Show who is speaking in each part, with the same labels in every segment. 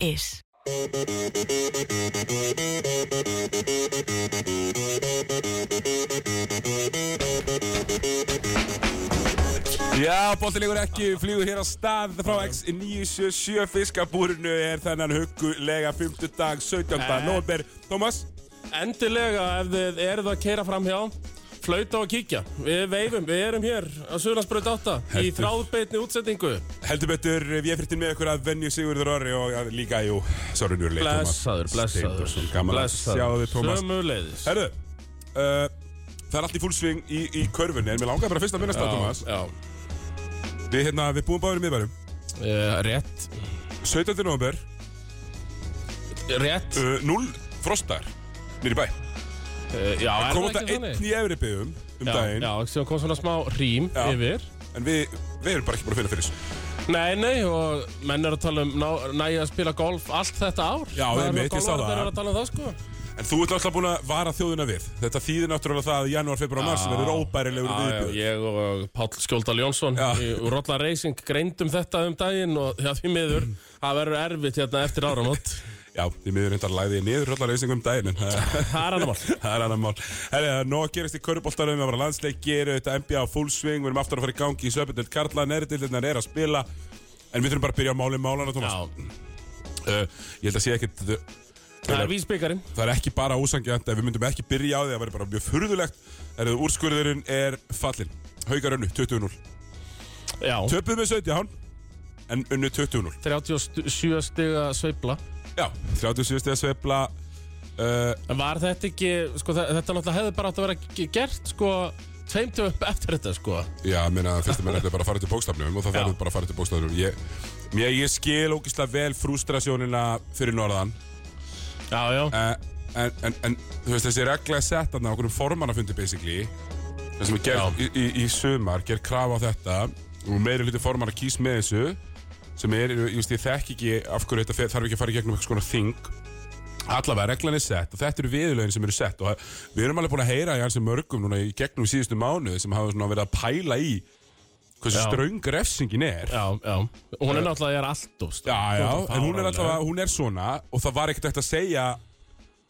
Speaker 1: is.
Speaker 2: Já, bóttilegur ekki flýgur hér á stað frá X977 fiskabúrinu er þennan hugulega 50 dag 17.
Speaker 3: Eh.
Speaker 2: november Tómas,
Speaker 3: Endilega ef þið eruð að keira framhjá Flauta og kíkja Við veifum, við erum hér á Suðlandsbröð 8 Í
Speaker 2: Heldur.
Speaker 3: þráðbeitni útsendingu
Speaker 2: heldur betur við erum frittin með ykkur að venju Sigurður Orri og að líka, jú, Sörun Júrleik
Speaker 3: Blessaður, blessaður
Speaker 2: Gaman að sjá þig, Tómas
Speaker 3: Sömuleiðis
Speaker 2: Herðu, uh, það er allt í fullsving í, í körfunni en mér langar bara fyrst að minnast á Tómas
Speaker 3: Já,
Speaker 2: Við, hérna, við búum báður í miðbærum
Speaker 3: Eh, rétt
Speaker 2: 17. november,
Speaker 3: Rétt
Speaker 2: uh, 0 frostar nýri bæ
Speaker 3: Eh, Já, er
Speaker 2: Uh, Kom
Speaker 3: það
Speaker 2: þetta
Speaker 3: ekki
Speaker 2: einn
Speaker 3: þannig?
Speaker 2: í efri byggum um
Speaker 3: Já,
Speaker 2: daginn
Speaker 3: já, svo kom svona smá rím
Speaker 2: Já.
Speaker 3: yfir
Speaker 2: En við, við erum bara ekki búin að finna fyrir þessu
Speaker 3: Nei, nei, og menn eru að tala um ná- nægja að spila golf allt þetta ár
Speaker 2: Já,
Speaker 3: Það eru
Speaker 2: einmitt, ég sá
Speaker 3: golfarnir
Speaker 2: það.
Speaker 3: eru að tala um það sko
Speaker 2: En þú ert alltaf búin að vara þjóðina við. Þetta þýðir náttúrulega það að janúar, februar og mars verður óbærilegur
Speaker 3: Já, já,
Speaker 2: viðbjörn.
Speaker 3: Ég og Páll Skjóldal Jónsson
Speaker 2: Já.
Speaker 3: í Rolla Racing greindum þetta um daginn og já, því miður, það verður erfitt hérna eftir áramót
Speaker 2: Já, því miður reyndar lagði ég niður allar reysingum um daginn, en það
Speaker 3: Það er annar mál
Speaker 2: það er annan mál. Herri, það er nóg að gerist í körubóltarum, við varum landsleikir, þetta NBA á full swing, við erum aftur að fara í gangi í söpindöld Karla, neðritildirnar er að spila, en við þurfum bara að byrja á máli um málana, Tómas.
Speaker 3: Já,
Speaker 2: Uh, ég held að sé ekkert,
Speaker 3: það er vísbyggarinn
Speaker 2: það er ekki bara ósangjant, ef við myndum ekki byrja á því, það verður bara mjög furðulegt. Herri, úrskurðurinn er fallinn. Haukar unnu 20-0.
Speaker 3: Já,
Speaker 2: Töpuðu með 17, en unnu 20-0.
Speaker 3: 37 stiga sveifla
Speaker 2: Já, 37 stegar sveifla uh,
Speaker 3: En var þetta ekki, sko, þe- þetta náttúrulega hefði bara átt að vera ge- gert, sko, tveimtum upp eftir þetta, sko
Speaker 2: Já, ég meina, fyrst að menn ætla bara að fara til bókstafnum og það
Speaker 3: Já.
Speaker 2: verður bara að fara til bókstafnum Ég, mér, ég skil ógislega vel frústrasjónina fyrir norðan
Speaker 3: Já, já,
Speaker 2: uh, en, en, en þú veist, þessi regla er sett þarna á okkur um formannafundi basically það sem er gerð í, í, í sumar ger krafa á þetta og meiri hluti formanna kýs með þessu sem er, ég veist, ég þekk ekki af hverju þetta fer- þarf ekki að fara í gegnum eitthvað skona þing Allavega, reglan er sett og þetta eru viðurlögin sem eru sett og það- við erum alveg búin að heyra í hans mörgum núna í gegnum síðustu mánuð sem hafa svona verið að pæla í hversu
Speaker 3: Já.
Speaker 2: ströng refsingin er
Speaker 3: já, já Hún er náttúrulega, ég er allt úst
Speaker 2: Já, já, en hún er allavega, hún er svona og það var ekkert eftir að segja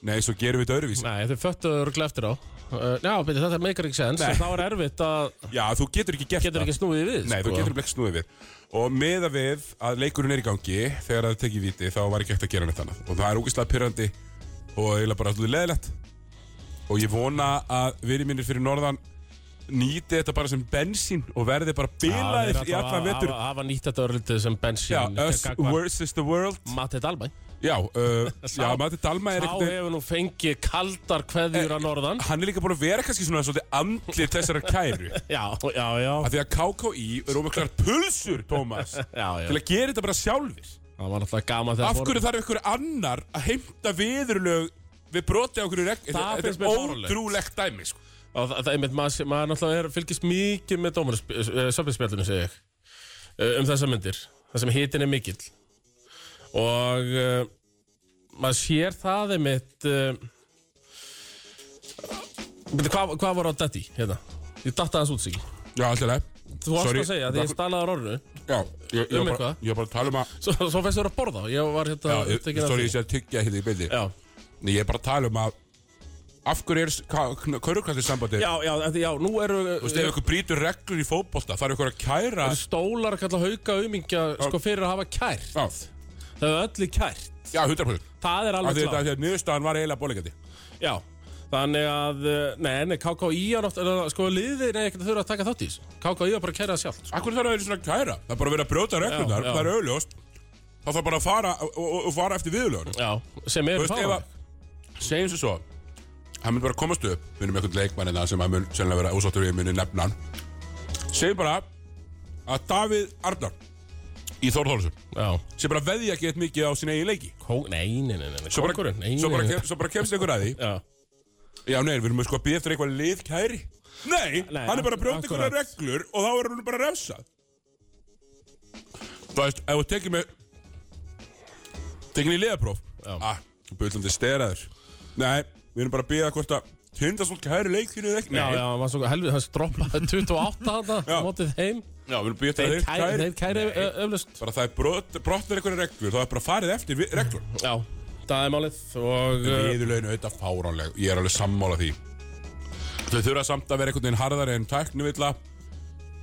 Speaker 2: Nei, svo gerum við þetta öðruvísi
Speaker 3: Nei, þau föttuðu örglega eftir á Uh, Já, beti, þetta meikar ekki sens, en þá er erfitt að
Speaker 2: Já, þú getur ekki gert það.
Speaker 3: getur ekki snúið sko. við
Speaker 2: Nei, þú getur ekki snúið við Og meða við að leikurinn er í gangi Þegar það tekið víti þá var ekki hægt að gera neitt annað Og það er ógeðslega pyrrandi Og eiginlega bara alltaf leðilegt Og ég vona að vini mínir fyrir norðan Nýti þetta bara sem bensín Og verði bara bilaðir í allan vetur
Speaker 3: hafa, hafa nýtt þetta örlítið sem bensín
Speaker 2: Já, us versus the world
Speaker 3: Matið Dalmæ
Speaker 2: Já, uh, já, maður Dalma er
Speaker 3: Þá
Speaker 2: ekkert
Speaker 3: hefur nú fengið kaldar kveðjur
Speaker 2: Eh,
Speaker 3: að norðan
Speaker 2: Hann er líka búin að vera kannski svona svolítið andlir þessara kæru
Speaker 3: Já, já, já
Speaker 2: Af því að KKÍ er ómöglar pulsur, Tómas
Speaker 3: Já, já
Speaker 2: Til að gera þetta bara sjálfir
Speaker 3: Það var náttúrulega gaman þegar
Speaker 2: Af hverju þarf ykkur annar að heimta viðurlög við brotið á okkur regn?
Speaker 3: Það
Speaker 2: Þetta
Speaker 3: finnst
Speaker 2: þetta
Speaker 3: mér
Speaker 2: er
Speaker 3: fáránlegt.
Speaker 2: ótrúlegt dæmi, sko.
Speaker 3: Og það, það einmitt, maður, maður náttúrulega er, fylgist mikið með dómarasöfnispjallinu, segi ég, eh, um þessar myndir, það sem hitin er mikill. Og uh, maður sér það einmitt, uh, hvað, hvað var á datti, hérna? Ég datta þess út, Siggi.
Speaker 2: Já, alltaf leið.
Speaker 3: Þú varst
Speaker 2: Sorry,
Speaker 3: að segja, því
Speaker 2: það-
Speaker 3: ég stalaði á orðinu,
Speaker 2: Já, ég, ég, var
Speaker 3: Um
Speaker 2: bara,
Speaker 3: eitthvað?
Speaker 2: ég var bara að tala um að...
Speaker 3: svo, svo fæst þér að borða og ég var hérna
Speaker 2: Já, ég,
Speaker 3: upptekinn af
Speaker 2: sorry,
Speaker 3: því.
Speaker 2: ég sé að tyggja hérna í byldi.
Speaker 3: Já,
Speaker 2: Nei, ég er bara að tala um að... Af hverju er körurkvæðið sambandið?
Speaker 3: já, já, en því- já, nú eru...
Speaker 2: Þú veist, ef ykkur brýtur reglur í fótbolta, þarf ykkur að kæra...
Speaker 3: eru stólar að kalla hauka umingja sko fyrir að hafa kært
Speaker 2: Já,
Speaker 3: það er öllu kært
Speaker 2: já, 100%.
Speaker 3: það er
Speaker 2: Af
Speaker 3: alveg
Speaker 2: því
Speaker 3: klart
Speaker 2: þetta að niðurstaðan var eiginlega bólegandi.
Speaker 3: Já, þannig að eh, Nei, nei, KKÍ er náttúrulega Sko, liðir er ekkert að þurfa að taka þátt í þessu KKÍ er bara að kæra það sjálft sko.
Speaker 2: Akkur þarf það einu svona að kæra? Það er bara verið að brjóta reglurnar,
Speaker 3: já.
Speaker 2: það er augljóst. Það þarf bara að fara og, og, og fara eftir viðurlögunum.
Speaker 3: Já,
Speaker 2: Þú
Speaker 3: sem er
Speaker 2: veist, ef
Speaker 3: fáið
Speaker 2: að segjum sem svo hann mun bara komast upp við erum eitthvað leikmannina sem hann mun sennilega vera ósáttur við muni nefna hann segjum bara að Davíð Arnar í Þór Þórsum
Speaker 3: Já,
Speaker 2: sem bara veðja ekki eitt mikið á sín eigin leiki
Speaker 3: kó, nei, nei, nei, nei
Speaker 2: svo bara,
Speaker 3: kóngurinn, nei,
Speaker 2: svo bara,
Speaker 3: nei,
Speaker 2: kem, svo bara kemst einhver að því
Speaker 3: nei. Já,
Speaker 2: já nei, við erum sko að býja eftir eitthvað lið kæri nei,
Speaker 3: Nei,
Speaker 2: hann er bara að brjóta
Speaker 3: akkurat.
Speaker 2: einhverja reglur og þá er hann bara refsað þú veist, ef þú tekir mig tekir mig í liðapróf
Speaker 3: Já.
Speaker 2: ah, bullandi steraður nei, við erum bara að býja hvort að Tindastóll kæri leikfyrir ekki
Speaker 3: Já, já, hann var svo helvið, hann droppaði 28
Speaker 2: Já.
Speaker 3: hana, mótið heim
Speaker 2: já við viljum býta
Speaker 3: Þeir
Speaker 2: þeir
Speaker 3: kæri,
Speaker 2: kæri
Speaker 3: þeir kæri ö- öflust
Speaker 2: bara það er brot, brotnar einhverja reglur þá er bara farið eftir vi- reglur
Speaker 3: Já, það er málið og uh,
Speaker 2: viðurlaun auðvitað fáránleg ég er alveg sammála því þau þurfa samt að vera einhvern veginn harðari en tæknivilla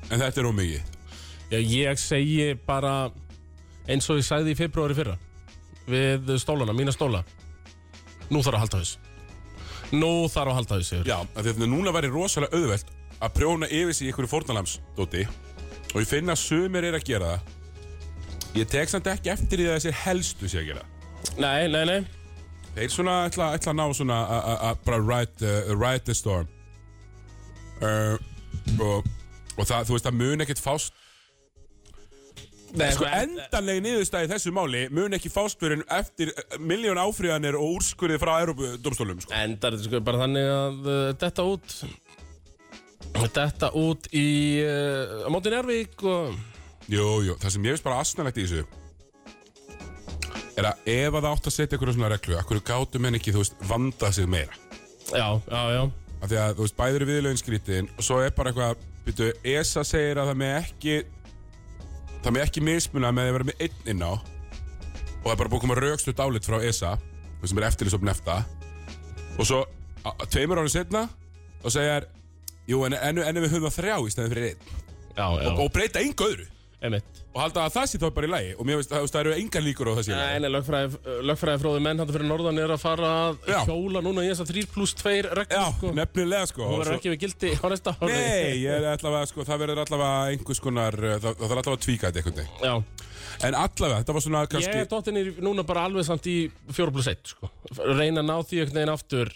Speaker 2: en þetta er ómikið
Speaker 3: já, eh, ég segi bara eins og ég sagði í februari fyrra við stólana, mína stóla Nú þarf að halda haus Nú þarf að halda haus, Sigur
Speaker 2: já, af því að þetta núna væri rosalega auðvelt að prjóna yfir sig í einhverju fórnalamsdóti og ég finna að sumir er að gera það ég tek samt ekki eftir því að þessir helstu sé að gera það
Speaker 3: Nei, nei, nei
Speaker 2: Þeir svona ætla, ætla að ná svona að- að- að bara ride, uh, ride the storm uh, og, og það, þú veist, það mun ekkert fást
Speaker 3: Nei,
Speaker 2: sko endanleg niðurstæði í þessu máli mun ekki fást fyrir en eftir miljón áfríðanir og úrskurði frá Európa-dómstólum sko.
Speaker 3: endar þetta sko bara þannig að uh, detta út detta út í uh, á móti Njárvík og
Speaker 2: Jú, jú, það sem ég veist bara asnalegt í þessu er að ef að það átt að setja einhverju svona reglu, akkur gátu menn ekki, þú veist, vandað sig meira
Speaker 3: já, já, já,
Speaker 2: af því að þú veist, bæður er viðlaun skrítin og svo er bara eitthvað, býtu, ESA segir að það með ekki það með ekki mismuna með að vera með einn inn á og það er bara búið að koma raukstuð dálit frá ESA þú veist, sem er eftirlisopn eftir og svo a- a- tveimur árið setna og segjar, jú, en, en, en við höfum að þrjá í stæðin fyrir einn
Speaker 3: já, já,
Speaker 2: og breyta engu öðru
Speaker 3: emitt
Speaker 2: og halda að það sé þá bara í lagi og mér veist, það, þú veist, það eru engar líkur á þessi
Speaker 3: Nei, nei, lögfræði, lögfræði fróði menn hann fyrir norðan er að fara að
Speaker 2: Já.
Speaker 3: hjóla núna í þess að 3 pluss 2 regl
Speaker 2: Já,
Speaker 3: sko.
Speaker 2: nefnilega sko Og
Speaker 3: Hún
Speaker 2: svo-
Speaker 3: verður ekki við gildi á næsta ári
Speaker 2: Nei, ég er allavega, sko, það verður allavega einhvers konar, uh, það, það er allavega tvíkætt einhvern veginn.
Speaker 3: Já,
Speaker 2: En allavega, þetta var svona
Speaker 3: ég
Speaker 2: kannski
Speaker 3: er dottinni núna bara alveg samt í 4 pluss 1 sko. Reyna að ná því einhvern veginn aftur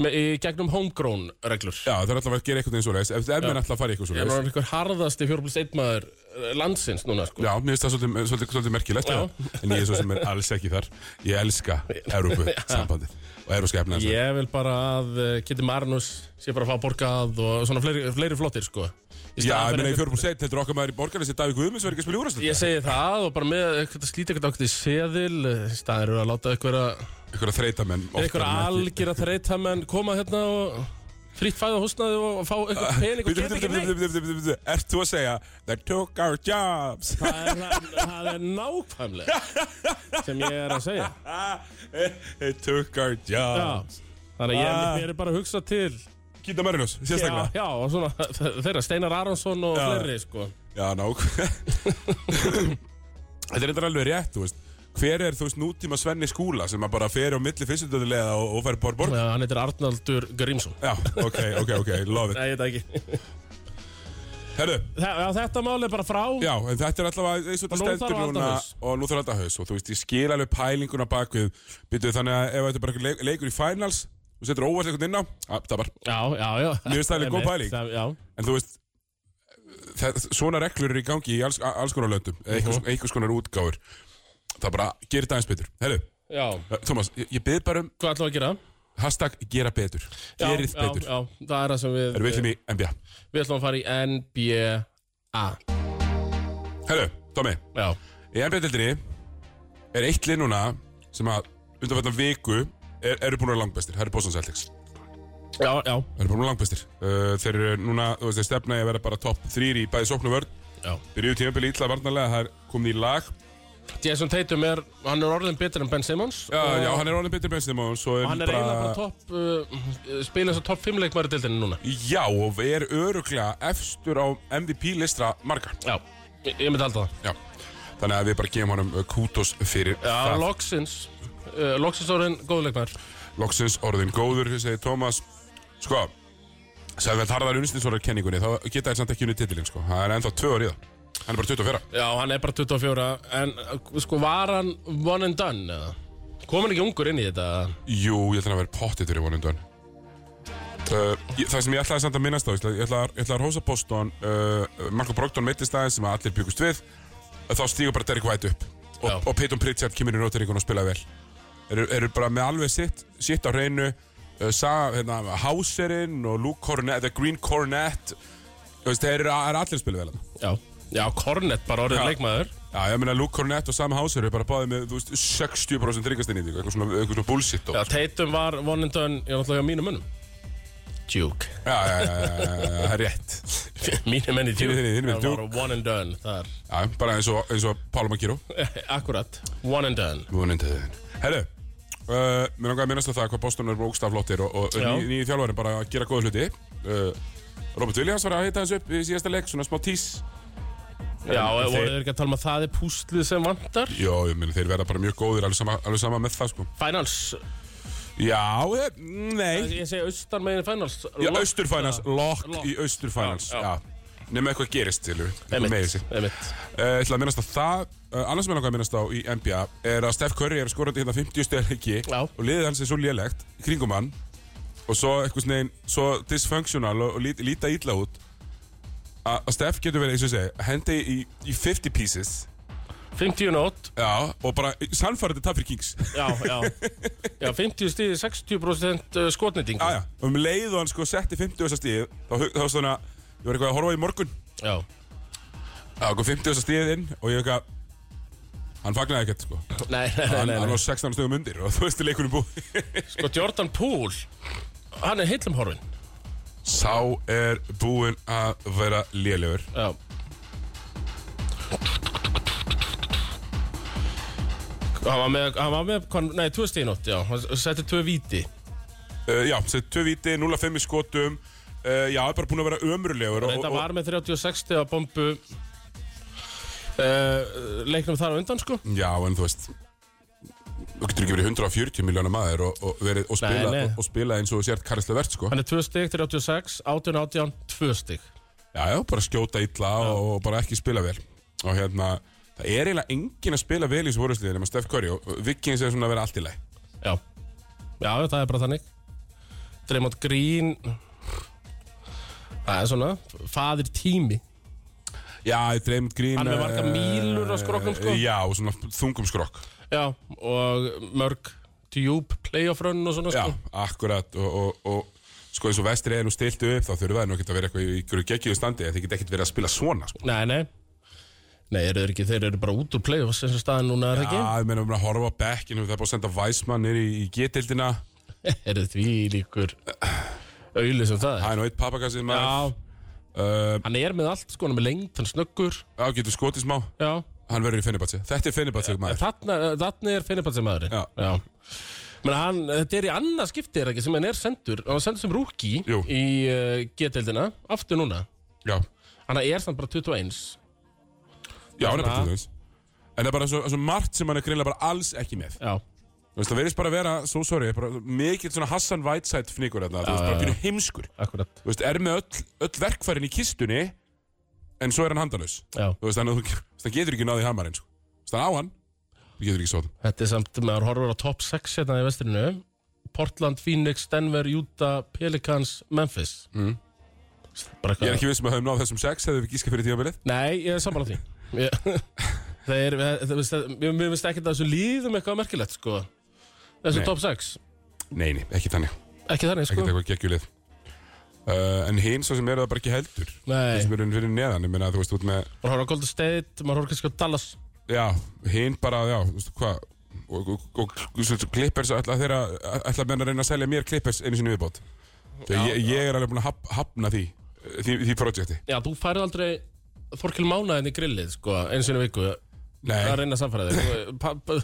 Speaker 3: með, í gegnum homegrown reglur
Speaker 2: Já, það er allavega að gera einhvern veginn svoleiðis Ef ef menn alltaf að fara í eitthvað
Speaker 3: Ég er
Speaker 2: svoleiðis
Speaker 3: orðinn einhver harðasti 4 pluss 1 maður eh, landsins núna sko.
Speaker 2: Já, mér finnst það svolítið, svolítið, svolítið merkilegt
Speaker 3: Já.
Speaker 2: En ég er svo sem er alls ekki þar Ég elska Európu sambandið Og Európska efnæðan yeah.
Speaker 3: Ég vil bara að uh, Kitty Marinus sé bara að fá borgað og svona fleiri, fleiri flottir sko
Speaker 2: Já,
Speaker 3: Í staðan
Speaker 2: ég
Speaker 3: fyrir
Speaker 2: meina í
Speaker 3: einhver-
Speaker 2: 4.1 heldur okkar maður í borgarna sér Davík Guðmunds verið ekki að spila úrast
Speaker 3: Ég segi það og bara með eitthvað að slíta eitthvað ákveðið í seðil eh, í staðan eru að láta einhverja
Speaker 2: Einhverja þreytamenn oftar
Speaker 3: einhverja
Speaker 2: en ekki.
Speaker 3: algjör að þreita menn koma hérna og fritt fæða húsnaði og fá eitthvað pening og
Speaker 2: Bíddu, bíddu,
Speaker 3: geta ekki
Speaker 2: bíddu,
Speaker 3: neitt
Speaker 2: bíddu, bíddu, bíddu, bíddu. Ert þú að segja They took our jobs
Speaker 3: Það er, það- það er nákvæmlega sem ég er að segja
Speaker 2: They took our
Speaker 3: Já,
Speaker 2: jobs
Speaker 3: þannig að ég,
Speaker 2: Ah.
Speaker 3: mér er bara að hugsa til
Speaker 2: Kýta Marinus, sérstaklega
Speaker 3: Já, já, og svona þeirra Steinar Aronsson og
Speaker 2: Já.
Speaker 3: fleiri sko
Speaker 2: Já, nák Þetta er eitthvað alveg rétt, þú veist Hver er, þú veist, nútíma Svenni Skúla sem að bara fer á milli fyrstundöðulega og, og fer bara borg?
Speaker 3: Já, hann heitir Arnaldur Grímsson
Speaker 2: Já, ok, ok, ok, love it
Speaker 3: Nei, ég veit ekki
Speaker 2: Herru,
Speaker 3: Já, þetta mál er bara frá
Speaker 2: já, en þetta er allavega eins og
Speaker 3: Og
Speaker 2: þetta
Speaker 3: nú
Speaker 2: stendur
Speaker 3: þarf að halda
Speaker 2: núna
Speaker 3: haus.
Speaker 2: og nú þarf alltaf haus og þú veist, ég skil alveg pælinguna bakvið Býtu, þannig að ef þetta er bara einhver leik, leikur í finals og setur óvart einhvern inn á, að, það var
Speaker 3: já, já, já.
Speaker 2: Mér finnst það alveg góð pæling.
Speaker 3: Það- Já,
Speaker 2: En þú veist, það, svona reglur eru í gangi í alls, alls konar löndum einhvers,
Speaker 3: Mhm.
Speaker 2: einhvers konar útgáfur Það bara gerir það eins betur Herru,
Speaker 3: já
Speaker 2: Thomas, ég, ég byrð bara um
Speaker 3: Hvað ætlum við að gera?
Speaker 2: Hashtag gera betur
Speaker 3: Já,
Speaker 2: Gerið
Speaker 3: já,
Speaker 2: betur
Speaker 3: Já, það er það sem við
Speaker 2: Erum við ætlum í NBA
Speaker 3: Við ætlum að fara í NBA
Speaker 2: Herru, Tommy
Speaker 3: Já,
Speaker 2: Í NBA-dildinni er eitt lið núna sem að undanfættan viku er, eru búin að vera langbestir Það eru Boston Celtics
Speaker 3: já, já,
Speaker 2: Það eru búin að vera langbestir uh, Þeir eru núna, þú veist, þeir stefna í að vera bara topp þrýr í bæði sóknu vörn
Speaker 3: já.
Speaker 2: Byrjuðu tímabili ítla varnarlega, það er komin í lag
Speaker 3: Jason Tatum er, hann er orðin betur en Ben Simmons
Speaker 2: Já,
Speaker 3: og
Speaker 2: já, hann er orðin betur bensið og svo er
Speaker 3: Hann er eiginlega bara topp uh, Spila þess að topp 5 leikmæri dildinu núna
Speaker 2: Já, og er öruglega efstur á MVP-listra marga
Speaker 3: Já, ég, ég myndi halda það
Speaker 2: Já Þannig að við bara gefum honum uh, kútos fyrir
Speaker 3: Já,
Speaker 2: það.
Speaker 3: loksins uh, Loksins orðin góð leikmæri
Speaker 2: Loksins orðin góður, segir Tómas Sko, sagði vel Harðar Unstinssonar kenningunni, þá geta þér samt ekki unni titilinn sko. Það er ennþá tvö ár í það Hann er bara 24
Speaker 3: Já, hann er bara 24 En uh, sko, var hann one and done? Eða? Kom hann ekki ungur inn í þetta?
Speaker 2: Jú, ég ætla að vera pottið fyrir vonundan uh, ég- Það sem ég ætlaði samt að minnast á Ég ætla, ég ætla, að- ég ætla að hósa Boston uh, Marko Brogdon meittist aðeins sem að allir byggust við að Þá stígur bara Derek White upp
Speaker 3: Já.
Speaker 2: Og, og Peyton Pritchard kemur í rótaríkun og spilaði vel Eru, eru bara með alveg sitt Sitt á reynu uh, Sa, hérna, Hauserinn og Luke Cornett The Green Cornett Þú veist, Þeir eru er allir að spila vel þarna.
Speaker 3: Já, já Kornet bara orðið
Speaker 2: Já.
Speaker 3: leikmaður
Speaker 2: Já, ég meina Luke Cornett og Sam Hauser eru bara báðið með þú veist, 60% þryggastinn í því Eitthvað svona, eitthvað svona bullshit og,
Speaker 3: Já, Tatum var one and done Ég náttúrulega á mínum munum Djúk
Speaker 2: Já, já, já, já, já, já, það er rétt
Speaker 3: Mínu menni djúk
Speaker 2: Þínir- þínir menn
Speaker 3: Það var one and done þar
Speaker 2: Já, bara eins og, eins og Pálma Kíró
Speaker 3: Akkurat One and done
Speaker 2: Vonendiðin Herru, uh, mér langar að minnast á það hvað Boston er bókstaflottir og, og
Speaker 3: Já.
Speaker 2: ný, nýju þjálfari bara að gera góð hluti uh, Robert Williams var að hita hans upp í síðasta leik, svona smá tís
Speaker 3: Já,
Speaker 2: En
Speaker 3: voru
Speaker 2: þeir-
Speaker 3: þeir ekki að tala um að það er púslið sem vantar
Speaker 2: Jó, ég minn, þeir verða bara mjög góðir alveg sama, alveg sama með það, sko
Speaker 3: Finals
Speaker 2: Já, eh, nei
Speaker 3: Ég segi austan meginn finals
Speaker 2: Já, Austurfinals, lock,
Speaker 3: Lock.
Speaker 2: í Austurfinals
Speaker 3: Já,
Speaker 2: Já,
Speaker 3: já.
Speaker 2: já. Nefnum eitthvað gerist, tilur Eitthvað meiri
Speaker 3: Emitt
Speaker 2: sig
Speaker 3: Emitt
Speaker 2: Uh, ætla að minnast að það, uh, annars sem ég langar að minnast á í NBA er að Steph Curry er skorandi hérna 50 stöðar ekki
Speaker 3: Já.
Speaker 2: og liðið hans er svo lélegt í kringum hann og svo eitthvað svona einn, svo dysfunctional og, og lít, líta ítla út að að Steph getur verið, eins og ég segi, hendi í, í 50 pieces
Speaker 3: 50 nót
Speaker 2: já, og bara sannfærandi tap fyrir Kings já,
Speaker 3: Já, já Já, 50 stíði 60% skotnýting
Speaker 2: já, um leið og hann sko setti 50 þessar stíð þá, hug- þá svona, ég var eitthvað að horfa í morgun
Speaker 3: Já
Speaker 2: þá kom 50 þessar stíð inn og ég eitthvað hann fagnaði ekkert sko
Speaker 3: Nei, nei, nei,
Speaker 2: hann,
Speaker 3: nei,
Speaker 2: hann
Speaker 3: nei.
Speaker 2: var 16 stöðum undir og þú veist leikunum búið
Speaker 3: Sko, Jordan Poole Hann er heillum horfin
Speaker 2: Sá er búinn að vera lélegur
Speaker 3: Já Hann var með, hann var með, hvað- nei, tvö steinótt, já, hann setti tvö víti
Speaker 2: uh, Já, sem tvö víti, 0-5 í skotum uh, Já, er bara búinn að vera ömurlegur og,
Speaker 3: Þetta
Speaker 2: og,
Speaker 3: var með 36 stegar bombu uh, leiknum þar á undan, sko
Speaker 2: Já, en þú veist Þú getur ekki verið 140 miljóna maður og, og, verið, og, spila,
Speaker 3: nei.
Speaker 2: Og, og spila eins og þú sért Karlslega verð sko.
Speaker 3: Hann er tvö stig, 36, 18, 18, tvö stig
Speaker 2: Já, já, bara skjóta illa og, og bara ekki spila vel Og hérna, það er eiginlega engin að spila vel í þessu vorusliði nema Steph Curry og Vikings er svona að vera allt í leið
Speaker 3: Já, já, það er bara þannig Dreymond Green Það er svona, fadir tími
Speaker 2: Já, Dreymond Green
Speaker 3: Hann er með margar
Speaker 2: eh,
Speaker 3: mílur á skrokkum, sko.
Speaker 2: Já, og svona þungum skrokk
Speaker 3: Já, og mörg djúb playoff run og svona,
Speaker 2: Já,
Speaker 3: sko
Speaker 2: akkurat og, og, og sko eins og vestri er nú stiltu upp þá þurfa það nú ekkert að vera eitthvað í ykkur geggiðu standi þeir geta ekkert verið að spila svona sko.
Speaker 3: Nei, nei Nei, eru þeir ekki, þeir eru bara út úr play-offs eins og staðan núna er það
Speaker 2: Já, ég meina, við erum að horfa á bekkinu það er búið að senda Væsmann nýri í, í getildina
Speaker 3: ekki? eru því líkur auðli sem það er
Speaker 2: Það er nú eitt papakassi maður
Speaker 3: Já,
Speaker 2: Uh,
Speaker 3: hann er með allt sko, hann er með lengt, hann er snöggur
Speaker 2: Já, getur skotið smá
Speaker 3: Já,
Speaker 2: Hann verður í Fennibatsi Þetta er Fennibatsi
Speaker 3: Eh,
Speaker 2: maður
Speaker 3: þarna, þarna er Fennibatsi maðurinn
Speaker 2: Já.
Speaker 3: Já. Men hann, þetta er í annað skipti er það ekki sem hann er sendur, hann var sendur sem rúki
Speaker 2: Jú.
Speaker 3: í uh, G-deildina, aftur núna
Speaker 2: Já,
Speaker 3: hann er samt bara 21
Speaker 2: já, hann er bara
Speaker 3: Svona.
Speaker 2: til þess En það er bara svo, svo margt sem hann er greinlega bara alls ekki með
Speaker 3: Já,
Speaker 2: Þú veist, það verðist bara að vera, so sorry bara, Mikið svona Hassan Whiteside fnýkur þarna Þú veist, bara býnur heimskur
Speaker 3: akkurat
Speaker 2: Þú veist, er með öll, öll verkfærin í kistunni En svo er hann handalaus
Speaker 3: Já.
Speaker 2: Þú veist, þannig að þú- þú veist, hann getur ekki náðið hamarinn sko. Þú veist, hann á hann Þú getur ekki sóðum
Speaker 3: Þetta er samt, maður horfur á top 6 hérna í vestrinu Portland, Phoenix, Denver, Utah, Pelicans, Memphis mm. Bara
Speaker 2: Ég
Speaker 3: eitthvað
Speaker 2: er ekki vissum að höfum náð þessum sex Hefðu við gíska fyrir tímabilið
Speaker 3: Nei, ég er sammála því Ég- Það er, það veist, það- mér mér finnst ekkert að þessu líðum eitthvað merkilegt sko Þessu
Speaker 2: Nei.
Speaker 3: top 6
Speaker 2: Nei, nei, ekki þannig
Speaker 3: Ekki þannig
Speaker 2: Ekki
Speaker 3: sko
Speaker 2: eitthvað geggjulið uh, En hinn svo sem eru það bara ekki heldur Þeir
Speaker 3: Nei,
Speaker 2: sem eru fyrir neðan Ég meina, þú veist, út með
Speaker 3: maður horfur á Golden State, maður horfur kannski á Dallas
Speaker 2: Já, hinn bara, já, þú veist, hvað Og, og, og, og klippers ætla þeirra ætla menn að reyna að selja mér klippers einu sinni í viðbót Þegar ég, ég er alveg búin að haf, hafna því eh, því, því projekti
Speaker 3: Já, þú færið aldrei Þorkil Mánaðin í grillið sko, eins og einu viku
Speaker 2: Nei,
Speaker 3: að reyna að samfæra þig Pa- pa-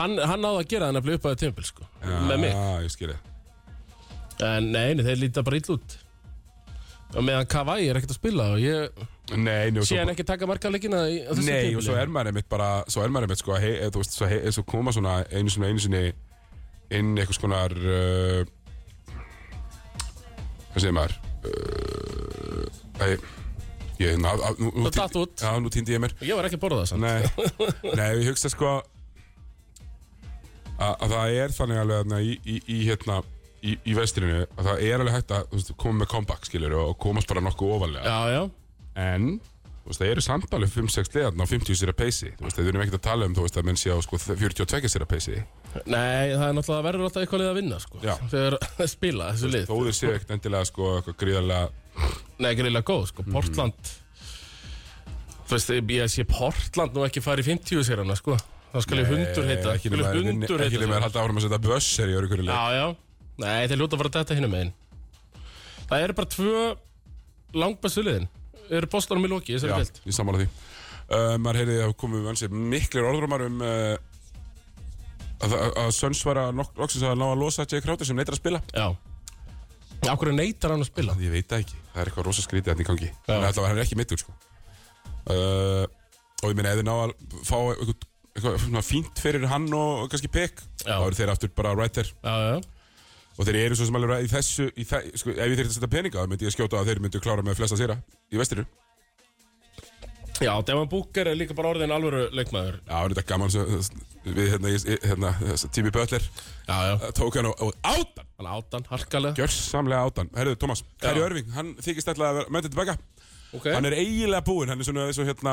Speaker 3: Hann, hann náði að gera þannig að bli upp á það tímpil sko, með mig
Speaker 2: Já, ég skil það
Speaker 3: En nei, nei, þeir líta bara illa út Og meðan Kavai er ekkert að spila Og ég
Speaker 2: Nei, njú,
Speaker 3: sé hann ekki taka marga leikina í- á þessu
Speaker 2: Nei,
Speaker 3: tímabili.
Speaker 2: og svo er maður einmitt bara svo er maður einmitt sko hei, eða, þú veist, svo, hei, eða, svo koma svona einu sinni, einu sinni inn einhvers konar uh, hvað segir maður uh, ei, ég, na, á, nú, nú,
Speaker 3: Það datt út.
Speaker 2: Já, nú týndi ég mér
Speaker 3: Ég var ekki að borða það samt
Speaker 2: Nei, nei ég hugsa sko að, að það er þannig alveg þarna í, í, í hérna í, í vestrinu að það er alveg hægt að þú veist, koma með comeback skilur og komast bara nokkuð ofalega
Speaker 3: Já, já,
Speaker 2: en þú veist, það eru samt alveg 5-6 liðarna á 50 sér að peysi þú veist, við erum ekkert að tala um þú veist, að menn sé á sko, 42 sér að peysi
Speaker 3: nei, það er náttúrulega verður alltaf eitthvað lið að vinna sko.
Speaker 2: Já.
Speaker 3: Þegar spila þessu lið
Speaker 2: þó þeir séu ekkert endilega sko, eitthvað gríðarlega
Speaker 3: Nei, ekki reyla góð, sko,
Speaker 2: Mhm.
Speaker 3: Portland Þú veist, ég- ég sé Portland nú ekki fara í 50 sér hana, sko Það skal ég hundur
Speaker 2: eh,
Speaker 3: heita
Speaker 2: ekki
Speaker 3: Skal
Speaker 2: nema
Speaker 3: ég
Speaker 2: að vinni-
Speaker 3: hundur
Speaker 2: ekki nema að
Speaker 3: heita
Speaker 2: halda áfram að setja bösser í öru hverju leik
Speaker 3: Já, já, nei, þeir ljóta að fara að detta hinum megin Það eru bara tvö langbæstu liðin eru bóstunum í loki í þessari
Speaker 2: Já,
Speaker 3: deild
Speaker 2: ég sammála því uh, Maður heyrði að komið ansið miklir orðrumar um uh, að, að, að Söns var að nok- loksins að ná að losa Jake Crowder sem neitar að spila
Speaker 3: Já Af hverju neytar hann að spila?
Speaker 2: Ég veit það ekki, það er eitthvað rosa skrítið hann í gangi
Speaker 3: Já.
Speaker 2: En alltaf hann er ekki mittur sko uh, Og ég meina ef þið ná að fá eitthvað, eitthvað svona fínt fyrir hann og kannski pek
Speaker 3: Já.
Speaker 2: Þá eru þeir aftur bara right there
Speaker 3: Já, já,
Speaker 2: Og þeir eru svo sem alveg ra- í þessu í þe sko, Ef ég þyrfti að setja peninga þá myndi ég skjóta að þeir myndu klára með flesta sýra í vestiru Já,
Speaker 3: já Devon Booker er líka bara orðin alvöru leikmaður
Speaker 2: það er þetta gaman svo, Við hérna, ég- hérna Tími Böller
Speaker 3: Já, já,
Speaker 2: eh, tók hann og, og átan
Speaker 3: hann átan, harkalega
Speaker 2: Gjörsamlega átan Herðu, Thomas, Kæri
Speaker 3: Já.
Speaker 2: Örving, hann þykist alltaf að vera mætið tilbaka
Speaker 3: Ok,
Speaker 2: Hann er eiginlega búinn, hann er svona eins og hérna,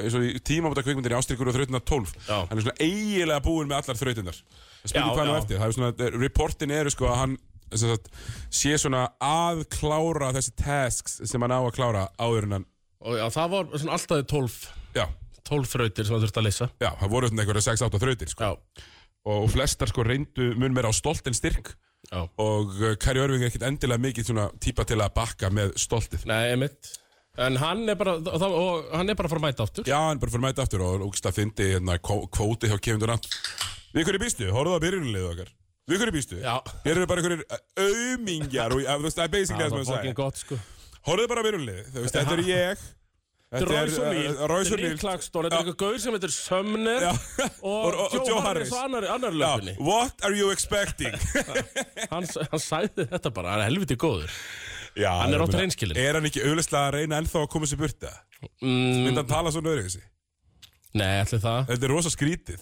Speaker 2: eins og í tímabóta kvikmyndinni Ástríkur og þrautina 12
Speaker 3: Já.
Speaker 2: Hann er svona eiginlega búinn með allar þrautindar Það
Speaker 3: Já,
Speaker 2: spyrir hvað hann á
Speaker 3: já.
Speaker 2: eftir, það er svona, eh, reportin eru sko að hann sem sagt, sé svona að klára þessi tasks sem hann á að klára áður en hann
Speaker 3: og já, það var svona alltaf 12
Speaker 2: Já,
Speaker 3: 12 frautir sem hann þurfti að leysa
Speaker 2: já, það voru svona einhverja 6-8 þrautir sko.
Speaker 3: Já,
Speaker 2: og, og flestar sko reyndu mun meira á stolt en styrk
Speaker 3: já
Speaker 2: og uh, Kari Örving er ekkert endilega mikið svona típa til að bakka með stoltið
Speaker 3: Nei, emitt En hann er bara, og, það- og hann er bara að fara að mæta aftur
Speaker 2: Já, hann bara fyrir að mæta aftur og ógst að fyndi hérna kvó- kvóti hjá Kevin Durant Við hverju býstu? Horfðu á byrjunulegu okkar Við hverju býstu?
Speaker 3: Já.
Speaker 2: Þeir eru bara einhverjir aumingjar og ja, þú veist, það er basically það sem
Speaker 3: var
Speaker 2: hann sagði
Speaker 3: fucking gott, sko
Speaker 2: Horfðu bara á byrjunulegu, þú veist, þetta er ég
Speaker 3: Þetta er Royce O'Neal,
Speaker 2: uh, Royce
Speaker 3: þetta er Neil
Speaker 2: O'Neal
Speaker 3: Klagston, þetta er
Speaker 2: Já.
Speaker 3: eitthvað gaur sem heitir Sumner
Speaker 2: Já.
Speaker 3: og, og Joe Harris og annar, annar
Speaker 2: Já,
Speaker 3: löpunni.
Speaker 2: What are you expecting?
Speaker 3: Hann, hann sagði þetta bara, hann er helviti góður.
Speaker 2: Já,
Speaker 3: er
Speaker 2: ég
Speaker 3: oft
Speaker 2: meina,
Speaker 3: hreinskilinn.
Speaker 2: Er hann ekki auðvitað að reyna ennþá að koma sér burta? Eh.
Speaker 3: Mm,
Speaker 2: Myndi hann tala svona öðru þessi?
Speaker 3: nei, ætli það.
Speaker 2: Þetta er rosa skrítið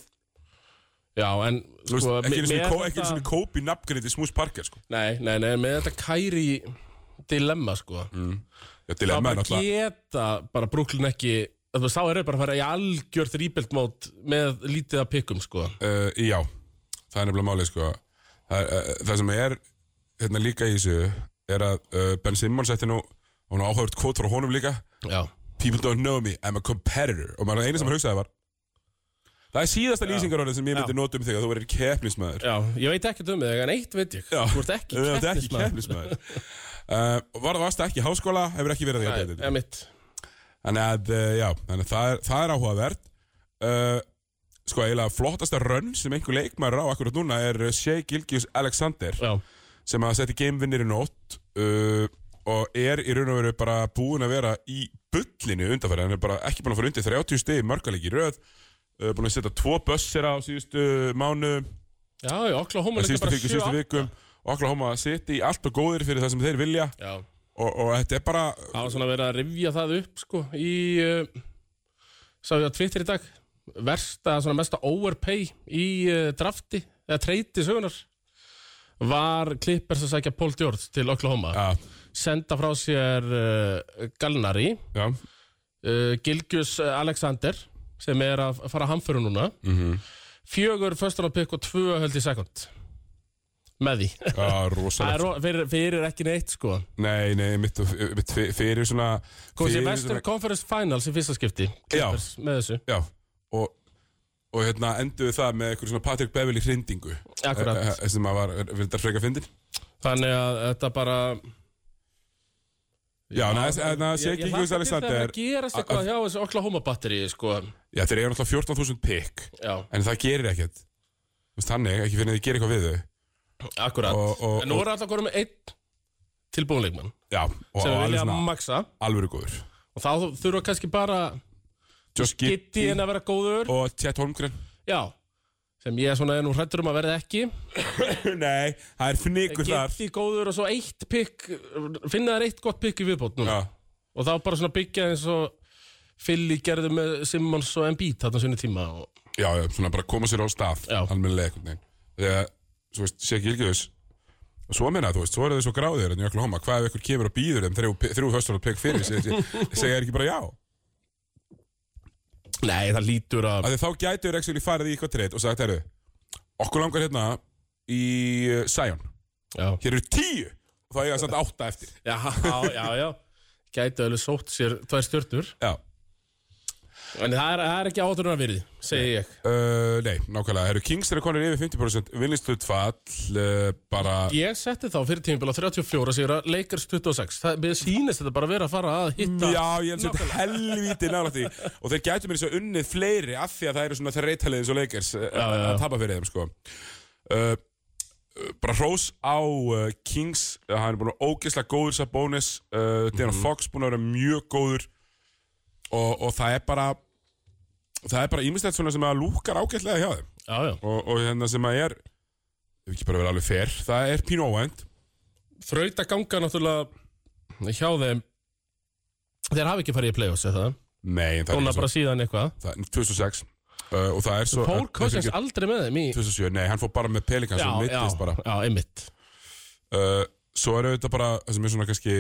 Speaker 3: Já, en
Speaker 2: Þú veist,
Speaker 3: sko,
Speaker 2: Ekki einu sinni
Speaker 3: með
Speaker 2: Ko- ekki
Speaker 3: þetta-
Speaker 2: einu sinni Kobe nafngrindi Smooth Parker sko.
Speaker 3: Nei, nei, nei, með þetta kæri dilemma, sko.
Speaker 2: Já,
Speaker 3: það
Speaker 2: dilemma er
Speaker 3: bara
Speaker 2: náttúrulega
Speaker 3: geta bara brúklin ekki, það var sá er bara að fara í algjörð rebuild mót með lítið að pikkum, sko.
Speaker 2: uh, Já, það er nefnilega málið sko. það, uh, það sem er hérna líka í þessu er að uh, Ben Simmons ætti nú og nú áhæfurt kvot frá honum líka
Speaker 3: Já,
Speaker 2: People don't know me, I'm a competitor og maður eina sem hann hugsaði var Það er síðasta lýsingarorðið sem ég myndi
Speaker 3: Já.
Speaker 2: nota um þig að þú verður keppnismæður
Speaker 3: já, ég veit ekkert um þig, en eitt veit ég. Þú ert ekki
Speaker 2: Þú ert ekki
Speaker 3: keppnismæður.
Speaker 2: keppnismæður uh, Var það varst ekki í háskóla, hefur ekki verið því að
Speaker 3: Nei, emitt.
Speaker 2: Þannig að, uh, já, þannig að það, er, það er áhugavert uh, Sko, eiginlega flottasta rönn sem einhver leikmaður á akkurat núna er uh, Shea Gilgius Alexander
Speaker 3: Já,
Speaker 2: sem að setja gamevinnir í nótt uh, og er í raun og veru bara búin að vera í bullinu undanfæri, hann er bara ekki búin að fara undir 30 stegi mörgalegi í röð uh, búin að setja tvo bössera á síðustu mánu
Speaker 3: já, já, Oklahoma líka
Speaker 2: síðustu,
Speaker 3: bara
Speaker 2: fyrir,
Speaker 3: sjö
Speaker 2: síðustu vikum og Oklahoma City, allt og góðir fyrir það sem þeir vilja
Speaker 3: Já,
Speaker 2: og, og þetta er bara
Speaker 3: það var svona verið að rifja það upp sko í, uh, sá ég á Twitter í dag versta, svona mesta overpay í uh, drafti, eða treyti sögunar var Clippers að sækja Paul George til Oklahoma
Speaker 2: Já,
Speaker 3: senda frá sér uh, Galnari
Speaker 2: já,
Speaker 3: uh, Gilgjus Alexander sem er að fara að hamföru núna mm
Speaker 2: mhm,
Speaker 3: -hmm. fjögur föstunarpikk og tvö höldi sekund með því
Speaker 2: já,
Speaker 3: Það
Speaker 2: rosalegt
Speaker 3: er ro- fyrir, fyrir ekki neitt sko
Speaker 2: Nei, nei, mitt, mitt fe- fyrir svona
Speaker 3: Komst í
Speaker 2: fyrir
Speaker 3: Western Conference Finals í fyrsta skipti Clippers með þessu
Speaker 2: Já, og, og hérna enduðu það með eitthvað svona Patrick Beverly hrindingu
Speaker 3: Akkurat.
Speaker 2: Eh, eh, sem að var, fyrir þetta freka fyndin
Speaker 3: Þannig að þetta bara
Speaker 2: Já, þannig að sé ekki Guðs
Speaker 3: Ég
Speaker 2: Alexander
Speaker 3: hlakka til þegar að gerast
Speaker 2: að-
Speaker 3: eitthvað hjá þessu Oklahoma batteri sko.
Speaker 2: Já, þeir eru náttúrulega 14.000 pick
Speaker 3: Já,
Speaker 2: en það gerir ekkert Þú veist, Þannig, ekki fyrir að þið gerir eitthvað við þau
Speaker 3: akkurat
Speaker 2: Og- og-
Speaker 3: En nú er alltaf hverju með einn tilbúinleikmann
Speaker 2: Já, og
Speaker 3: sem við
Speaker 2: alveg
Speaker 3: vilja
Speaker 2: svona
Speaker 3: maksa
Speaker 2: alvöru góður
Speaker 3: og þá þurfa kannski bara
Speaker 2: Josh
Speaker 3: gitti
Speaker 2: Gitti
Speaker 3: en að vera góður
Speaker 2: og Chet Holmgren
Speaker 3: Já, sem ég svona er nú hrættur um að verða ekki
Speaker 2: Nei, það er fnikur þar
Speaker 3: Gitti góður og svo eitt pikk finna þær eitt gott pikk í viðbót
Speaker 2: Já,
Speaker 3: núna og það var bara svona byggja eins og Philly gerði með Simmons og Embiid þarna svona tíma og,
Speaker 2: já, já, svona bara koma sér á stað
Speaker 3: Já.
Speaker 2: almennilega einhvern veginn þegar, svo veist, sé ekki ylgjöðus og svo meina þú veist, svo eru þau svo gráðir en jökla hóma, hvað ef ykkur kemur og býður þeim þrjú, þrjú höstur og pekk fyrir segja segja þeir ekki bara já,
Speaker 3: Nei, það lítur að
Speaker 2: af því þá gætu þeir ekki farið í eitthvað treyt og sagt, herru okkur langar hérna í uh, Sion,
Speaker 3: Já,
Speaker 2: hér eru tíu og þá eiga það samt átta eftir
Speaker 3: já, já, já Gæti alveg sótt sér tvær stjörnur
Speaker 2: já.
Speaker 3: En það er, það er ekki áhættunar að virði, segi ég
Speaker 2: Uh, nei, nákvæmlega, eru Kings eru konir yfir 50% vinningslutfall uh, bara,
Speaker 3: Ég setti þá fyrir tímabila 34 sigra, Lakers 26 Það mér sýnist þetta bara vera að fara að hitta
Speaker 2: já, ég held að þetta er helvíti nálægt því og þeir gætu mér eins og unnið fleiri af því að það eru svona þeir reytalið eins og leikers
Speaker 3: já, já.
Speaker 2: að tapa fyrir þeim sko uh, bara hrós á uh, Kings, uh, hann er búin að ógeðslega góður Sabonis, uh, Dana
Speaker 3: Mhm.
Speaker 2: Fox búin að vera mjög góður og, og það er bara það er bara ímislegt svona sem að lúkar ágætlega hjá þeim
Speaker 3: Já, já
Speaker 2: og, og hérna sem að er ef ekki bara verið alveg fer, það er pínu óvænt
Speaker 3: Þrauta ganga náttúrulega hjá þeim Þeir hafi ekki farið í play-offs, eða það
Speaker 2: Nei, en það
Speaker 3: Núna
Speaker 2: er
Speaker 3: bara síðan eitthvað
Speaker 2: það, er 2006 uh, og það er svo
Speaker 3: Paul
Speaker 2: það er
Speaker 3: Cousins
Speaker 2: ekki
Speaker 3: aldrei með þeim í
Speaker 2: 2007, nei, hann fór bara með Pelikans og mittist bara
Speaker 3: já, einmitt
Speaker 2: uh, Svo eru þetta bara, það sem er svona kannski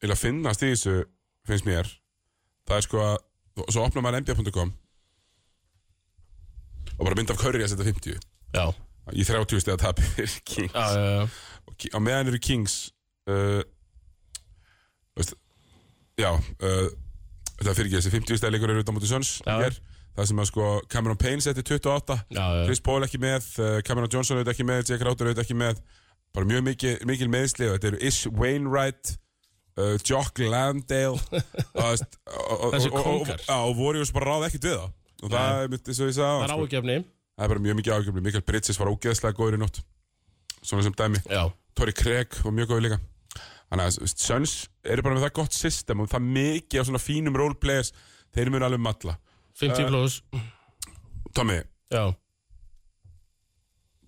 Speaker 2: vil að finnast í þessu, finnst mér það er sko að svo opnar maður nba.com og bara mynd af Curry að setja 50
Speaker 3: Já,
Speaker 2: í 30 stegar tapi fyrir King
Speaker 3: já, já, já.
Speaker 2: Og Ki- á meðan eru Kings uh, veist, já uh, það fyrir ekki þessi 50 stæðleikur eru út á móti Söns
Speaker 3: Já.
Speaker 2: það sem að sko Cameron Payne setti 28
Speaker 3: Já, já.
Speaker 2: Chris Paul ekki með uh, Cameron Johnson auðvitað ekki með, Jake Crowder auðvitað ekki með bara mjög mikil, mikil meðsli og þetta eru Ish Wainwright uh, Jock Landale og, veist, og, og,
Speaker 3: Þessi
Speaker 2: og, og,
Speaker 3: kóngar.
Speaker 2: já, og Warriors bara ráða ekkert við það og það er, mitt eins og ég sagði
Speaker 3: það er
Speaker 2: áðan, sko.
Speaker 3: áhugjefni
Speaker 2: það er bara mjög mikið ágjöfni Mikael Bridges var ógeðslega góður í nótt svona sem dæmi
Speaker 3: Já,
Speaker 2: Tori Craig var mjög góð líka Þannig að þú veist, Suns eru bara með það gott system og það mikið á svona fínum roleplayers þeir munu alveg matla Eh.
Speaker 3: 50 plus
Speaker 2: Tommy,
Speaker 3: Já,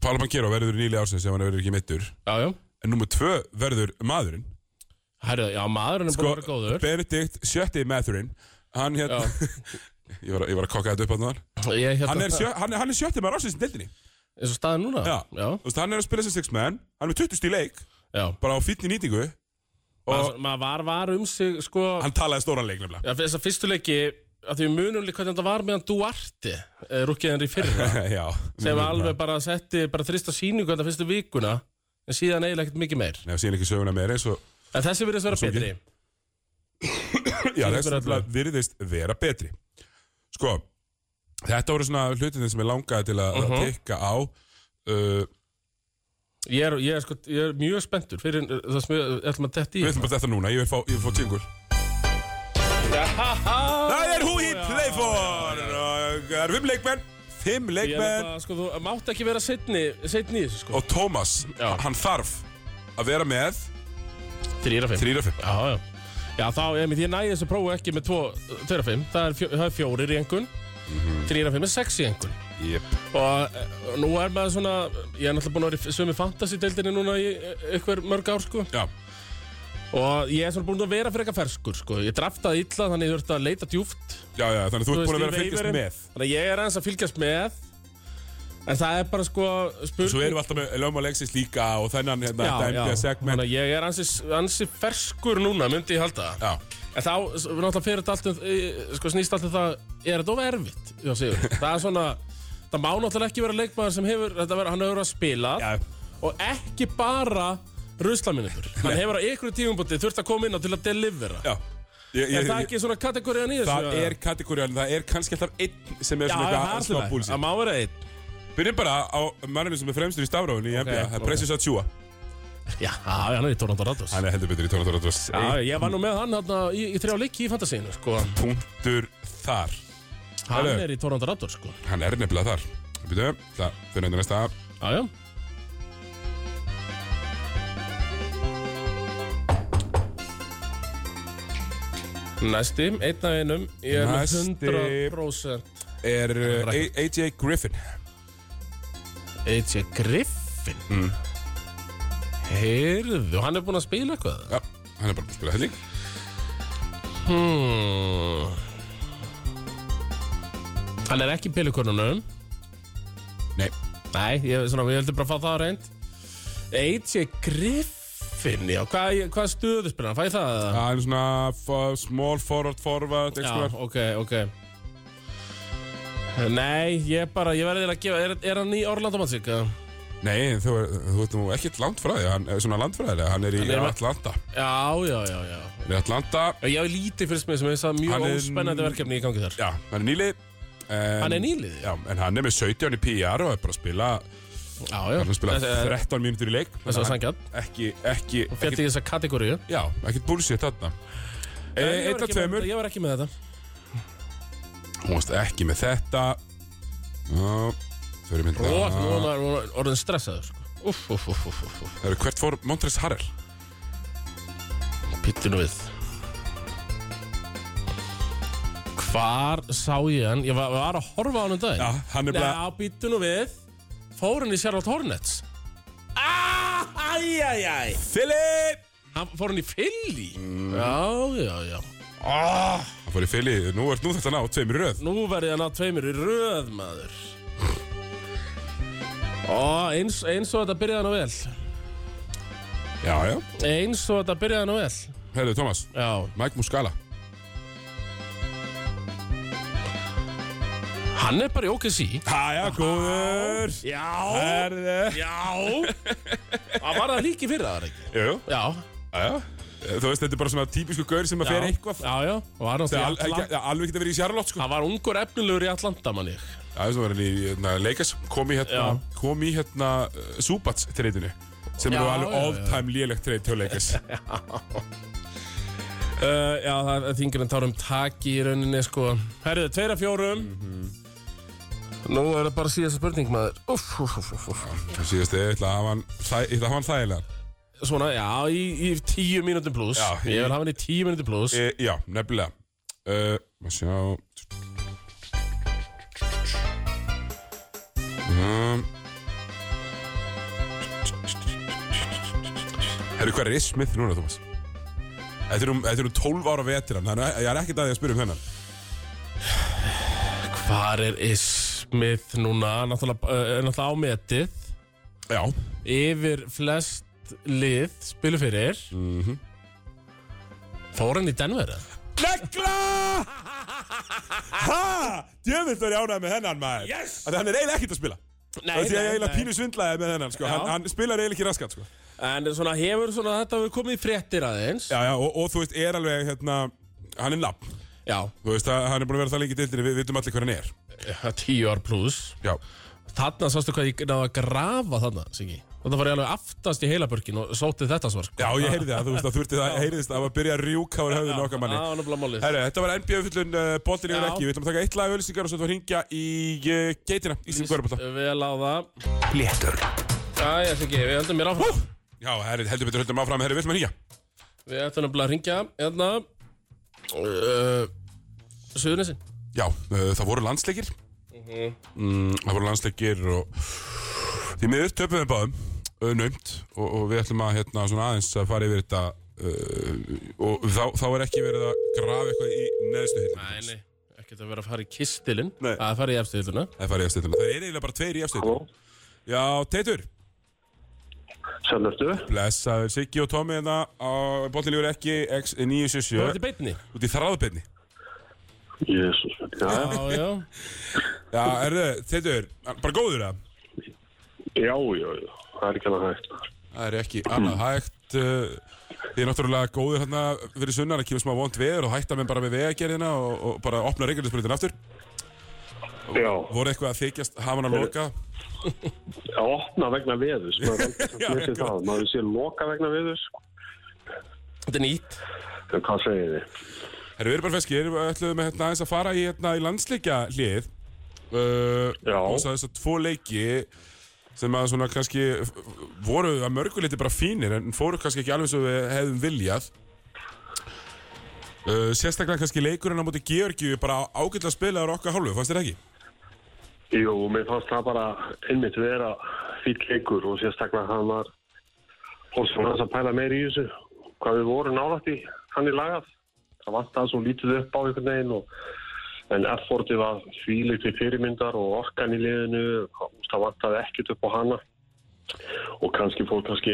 Speaker 2: Pála Bankero verður nýli ársins ef hann verður ekki mittur
Speaker 3: já, já
Speaker 2: en nummer tvö verður maðurinn
Speaker 3: Herðu, já, maðurinn er
Speaker 2: Sko,
Speaker 3: búin að vera góður
Speaker 2: Benedikt, sjötti maðurinn hann hérna ég, var, að- ég var að kokka þetta upp á þannig
Speaker 3: Ég hérna
Speaker 2: hann er, sjö, hann, er- hann er sjötti maður ársins í deildinni
Speaker 3: Eins og staðan núna
Speaker 2: Já.
Speaker 3: já,
Speaker 2: Þú veist, hann er að spila sem six man hann er með 20 stíl leik
Speaker 3: já.
Speaker 2: bara á fýtni nýtingu
Speaker 3: Maður, maður var, var um sig, sko
Speaker 2: hann talaði stóran leik nefnilega
Speaker 3: Já, þess að fyrstu leiki að því við munum líka hvernig þetta var meðan Duarte eh, rúkiðan í fyrra
Speaker 2: Já,
Speaker 3: sem alveg bara setti bara þrista síningu þetta fyrstu vikuna en síðan eiginlega ekkert mikið meir
Speaker 2: Nei, síðan ekki söguna meira eins og
Speaker 3: en þessi virðist
Speaker 2: ekki.
Speaker 3: vera betri
Speaker 2: Já,
Speaker 3: Sýnist
Speaker 2: þessi
Speaker 3: mér
Speaker 2: nefnilega virðist vera betri Sko, þetta voru svona hlutinni sem ég langaði til að uh
Speaker 3: Mhm.
Speaker 2: tekka á uh,
Speaker 3: ég er, ég, er, sko, ég er mjög spenntur fyrir eh, það sem við ætlum að detti í
Speaker 2: Við ætlum bara þetta núna, ég vil fá, ég vil fá tingur Það er who he play for Og Það eru fimm leikmenn Fimm
Speaker 3: Ég er
Speaker 2: leikmenn
Speaker 3: nefnilega, sko, þú mátt ekki vera setni, setni í þessu sko
Speaker 2: Og Thomas,
Speaker 3: Já.
Speaker 2: hann þarf að vera með
Speaker 3: Þrýra fimm
Speaker 2: 3 og 5
Speaker 3: Já, já Já, þá, ég, mynd, ég næði þessu prófu ekki með tvo, tveira fimm Það er, fjó, það er fjórir í engun
Speaker 2: Mhm.
Speaker 3: Þrýra fimm er sex í engun
Speaker 2: yep.
Speaker 3: Og eh, nú er maður svona Ég er náttúrulega búin að vera í sömu fantasy-deildinni núna í eh, einhver mörg ár, sko
Speaker 2: Já,
Speaker 3: Og ég er svona búin að vera fyrir eitthvað ferskur, sko Ég draftaði illa, þannig ég þurfti að leita djúft
Speaker 2: já, já, þannig að þú ert búin að vera að fylgjast með
Speaker 3: Þannig að ég er aðeins að fylgjast með En það er bara, sko, spurning
Speaker 2: Svo erum við alltaf með lögma leiksins líka Og þennan, hérna,
Speaker 3: Já,
Speaker 2: þetta
Speaker 3: já.
Speaker 2: NBA segment
Speaker 3: Þannig að ég er ansi, ansi ferskur núna, myndi ég halda
Speaker 2: Já,
Speaker 3: En þá, s- náttúrulega fyrir þetta allt um, eh, sko snýst allt um það, er þetta of erfitt? Já, Sigur, það er svona, það má náttúrulega ekki vera leikmaður sem hefur, þetta verður, hann hefur að spila
Speaker 2: já,
Speaker 3: og ekki bara ruslaminutur. Hann hefur á ykkur tífumbúti þurft að koma inn á til að delivera.
Speaker 2: já Ég, ég,
Speaker 3: Er það ekki svona kategóriðan í þessu?
Speaker 2: Það er kategóriðan, það er kannski alltaf einn sem er
Speaker 3: Já,
Speaker 2: svona
Speaker 3: það
Speaker 2: eitthvað
Speaker 3: er
Speaker 2: að slá
Speaker 3: alltaf,
Speaker 2: búlsinn.
Speaker 3: það má vera einn.
Speaker 2: Byrjum bara á manninu sem er fremstur í stafráinu í NBA,
Speaker 3: Ok,
Speaker 2: það er
Speaker 3: ok.
Speaker 2: Precious Achua.
Speaker 3: Já, já, hann er í Toronto Raptors.
Speaker 2: Hann er heldur betur í Tónatóra Dross.
Speaker 3: Já, ég var nú með hann hérna í, í þrjá leiki í fantasíinu, sko.
Speaker 2: Punktur þar.
Speaker 3: Hann
Speaker 2: Herru.
Speaker 3: er í Toronto Raptors, sko.
Speaker 2: Hann er nefnilega þar. Byrjum, það fyrir hendur næsta.
Speaker 3: Já, já. Næsti, einn af einum Ég er með
Speaker 2: Næsti.
Speaker 3: 100%
Speaker 2: Er uh, A- AJ Griffin.
Speaker 3: AJ Griffin mm. Heyrðu, hann er búinn að spila eitthvað
Speaker 2: Já, hann er bara að spila helling.
Speaker 3: hmm. Hann er ekki í pelikonunum
Speaker 2: Nei,
Speaker 3: Nei, ég, svona, ég heldur bara að fá það á reynd AJ Griffin Já, hvað, hvað stöðu spila hann? Fæ ég það? eða?
Speaker 2: það er svona f- small forward, forward,
Speaker 3: Já,
Speaker 2: eitthvað.
Speaker 3: ok, ok Nei, ég bara, ég verði að gefa Er, er hann í Orlando Magic? eða?
Speaker 2: Nei, þú, þú ert nú ekkert langt frá því, hann, eh, svona landfræðilega, hann er í
Speaker 3: Hann er-
Speaker 2: Atlanta.
Speaker 3: Já, já, já, já.
Speaker 2: Hann er í Atlanta,
Speaker 3: Já, Ég hef lítið fyrst með þess að
Speaker 2: Hann
Speaker 3: mjög
Speaker 2: er-
Speaker 3: óspennandi verkefni í gangi þar.
Speaker 2: já, hann er nýlið. En,
Speaker 3: Hann er nýlið, já.
Speaker 2: Já, en hann er með 17 í PR og er bara að spila,
Speaker 3: Já, já.
Speaker 2: hann er að spila
Speaker 3: Þetta er-
Speaker 2: 13 mínútur í leik.
Speaker 3: Þess að
Speaker 2: Þannig
Speaker 3: sangja.
Speaker 2: að hann- Ekki, ekki,
Speaker 3: Fjall
Speaker 2: ekki,
Speaker 3: í þessa kategóriu.
Speaker 2: já, ekkert bullshit þarna. E,
Speaker 3: Ég var
Speaker 2: Eitt af
Speaker 3: ekki með-
Speaker 2: tveimur,
Speaker 3: Ég var ekki með þetta.
Speaker 2: hún varst ekki með þetta. Já, Ah, Þau eru mynda,
Speaker 3: Og nú er maður- maður orðin stressaður. sko. Ah. Úff, úff, úff, úff, úff, úff.
Speaker 2: það eru hvert fór Montres Harrell.
Speaker 3: Pittu nú við. Hvar sá ég hann? Ég var, var að horfa á hann um daginn.
Speaker 2: Já, hann er bara,
Speaker 3: Já, býttu nú við Fór hann í Charlotte Hornets Ah, Æj, æj, æj
Speaker 2: Philip!
Speaker 3: Hann fór hann í Philly Já, já, já
Speaker 2: Ah, hann fór í Philly, nú ert nú þetta ná, tveimur í röð.
Speaker 3: Nú verði hann á tveimur í röð, maður Ó, eins, eins og þetta byrjaði hann vel
Speaker 2: Já, já.
Speaker 3: Eins og þetta byrjaði hann vel
Speaker 2: Herðu, Thomas,
Speaker 3: Já
Speaker 2: Mike Muscala.
Speaker 3: Hann er bara í OKC
Speaker 2: Hæja, góður
Speaker 3: Já
Speaker 2: Herðu
Speaker 3: Já Hann var það líki fyrir það ekki
Speaker 2: Jú, jú,
Speaker 3: Já
Speaker 2: aðja Þú veist, þetta er bara svona típisku gaur sem að
Speaker 3: Já,
Speaker 2: fer eitthvað
Speaker 3: já, já Og hann
Speaker 2: Það er
Speaker 3: var
Speaker 2: al-
Speaker 3: náttúrulega í
Speaker 2: ekki-
Speaker 3: Atlanta-
Speaker 2: það er alveg ekki að vera í Charlotte, sko
Speaker 3: Hann var ungur efnilegur í Atlanta, mann ég
Speaker 2: Það er sem var hann í hérna, Lakers Kom í hérna, kom í hérna uh, Subats treytinu Sem
Speaker 3: Já,
Speaker 2: eru
Speaker 3: já,
Speaker 2: alveg
Speaker 3: já.
Speaker 2: all-time lélegt treyt hjá Lakers
Speaker 3: Uh, já, það er þingir en tárum taki í rauninni, sko. Mhm. Herðu, tveira fjórum. Nú er það bara síðasta spurning, maður. Uff, uff, uff, uff, uff.
Speaker 2: Síðast, ég ætla að hafa hann þæ- ég ætla að hafa hann þægilegan
Speaker 3: Svona, já, í, í tíu mínútum pluss.
Speaker 2: Já,
Speaker 3: ég vil hafa hann í tíu mínútum pluss.
Speaker 2: e, Já, nefnilega Uh, Má sjá um, Herru, hver er Iss Smith núna, Thomas? Þetta eru um, þetta er um 12 ára veteran, þannig að ég er ekkert að því að spyrja um hennan.
Speaker 3: Hvar er Ismith núna? Náttúrulega, uh, er náttúrulega ámetið.
Speaker 2: Já.
Speaker 3: Yfir flest lið spilu fyrir. Mm Fór hann í Denver? eða?
Speaker 2: Negla! Ha! Djöfild var ég ánægð með hennan, maður. Yes! Þannig hann er eiginlega ekkert að spila.
Speaker 3: Nei,
Speaker 2: Þannig að ég er eiginlega pínu svindlaði með hennan, sko.
Speaker 3: Já.
Speaker 2: Hann, hann spilar eiginlega ekki raskat, sko.
Speaker 3: En svona, hefur svona, þetta hefur komið í fréttir aðeins.
Speaker 2: Já, já, og, og þú veist, er alveg, hérna, hann er nafn.
Speaker 3: já.
Speaker 2: Þú veist, að, hann er búin að vera það lengi dildinni, við vitum allir hver hann er.
Speaker 3: já tíu ár pluss.
Speaker 2: Já.
Speaker 3: Þarna sástu hvað ég náðu að grafa þarna, Siggi. Þarna var ég alveg aftast í heilabörgin og sótti þetta svar. sko.
Speaker 2: Já, ég heyrði það, þú veist, að þú það, heyrðist að það var að byrja að rjúka úr höfðinu okkar manni.
Speaker 3: Það var náttúrulega málið.
Speaker 2: Herru, þetta var NBA fullun uh, boltin yfir
Speaker 3: Já.
Speaker 2: ekki Við ætlum að taka eitt lag auðlýsingar og svo ætlum við að hringja í uh, geitina Ísum Görbólta
Speaker 3: Vel á það.
Speaker 1: Léttur.
Speaker 3: Jæja, Siggi, við höldum mér áfram.
Speaker 2: Já, herru, heldur betur höldum áfram Herru, vill maður hringja?
Speaker 3: Við ætlum nefnilega að ringja, hérna, uh, Suðurnesin.
Speaker 2: Já, uh, það voru landsleikir mm, Það voru landsleikir og Því miður töpum við báðum uh, Naumt og, og við ætlum að hérna svona aðeins að fara yfir þetta uh, Og þá, þá er ekki verið að grafa eitthvað í neðstu
Speaker 3: Nei,
Speaker 2: hillinu
Speaker 3: nei, ekkert að vera að fara í kistilinn.
Speaker 2: Nei.
Speaker 3: Það er að fara í efstiluna.
Speaker 2: Það er farið í efstu hillinu Það er eiginlega bara tveir í efstu hillinu Já, Teitur
Speaker 4: Sannurstu?
Speaker 2: Blessaður, Siggi og Tommi hérna á Bóttilegur ekki X977
Speaker 3: Þú ert í beitni.
Speaker 2: Út í þráðbyrni
Speaker 4: Jésús, já,
Speaker 3: Já, já.
Speaker 2: Já, erðu, þetta er bara góður það
Speaker 4: já, já, já, það er ekki alveg hægt.
Speaker 2: Það er ekki annað hægt uh, Þið er náttúrulega góður hérna fyrir sunnar að kýfa smá vond veður og hætta með bara með vegagerðina og, og bara opna reikjörðisbrutin aftur
Speaker 4: Já,
Speaker 2: Voru eitthvað að þykjast, hafa hann að loka
Speaker 4: að opna vegna veðus, maður er
Speaker 2: Já,
Speaker 4: aldrei að lesa það, maður sé loka vegna veðus,
Speaker 3: Þetta er nýtt.
Speaker 4: en hvað segir þið?
Speaker 2: Herru, við erum bara feskir, við ætluðum hérna aðeins að fara í, hérna, í landsleikja hlið uh,
Speaker 4: Já.
Speaker 2: og þess að þess að tvo leiki sem að svona kannski f- f- voru að mörguleiti bara fínir en fóru kannski ekki alveg svo við hefðum viljað uh, Sérstaklega kannski leikurinn á móti Georgíu bara ágætlega spilaður á okkar hálfu, fannst þér ekki?
Speaker 4: Jú, mér fannst það bara einmitt vera fýll leikur og sérstaklega hann var fólk sem var aðeins að pæla meir í þessu, hvað við vorum nálægt í hann í lagað. Það vant að svo lítið upp á einhvern veginn og en effortið var fýlegt við fyrirmyndar og orkan í liðinu, það vant að ekkert upp á hana. og kannski fór kannski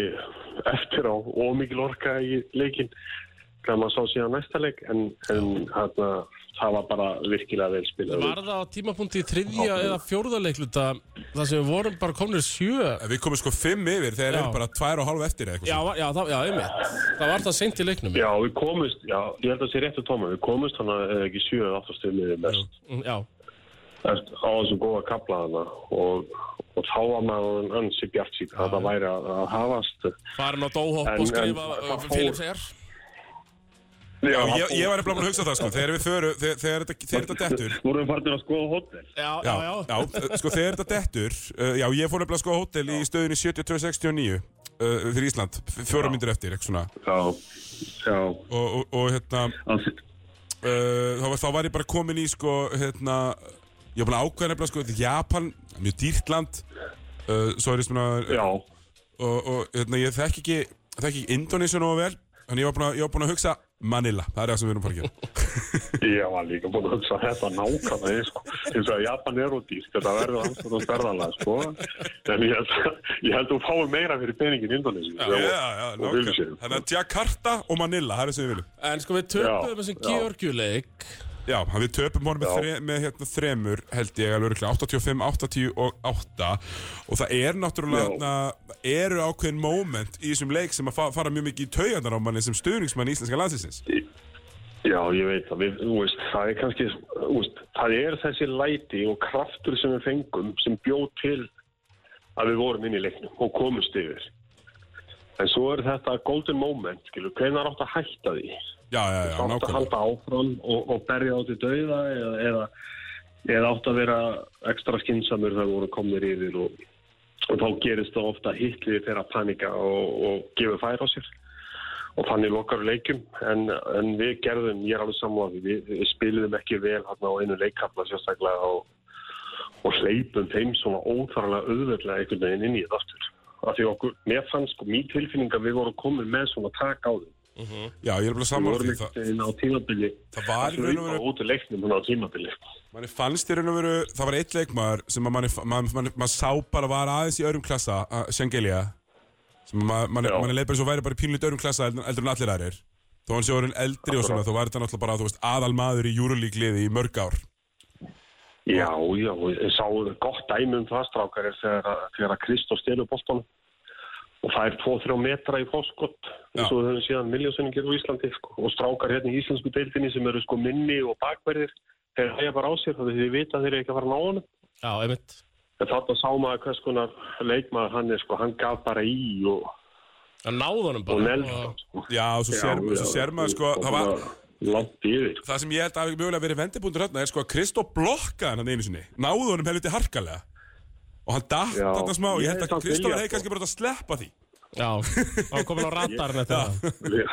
Speaker 4: eftir á ómikil orka í leikin þegar maður sá síðan næsta leik en, en hérna, það var bara virkilega vel spilað
Speaker 3: Var það á tímapunkti í þriðja eða fjórða leikluta þar sem við vorum bara komnir sjö
Speaker 2: En Við komum sko fimm yfir þegar
Speaker 3: Já.
Speaker 2: eru bara tvær og hálf eftir eða eitthvað.
Speaker 3: Já, va- já, það, já, einmitt Það var það seint í leiknum
Speaker 4: Já, við komumst, já, ég held að það sé réttu tóma, við komumst hann að ekki 7 eða 8 stöðum við mest.
Speaker 3: Mm, já.
Speaker 4: eftir á þessum góða kapla hana og, og þá var maður ansi bjart sík að það væri að, að hafast
Speaker 3: Farin á dóhopp
Speaker 4: En-
Speaker 3: og skrifa
Speaker 4: en-
Speaker 3: uh, Philip segjar
Speaker 2: Já, ég, ég var eitthvað búin að hugsa það sko, þegar við förum, þegar, þegar, þetta- þegar þetta dettur
Speaker 4: Nú erum við farin að skoða hótel
Speaker 3: Já, já,
Speaker 2: Já,
Speaker 3: já,
Speaker 2: já, sko þegar þetta dettur uh, Já, ég fór nefnilega sko á hótel í stöðunni 7269 uh, fyrir Ísland, f- fjóra myndir eftir, eitthvað svona
Speaker 4: Já, já
Speaker 2: og, og, og hérna,
Speaker 4: að,
Speaker 2: uh, þá, var, þá var ég bara komin í sko, hérna ég var búin að ákveða nefnilega sko, þetta er Japan mjög dýrt land uh, svo er ég svona,
Speaker 4: Já,
Speaker 2: og, og hérna, ég þekki ekki þekki ekki Indonesia nógu vel þannig ég var búin að, ég var búin að hugsa Manila, það er það sem við erum að fara að gera
Speaker 4: ég var líka búin að hugsa þetta nákvæmlega eins sko. eins og að Japan er út dýrt þetta verður hans og stærðanlega sko. en ég held, að- ég held að þú fáir meira fyrir peningin í Indonesin
Speaker 2: Já, já,
Speaker 4: og
Speaker 2: nákvæmlega.
Speaker 4: Wilson.
Speaker 2: Þannig að Jakarta og Manila, það er það sem við viljum
Speaker 3: En sko við töpuðum
Speaker 4: Já,
Speaker 3: þessum
Speaker 4: já.
Speaker 3: Georgiuleik
Speaker 2: Já, hann við töpum honum með,
Speaker 4: Já.
Speaker 2: þre, með hérna, þremur held ég alveg örugglega, 85, 80 og 8 og það er náttúrulega
Speaker 4: Já.
Speaker 2: hérna, það eru ákveðin moment í þessum leik sem að fa fara mjög mikið í taugandan á manni sem stuðningsmann íslenska landsins
Speaker 4: Já, ég veit það, við, þú veist, það er kannski, þú veist, það er þessi læti og kraftur sem við fengum sem bjóð til að við vorum inn í leiknum og komumst yfir. En svo er þetta golden moment, skilur, hvenær átt að hætta því?
Speaker 2: Já, já, já,
Speaker 4: átt að
Speaker 2: nákvæmlega
Speaker 4: halda áfram og, og berja átt í dauða eða, eða, eða átt að vera ekstra skinsamur þegar voru komnir yfir og, og þá gerist það ofta hitlið fyrir að panika og, og gefa færi á sér og þannig lokar við leikjum en, en við gerðum, ég er alveg sammála því, við, við spilum ekki vel hérna á einu leikkafla sérstaklega og, og hleypum þeim svona óþarlega auðveldlega einhvern veginn inn í það aftur af því okkur, mér fannst sko mín tilfinning að við vorum komin með svona tak á þeim
Speaker 2: Já, ég er bara
Speaker 4: Við
Speaker 2: saman
Speaker 4: vorum
Speaker 2: því
Speaker 4: einhvern
Speaker 2: það,
Speaker 4: veginn á tímabili
Speaker 2: það var í raun og veru
Speaker 4: hlaupa út úr leiknum hún á tímabili
Speaker 2: manni fannst í raun og veru, það var eitt leikmaður sem að manni, manni, manni, manni sá bara var aðeins í öðrum klassa, að- Shangelia sem að manni, manni,
Speaker 4: Já.
Speaker 2: manni leið bara svo væri bara í pínlítið öðrum klassa eldur, eldur en allir aðrir þó hann sé orðin eldri og svona, þá var þetta náttúrulega bara þú veist, aðal maður í júrulíkliði í mörg ár
Speaker 4: Já, já, ég sá gott dæmi um það strákar er þegar, að- þegar að Kristó stelur boltan og það er 2-3 metra í fórskott eins og við höfum síðan miljósunni gerir á Íslandi sko. og strákar hérna í íslensku deildinni sem eru sko minni og bakverðir þeir hægja bara á sér þá þeir vita að þeir eru ekki að fara að ná honum
Speaker 3: Já, einmitt
Speaker 4: en þarna sá maður hvers konar leikmaður hann er sko, hann gaf bara í og,
Speaker 3: Það náði honum
Speaker 4: og
Speaker 3: bara
Speaker 4: neldi hann, sko.
Speaker 2: Já, svo sér, svo sér maður sko það, var,
Speaker 4: langt yfir
Speaker 2: það sem ég held að hafi mögulega verið vendibúndur hérna er sko að Kristó blokkaði hann einu sinni náðu honum helviti harkalega og hann datt
Speaker 4: Já.
Speaker 2: þarna smá og
Speaker 4: Ég
Speaker 2: ég held
Speaker 4: hefði
Speaker 2: að
Speaker 4: samt
Speaker 2: Kristó
Speaker 4: viljað,
Speaker 2: hefði
Speaker 4: sko.
Speaker 2: kannski bara átt að sleppa því
Speaker 3: Já, hann komin á radarinn eftir það
Speaker 4: Lí-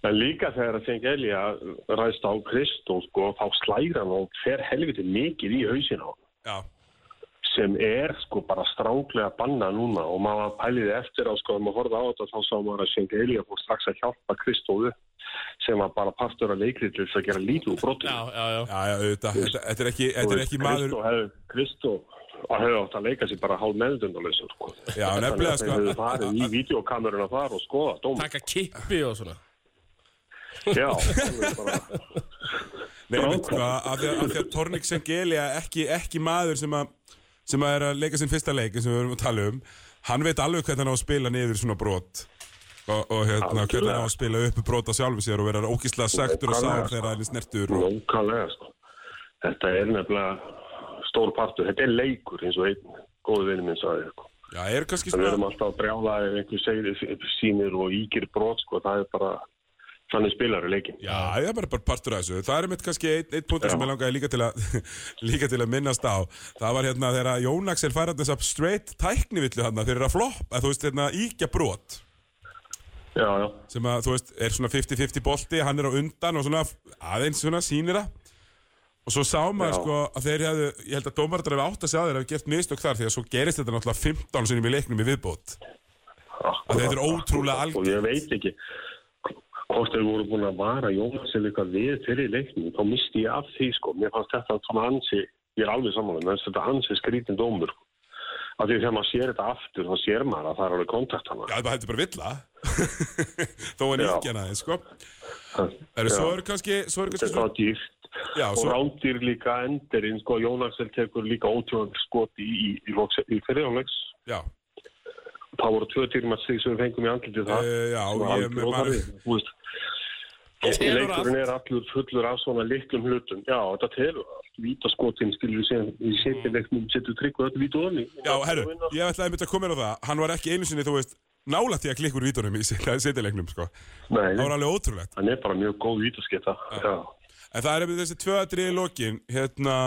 Speaker 4: En líka þegar að fengi Elja ræðst á Kristó sko, þá slæra hann og fer helviti mikið í hausin á hann
Speaker 2: Já,
Speaker 4: sem er sko bara stránglega banna núna og maður pæliði eftir á sko, þegar maður horfði á þetta þá sá maður að Sjengi Elja fór strax að hjálpa Kristóðu sem var bara partur af leikrið til þess að gera lítið úr brotinu.
Speaker 3: Já, já, já
Speaker 2: já, já, auðvitað þetta, þetta er ekki, þetta er ekki maður
Speaker 4: Kristó hefði, Kristó hefði átt að leika sér bara hálf meðdundalösur sko.
Speaker 2: Já, nefnilega sko
Speaker 4: Þegar þau farið í videokameruna þar og skoða dóma.
Speaker 3: Taka kippi og svona
Speaker 4: Já, alveg bara...
Speaker 2: Nei, veit, sko, af því að, af því að Tornik Sengelia ekki, ekki maður sem að sem að er að leika sinn fyrsta leik sem við erum að tala um, hann veit alveg hvernig hann á að spila niður svona brot og, og hérna,
Speaker 4: Algjörlega.
Speaker 2: hvernig hann á að spila upp brota sjálfu sér og vera ógislega sektur og sár
Speaker 4: Nákvæmlega.
Speaker 2: þegar hann er snertur og,
Speaker 4: Nókallega, sko. Þetta er nefnilega stór partur. Þetta er leikur, eins og einn góðu vinni minn sagði. Sko.
Speaker 2: já, er kannski
Speaker 4: En við
Speaker 2: svona
Speaker 4: erum alltaf að brjála ef einhver segir sínir og ígir brot, sko. Það er bara, þannig spilar er leikin.
Speaker 2: Já, það er bara, bara partur af þessu. Það er mitt kannski einn ein punktur sem ég langaði líka til, að, líka til að minnast á. Það var hérna þegar að Jón Axel færði þess að straight tæknivillu hann fyrir að floppa, þú veist, hérna íkja brot.
Speaker 4: Já, já.
Speaker 2: sem að, þú veist, er svona 50-50 bolti, hann er á undan og svona aðeins svona sýnir það og svo sá maður
Speaker 4: Já.
Speaker 2: sko að þeir hefðu ég held að dómarður hefði átt að segja þeir hefði gert mistök þar því að svo gerist þetta náttúrulega 15 sinnum í leiknum í viðbót
Speaker 4: Akkurat,
Speaker 2: Að þetta er ótrúlega
Speaker 4: akkurat.
Speaker 2: algengt.
Speaker 4: Og ég veit ekki hvort þau voru búin að vara Jónas eða eitthvað við fyrir leiknum. Þá misti ég af því, sko. Mér fannst þetta að ansi, ég er alveg samanlega, mér fannst þetta ansi skrítin dómur. af því þegar maður sér þetta aftur þá sér maður að það er alveg kontakt hana
Speaker 2: Já, það heldur bara villa Þó að
Speaker 4: Já.
Speaker 2: nýkja hana þeim, sko Eru, svo eru kannski, svo eru kannski
Speaker 4: þetta er þá dýrt
Speaker 2: Já,
Speaker 4: og
Speaker 2: svo,
Speaker 4: rándýr líka endirinn sko, Jón Axel tekur líka ótjóðan skoti í, í, í, loks- í fyrirjónleiks
Speaker 2: já
Speaker 4: það voru tvö dýrmætt stig sem við fengum í andliti það
Speaker 2: Eh, já,
Speaker 4: sem var
Speaker 2: ég-
Speaker 4: algjör
Speaker 2: maður-
Speaker 4: óþarfi, þú veist.
Speaker 2: telur
Speaker 4: Leikurinn er allur fullur af svona litlum hlutum. Já, þetta telur allt. Vítaskotin skilur við síðan í setjuleiknum, setur trygg og öll vítu onni.
Speaker 2: Já, herru, ég ætlaði myndi að koma inn á það Hann var ekki einu sinni, þú veist, nálætt í að klikka úr vítunum í setjaleiknum, sko
Speaker 4: Nei,
Speaker 2: Það var alveg ótrúlegt
Speaker 4: hann er bara mjög góð vítasketa. Já.
Speaker 2: En það er einmitt þessi tvö atriði í lokin hérna,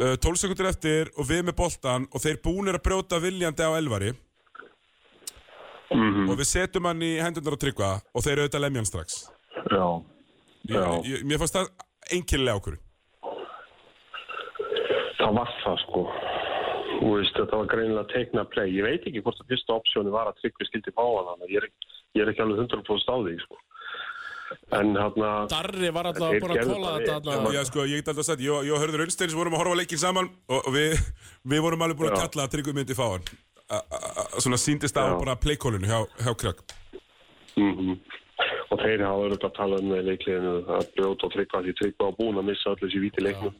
Speaker 2: uh, 12 sekundir eftir og við með boltan og þeir búnir að brjóta viljandi á Elvari
Speaker 4: Mhm.
Speaker 2: og við setjum hann í hendunar að tryggva og þeir auðvitað lemja hann strax
Speaker 4: Já.
Speaker 2: ég,
Speaker 4: Já.
Speaker 2: ég, Mér fannst það einkennilega okkur
Speaker 4: Það var það, sko. Þú veist, þetta var greinilega teikna play. Ég veit ekki hvort að fyrsta opsjónu var að tryggvi skildi fá hann. Ég er, ég er ekki alveg 100% á því, sko. En hérna...
Speaker 3: Darri var alltaf
Speaker 4: Þeir
Speaker 3: búin að
Speaker 4: gerðu
Speaker 3: kóla
Speaker 4: bara
Speaker 3: þetta
Speaker 4: vel.
Speaker 2: Já,
Speaker 3: þarna.
Speaker 2: sko, ég get alltaf sagt, ég, og- ég og Hörður Unnsteins vorum að horfa á leikin saman og og við, við vorum alveg búin að
Speaker 4: Já.
Speaker 2: kalla að tryggum myndi fá hann A- a- a- svona síndist á
Speaker 4: Já.
Speaker 2: bara playkólinu hjá, hjá Krögg
Speaker 4: Mhm. Og þeir hafa auðvitað að tala um það í leikliðinu að brjóta og tryggva því tryggva og búin að missa allir þessi víti leiknum.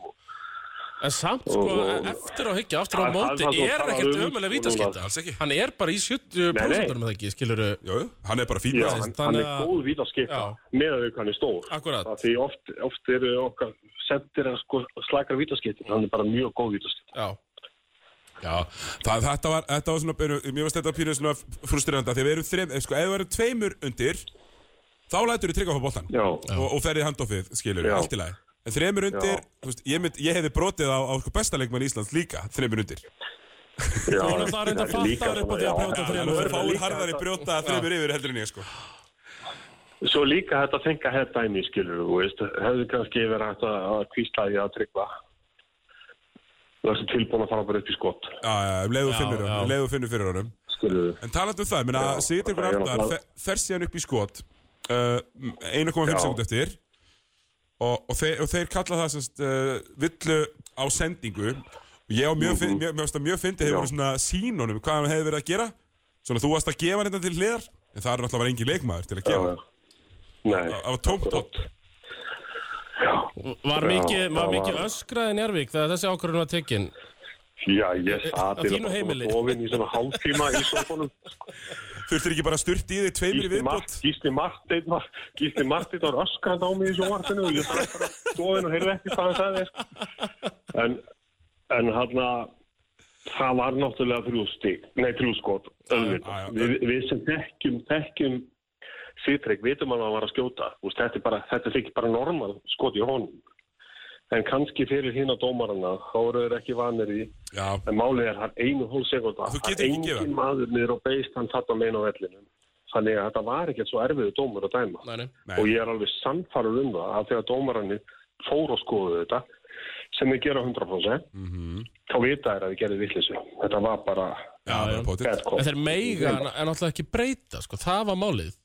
Speaker 3: En samt, sko,
Speaker 4: Og- og-
Speaker 3: eftir á hyggja, aftur á
Speaker 4: Það-
Speaker 3: móti,
Speaker 4: það- það-
Speaker 3: er
Speaker 4: það-
Speaker 3: ekkert
Speaker 4: það-
Speaker 3: ömulega
Speaker 4: það-
Speaker 3: vítaskipta.
Speaker 2: alls ekki.
Speaker 3: Hann er bara í 70% með það ekki, skilur
Speaker 2: Jú, jú, hann er bara fín
Speaker 4: Já,
Speaker 2: maður.
Speaker 4: hann, hann
Speaker 3: þannig
Speaker 4: er
Speaker 3: að-
Speaker 4: góð vítaskipa
Speaker 3: Já.
Speaker 4: með að hann er stór.
Speaker 3: Akkúrat.
Speaker 4: Það Því oft, oft eru okkar sendir að sko, slakar vítaskipi, hann er bara mjög góð vítaskipi.
Speaker 3: Já,
Speaker 2: Já, það, þetta, var, þetta var svona, pínu- mér varst þetta pínu svona frustreranda Þegar við erum þreim, eh, sko, ef við erum tveimur undir Þá lætur við tryggja á boltan
Speaker 4: Já,
Speaker 2: Og, og ferðið handofið, skilur við,
Speaker 4: Já.
Speaker 2: allt í lagi En þreimur undir,
Speaker 4: Já.
Speaker 2: þú veist, ég, mynd, ég hefði brotið á, á sko besta leikmann Íslands líka Þreimur undir
Speaker 4: já.
Speaker 3: Þú erum það reyndar
Speaker 4: Þetta er líka
Speaker 3: fattar upp á
Speaker 4: svona-
Speaker 3: því að
Speaker 4: já,
Speaker 3: brjóta
Speaker 4: já,
Speaker 2: Það
Speaker 3: þremur.
Speaker 4: já,
Speaker 2: er
Speaker 4: já,
Speaker 2: fáir
Speaker 4: líka
Speaker 2: harðari
Speaker 4: þetta-
Speaker 2: brjóta þreimur yfir heldur en ég, sko
Speaker 4: Svo líka þetta þenga head dæmi, skilur þú veist, hefðu kannski verið hægt að að kvísla því að tryggva. Það er tilbúin að fara bara upp í skott,
Speaker 2: Já, já, um leiðu
Speaker 3: Já,
Speaker 2: finnur,
Speaker 3: já.
Speaker 2: um leiðu finnur fyrir honum
Speaker 4: skilur þú.
Speaker 2: En talandi um það, minna,
Speaker 4: Já,
Speaker 2: Sigurður
Speaker 4: það er
Speaker 2: Grandar
Speaker 4: náttúrulega-
Speaker 2: fer- fer síðan upp í skot uh, 1,5
Speaker 4: Já.
Speaker 2: sekund eftir og, og, þeir, og þeir kalla það semst, uh, villu á sendingu og ég á mjög, mm mjög, mjög, mjög, mjög fyndi hefur
Speaker 4: Mhm. Já.
Speaker 2: verið svona sínunum hvað hann hefði verið að gera svona þú varst að gefa hann þetta til hliðar en það er náttúrulega bara engin leikmaður til að gefa
Speaker 4: Já. Nei.
Speaker 2: það var tómt tótt
Speaker 3: Var
Speaker 4: Já,
Speaker 3: mikið, var
Speaker 4: það
Speaker 3: mikið
Speaker 4: var-
Speaker 3: öskraði Njárvík þegar þessi ákvörðun var tekin?
Speaker 4: Já, ég satt
Speaker 3: Á
Speaker 4: eða
Speaker 3: þínu
Speaker 4: bara
Speaker 3: heimili?
Speaker 4: svona ofinn í svona hálftíma í sofunum.
Speaker 2: þurftir ekki bara að styrta í þig tveimur í
Speaker 4: Gísli, Mart,
Speaker 2: viðbútt
Speaker 4: Gísli Marteinn var, Gísli Marteinn var öskrand á mig í sjónvarpinu og ég satt bara stofin og heyrði ekki hvað hann sagði. sko. En, en hann það var náttúrulega þrjú stík, nei þrjú skot,
Speaker 2: Já, já.
Speaker 4: auðvitað. Við, við sem þekkjum, þekkjum Sýtrygg, vitum að hann var að skjóta. Úst, þetta, er bara, þetta þykir bara normal skot í honum. En kannski fyrir hinn á dómarana, þá eru þeir ekki vanir í
Speaker 2: já,
Speaker 4: En málið er hann einu hól sekunda.
Speaker 2: Þú getur ekki gefið hann.
Speaker 4: Engin maður niður á beist hann þarna meina á vellinum. Þannig að þetta var ekkert svo erfiðu dómur að dæma.
Speaker 3: Nei, nei.
Speaker 2: nei,
Speaker 4: Og ég er alveg samfarið um það að þegar dómarannir fóru og skoðu þetta, sem við gera 100%,
Speaker 2: Mhm.
Speaker 4: þá vita þær að við gerðum vittleysu. Þetta var bara
Speaker 2: já, bara potið
Speaker 4: bad cop.
Speaker 3: En þeir meiga en en náttúrulega ekki breyta, sko, það var málið.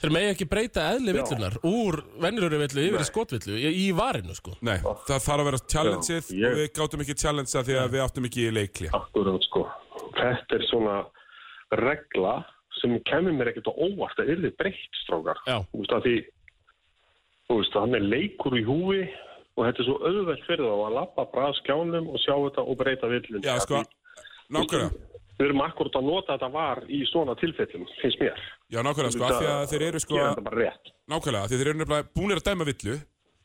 Speaker 3: Þeir meiga ekki breyta eðli villunar úr venjulegri villu yfir í skotvillu í, í varinu, sko.
Speaker 2: Nei, það þarf að vera challengeð
Speaker 4: Já, ég-
Speaker 2: og við gátum ekki challengea því að við áttum ekki leikli
Speaker 4: Akkurat, sko. Þetta er svona regla sem kemur mér ekkert á óvart að yrði breytt, strókar.
Speaker 3: Já.
Speaker 4: Þú veist að því, þú veist að hann er leikur í húfi og þetta er svo auðvelt fyrir þá að lappa bara að skjánum og sjá þetta og breyta villin.
Speaker 2: Já, sko, nákvæmlega
Speaker 4: Við erum akkurat að nota þetta var í svona tilfellum, finnst mér.
Speaker 2: Já, nákvæmlega, sko, af því að þeir eru sko
Speaker 4: Ég er þetta bara rétt.
Speaker 2: Nákvæmlega, af því að þeir eru nefnilega búinir að dæma villu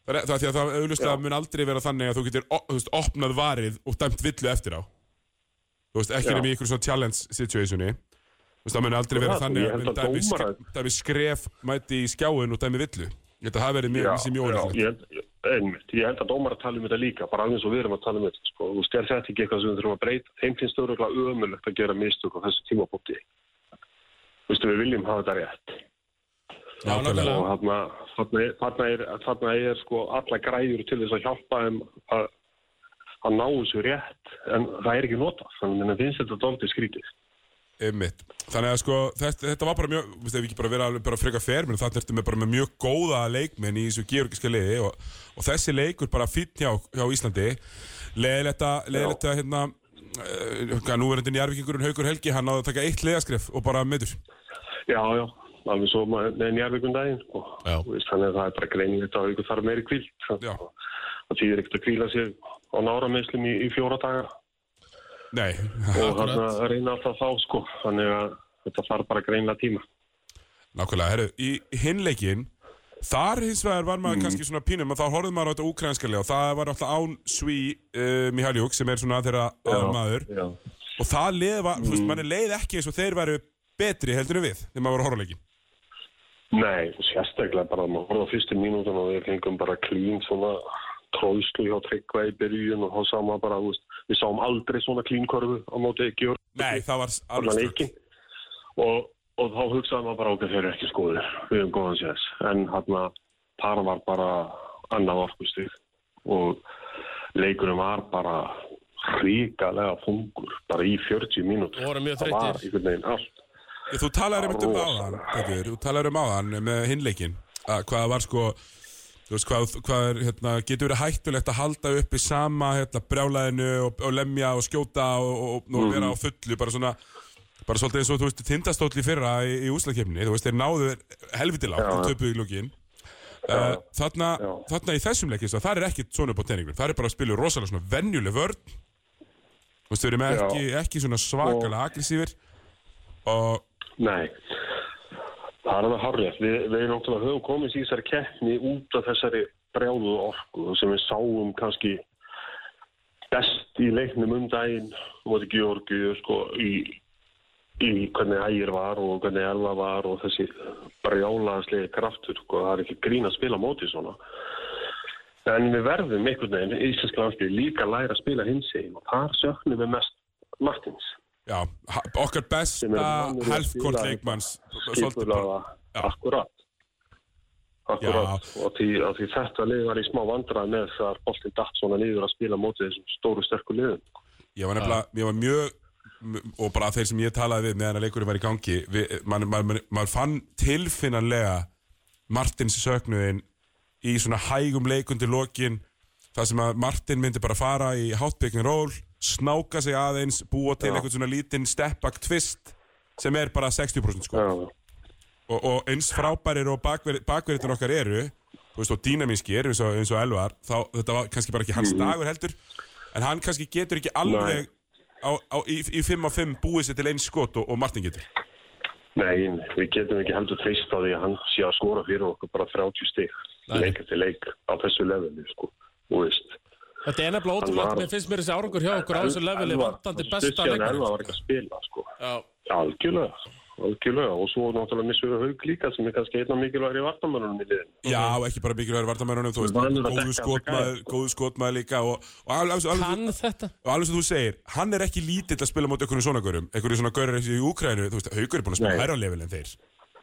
Speaker 2: Það er það er því að það auðvitað mun aldrei vera þannig að þú getur, o- þú veist, opnað varið og dæmt villu eftir á Þú veist, ekki
Speaker 4: Já.
Speaker 2: nefnir í ykkur svona challenge situationi Þú veist, það mun aldrei vera
Speaker 4: Það,
Speaker 2: þannig
Speaker 4: ég
Speaker 2: að
Speaker 4: held
Speaker 2: menn
Speaker 4: að
Speaker 2: dæmi, sk
Speaker 4: dómarar-
Speaker 2: dæmi skref mæti í skjáin og dæmi villu Ég held að það verið mjög, mjög mjög
Speaker 4: já,
Speaker 2: óreiklega
Speaker 4: ég held, einmitt, ég held að dómar að tala um þetta líka, bara alveg eins og við erum að tala um þetta, sko, þú stjær þetta ekki eitthvað sem við þurfum að breyta, þeim finnst öruglega ömulegt að gera mistök á þessu tímabóti. Þú veistu, við viljum hafa þetta rétt
Speaker 3: Já.
Speaker 4: og þarna, þarna, er- þarna, er, þarna er sko alla græður til þess að hjálpa þeim að, að ná þessu rétt, en það er ekki notað, þannig að finnst þetta dóldið skrítið.
Speaker 2: Einmitt. Þannig að sko, þetta, þetta var bara mjög, þú veist, ef við ekki bara vera alveg bara freka fer, menn þannig ertu með bara með mjög góða leikmenn í þessu georgiska liði og, og þessi leikur bara fýtt hjá, hjá Íslandi, leiðilegt að, leiðilegt að, hérna, uh, núverendin Jarvíkingurinn Haukur Helgi, hann náði að taka eitt leiðaskref og bara meður.
Speaker 4: Já, já, alveg svo með njarvíkum daginn sko.
Speaker 3: Já.
Speaker 4: Þú veist, þannig að það er bara greinilegt að haugur þarf meiri kvíld
Speaker 2: Já.
Speaker 4: það týðir ekkert að kvíla sér á nárameyslum í, í fjóra daga
Speaker 2: Nei,
Speaker 4: og hann að reyna alltaf þá sko þannig að þetta þarf bara greinilega tíma
Speaker 2: nákvæmlega, herru, í hinleikin þar hins vegar var maður kannski svona pínum að þá horfði maður á þetta úkrænskalega og það var alltaf án Sví uh, Mihaljuk sem er svona þeirra aðal maður
Speaker 4: Já,
Speaker 2: og það leið var, þú veist, manni leið ekki eins og þeir væru betri heldur en við þegar maður var að horfa á leikinn.
Speaker 4: Nei, og sérstaklega bara að maður horfði á fyrstu mínútin og við fengum bara klín svona tróðslu hjá tryggva í byrjun og þá sá maður bara, þú veist, við sáum aldrei svona klínkörfu á móti ekki og
Speaker 2: Nei, það var
Speaker 4: alla
Speaker 2: alveg
Speaker 4: leikin og, og þá hugsaði maður bara okkar þeir eru ekki skoðir, við höfum góðan séðs en hann að þar var bara annað orkustig og leikunum var bara ríkalega fungur bara í 40 mínútur
Speaker 3: Og voru mjög
Speaker 4: það var
Speaker 3: þreyttir.
Speaker 4: einhvern veginn allt
Speaker 2: Þú talaður einmitt um áðan, Petur, þú talaður um áðan með hinleikin, að hvað var sko, þú veist, hvað, hvað er, hérna, getur verið hættulegt að halda upp í sama, hérna, brjálæðinu og, og lemja og skjóta og, og, og vera á
Speaker 4: Mhm.
Speaker 2: fullu, bara svona, bara svolítið eins og, þú veist, tindastóll í fyrra í, í úslakefni, þú veist, þeir náðu helviti lágt,
Speaker 4: Já,
Speaker 2: þeir
Speaker 4: já.
Speaker 2: töpuðu í lókin. Uh, þarna,
Speaker 4: Já.
Speaker 2: þarna í þessum leikins, það er ekkit svona upp á tenningum, það er bara að spila rosalega svona venjuleg vörn, þú veist, þau eru með
Speaker 4: Já.
Speaker 2: ekki, ekki svona svakalega agressífir og
Speaker 4: Nei, það er alveg harrið. Við, við náttúrulega höfum komist í þessari keppni út af þessari brjáluðu orku sem við sáum kannski best í leiknum um daginn móti Georgiu sko, í, í hvernig ægir var og hvernig elva var og þessi brjálaðaslegi kraftur. Sko. Það er ekki grín að spila á móti svona. En við verðum einhvern veginn í Íslenska landslið líka að læra að spila hins og þar söknum við mest Martins.
Speaker 2: Já, ha- okkar besta
Speaker 4: sem er vanur að
Speaker 2: helfkort
Speaker 4: spila
Speaker 2: leikmanns svolítið bara-
Speaker 4: skipulaða
Speaker 2: já.
Speaker 4: akkurat akkurat
Speaker 2: Já.
Speaker 4: og því, að því þetta lið var í smá vandrað með þegar boltinn datt svona niður að spila mótið þessum stóru sterku liðum
Speaker 2: Ég var nefnilega, ég var mjög m- og bara þeir sem ég talaði við meðan að leikurinn var í gangi við- maður man, man, man fann tilfinnanlega Martins söknuðin í svona hægum leikundi lokin þar sem að Martin myndi bara fara í hátbyggin ról, snáka sig aðeins búa til
Speaker 4: Já.
Speaker 2: einhvern svona lítinn stepback twist sem er bara 60% sko
Speaker 4: já,
Speaker 2: og, og eins frábærir og bakver, bakverðin okkar eru þú veist, og dýnamískir eins og, eins og Elvar þá þetta var kannski bara ekki hans dagur heldur en hann kannski getur ekki alveg á, á, í, í 5 á 5 búið sér til eins skot og, og Martin getur
Speaker 4: nei, við getum ekki heldur treyst á því að hann sé að skora fyrir okkur bara 30 stig
Speaker 3: Nei.
Speaker 4: leik eftir leik á þessu leveli sko, þú veist
Speaker 3: Þetta er nefnilega
Speaker 4: Hann
Speaker 3: ótrúlega,
Speaker 4: var-
Speaker 3: mér finnst mér þessi árangur hjá okkur á þessu leveli vantandi besta
Speaker 4: leikar
Speaker 3: leikar
Speaker 4: var ekki að spila sko
Speaker 3: Já,
Speaker 4: Algjörlega, algjörlega og svo náttúrulega missum við haug líka sem er kannski einna mikilvægri vartamörunum í liðin.
Speaker 2: já, og ekki bara mikilvægur vartamærunum þú veist,
Speaker 4: Vanur að
Speaker 2: góðu
Speaker 4: dekka
Speaker 2: skotmaður, góðu skotmaður líka og, og alveg, alveg, alveg,
Speaker 3: kann þetta
Speaker 2: og alveg sem þú segir, hann er ekki lítill að spila móti einhvern svona gaurum, einhvern svona gaurar í Úkrænu, þú veist, haugur er búin að spila
Speaker 4: Nei.
Speaker 2: hærra level en þeir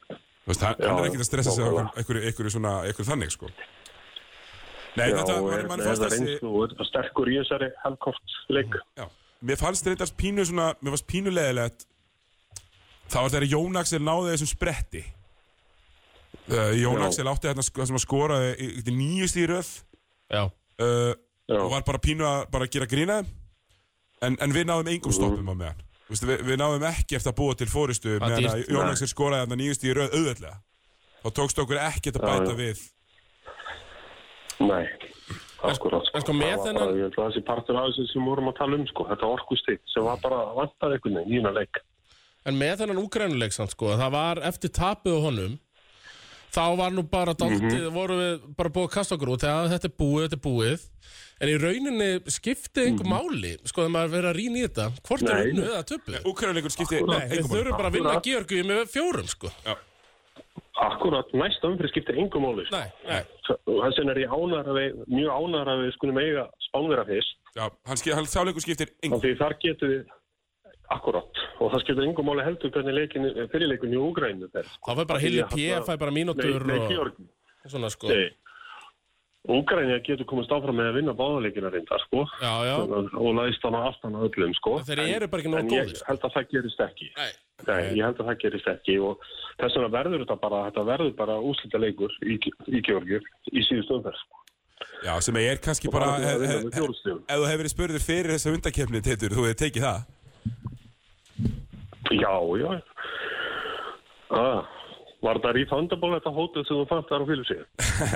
Speaker 2: þú veist, hann,
Speaker 4: Já,
Speaker 2: hann er ekki að stressa sig á
Speaker 4: nákvæmlega.
Speaker 2: einhverju, einhverju svona, einhverju þannig sko Nei,
Speaker 4: Já,
Speaker 2: þetta,
Speaker 4: og
Speaker 2: mann,
Speaker 4: er
Speaker 2: mann
Speaker 4: með
Speaker 2: fannst
Speaker 4: það
Speaker 2: þessi
Speaker 4: reynslu og er það sterkur í þessari helgkort leik.
Speaker 2: já, Mér fannst þetta pínu svona, mér fannst pínu leðilegt Það var þegar Jón Axel náði þessum spretti uh, Jón
Speaker 4: Já.
Speaker 2: Axel átti hérna það sem að skoraði í- í nýju stíðröð
Speaker 3: Já,
Speaker 2: uh,
Speaker 4: Já.
Speaker 2: og var bara pínu að bara gera grína þeim. en, en við náðum engum stoppum á
Speaker 4: Mhm.
Speaker 2: meðan Vistu, við, við náðum ekki eftir að búa til fóristu
Speaker 3: Það er
Speaker 2: meðan að
Speaker 3: dýrt.
Speaker 2: Jón
Speaker 4: Nei.
Speaker 2: Axel skoraði hérna nýjust í rauð auðveldlega þá tókst okkur ekkert að
Speaker 4: Já,
Speaker 2: bæta
Speaker 4: já.
Speaker 2: við
Speaker 4: Nei, akkurat.
Speaker 3: en sko með
Speaker 4: það var
Speaker 3: þennan-
Speaker 4: Bara, ég held að þessi partur af þessu sem við vorum að tala um, sko, þetta orkustið sem var bara vantar einhvern veginn í hérna leik.
Speaker 3: en með þennan úgrænuleik samt sko, það var eftir tapið á honum þá var nú bara daldið,
Speaker 4: Mhm.
Speaker 3: vorum við bara búið að kasta okkur út þegar þetta er búið, þetta er búið en í rauninni skiptið einhver máli sko, þegar maður verið að rýna í þetta hvort er
Speaker 4: Mhm. Nei.
Speaker 3: unnu eða töpuð
Speaker 2: Ukrainleikur skipti, nei,
Speaker 3: Við
Speaker 2: engum máli.
Speaker 3: þurfum bara að vinna Georgi með fjórum sko
Speaker 4: Akkurat, næsta umfrið skiptir engum móli.
Speaker 3: Nei, nei,
Speaker 4: Þess vegna er ég ánar að við, mjög ánar að við skulum eiga spánverða fyrst.
Speaker 2: Já, hann, skip, hann sáleikur skiptir engum
Speaker 4: Af því þar getum við, akkurat, og það skiptir engum móli heldur hvernig leikin, fyrirleikin í Úgrænu þeir.
Speaker 3: þá fær bara Hilli P, fær bara
Speaker 4: Nei,
Speaker 3: mínútur
Speaker 4: nei,
Speaker 3: og
Speaker 4: Georgi.
Speaker 3: svona sko
Speaker 4: Nei. Úgrænia getur komast áfram með að vinna báðarleikina reyndar, sko.
Speaker 3: Já, já,
Speaker 4: Og læst hann á aftan að öllum, sko.
Speaker 3: En þeir eru bara ekki nógu
Speaker 4: En
Speaker 3: góðir,
Speaker 4: ég
Speaker 3: sko.
Speaker 4: held að það gerist ekki.
Speaker 3: nei
Speaker 4: Nei, ég held að það gerist ekki og þess vegna verður þetta bara, þetta verður bara úslita leikur í, í Georgiu í síðustu umferð, sko.
Speaker 2: Já, sem er kannski bara
Speaker 4: bara að
Speaker 2: hef-
Speaker 4: vinna
Speaker 3: eh,
Speaker 2: hef-
Speaker 4: með fjórum stigum.
Speaker 2: Ef þú hefur verið spurður fyrir þessa hundakefni, Titur, þú hefur tekið það
Speaker 4: Já, já. Ah, var það refundable þetta hótið sem þú fannst þar á Filipsi?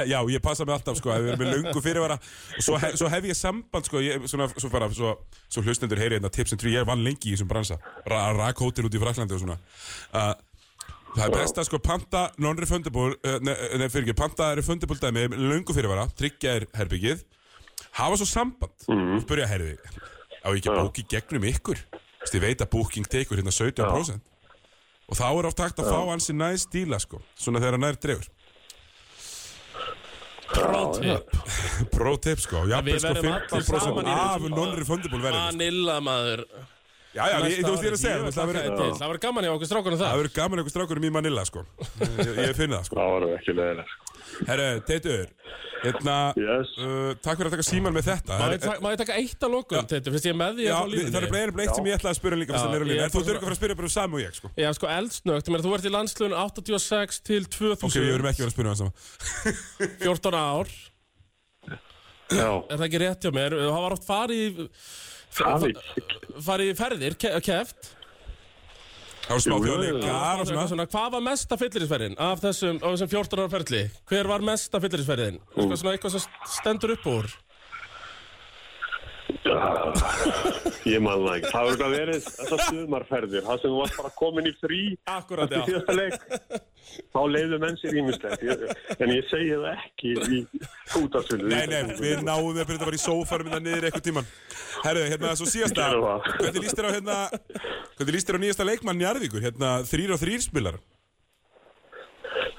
Speaker 2: Já, ég passa mig alltaf, sko, ef við erum með lungu fyrirvara og svo, hef, svo hef ég samband, sko, ég, svona, svo, bara, svo, svo hlustendur heyri hérna tipsin trú, ég vann lengi í þessum bransa ra, rakhótel út í Fraklandi og svona uh, Það er best að sko panta non-refundable, uh, ne, ne, fyrir ekki, panta refundable dæmi með lungu fyrirvara, tryggja er herbyggið hafa svo samband og byrja að herði á ég ekki að bóki gegnum ykkur Þess, ég veit að booking tekur hérna 17% og þá er oft hægt að fá ansi næst díla sko, svona þegar hann er drefur
Speaker 3: Prótip
Speaker 2: Pro tip sko, jafnveg
Speaker 3: Við
Speaker 2: sko
Speaker 3: verðum allir
Speaker 2: 50%
Speaker 3: saman í
Speaker 2: af
Speaker 3: þessu.
Speaker 2: non-refundable verðinu.
Speaker 3: Vanilla maður
Speaker 2: Já, já, ég- þú veist ég er að segja, þú veist, það verður-
Speaker 3: Það var gaman í okkur strákunum
Speaker 2: það
Speaker 3: það
Speaker 2: verður gaman eitthvað strákurum í Manila sko. Ég, ég finn það sko.
Speaker 4: Það var ekki leðilega.
Speaker 2: Herru, Teitur, hérna,
Speaker 4: Yes.
Speaker 2: uh, takk fyrir að taka síman með þetta.
Speaker 3: Má
Speaker 2: Herru,
Speaker 3: ég taka- má ég taka eitt að lokum, Teitur, finnst ég er með því
Speaker 2: Já,
Speaker 3: að fá
Speaker 2: við- það er bara
Speaker 3: lífinni?
Speaker 2: einu bleikt sem ég ætlaði að spyrja líka fyrst
Speaker 3: Já,
Speaker 2: að neyra
Speaker 3: ég
Speaker 2: líka.
Speaker 3: er
Speaker 2: En þú
Speaker 3: bara-
Speaker 2: þurfið að fara að spyrja bara um Sam og ég sko.
Speaker 3: Já, sko, eldsnögt, ég meina, þú ert í landslun 86 til
Speaker 2: Ok, við
Speaker 3: 2000,
Speaker 2: verðum ekki að vera að spyrja um það saman.
Speaker 3: 14 ár
Speaker 4: Já,
Speaker 3: Er það ekki rétt hjá mér? Þú hafa rátt farið í,
Speaker 4: Farið?
Speaker 3: farið í ferðir, ke keft
Speaker 2: Það var smá
Speaker 4: Jú, jú,
Speaker 2: þjóðleikar og
Speaker 3: svona,
Speaker 2: svona.
Speaker 3: svona, Hvað var mesta fyllirisferðin af þessum, af þessum 14 ára ferðli? Hver var mesta fyllirisferðin? Sko, svona eitthvað sem stendur upp úr
Speaker 4: ég man það ekki. Það var eitthvað verið þessar sumarferðir, það sem þú varst bara komin í frí
Speaker 3: Akkurat,
Speaker 4: eftir
Speaker 3: já
Speaker 4: síðasta leik. Þá leiðu menn sér ímislegt, Ég- en ég segi það ekki í útastundu.
Speaker 2: Nei, nei, við náum við að byrja að vera í sófarum innan niður eitthvað tíman. Herru, hérna, svo síðasta,
Speaker 4: Gerum það.
Speaker 2: hvernig líst þér á, hérna, hvernig líst þér á nýjasta leikmann Njarðvíkur, hérna, þrýr og þrýr spilar?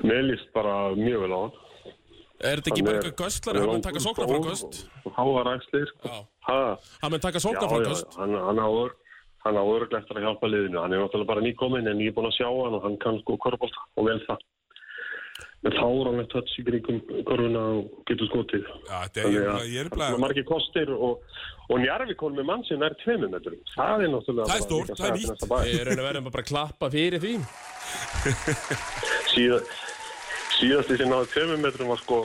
Speaker 4: Mér líst bara mjög vel á hann.
Speaker 3: Er þetta ekki bara eitthvað göstlar? Hann mun taka sóknarfrákvöst
Speaker 4: Hávaræksli, sko.
Speaker 3: Já.
Speaker 4: Ha.
Speaker 3: Hann mun taka
Speaker 4: Já, já,
Speaker 3: sóknarfrákvöst
Speaker 4: hann, hann á ör- hann á örglega eftir að hjálpa liðinu. Hann er náttúrulega bara nýkominn en ég er búinn að sjá hann og hann kann sko korfbólta og vel það. En þá er hann með touch í gringum korfuna og getur skotið.
Speaker 2: Já, þetta er- ég er bara- ég er bara-
Speaker 4: Það er margir kostir og, og Njarvikon með mann sem er tveimum metrum. Það er náttúrulega...
Speaker 2: Það er
Speaker 4: bara
Speaker 2: stórt, það
Speaker 4: líka
Speaker 2: er
Speaker 4: saga til
Speaker 2: nýtt. Eh.
Speaker 4: næsta bæ.
Speaker 3: Ég er að verðum bara að klappa fyrir því
Speaker 4: Síða, síðasti sem náði tveimum metrum var sko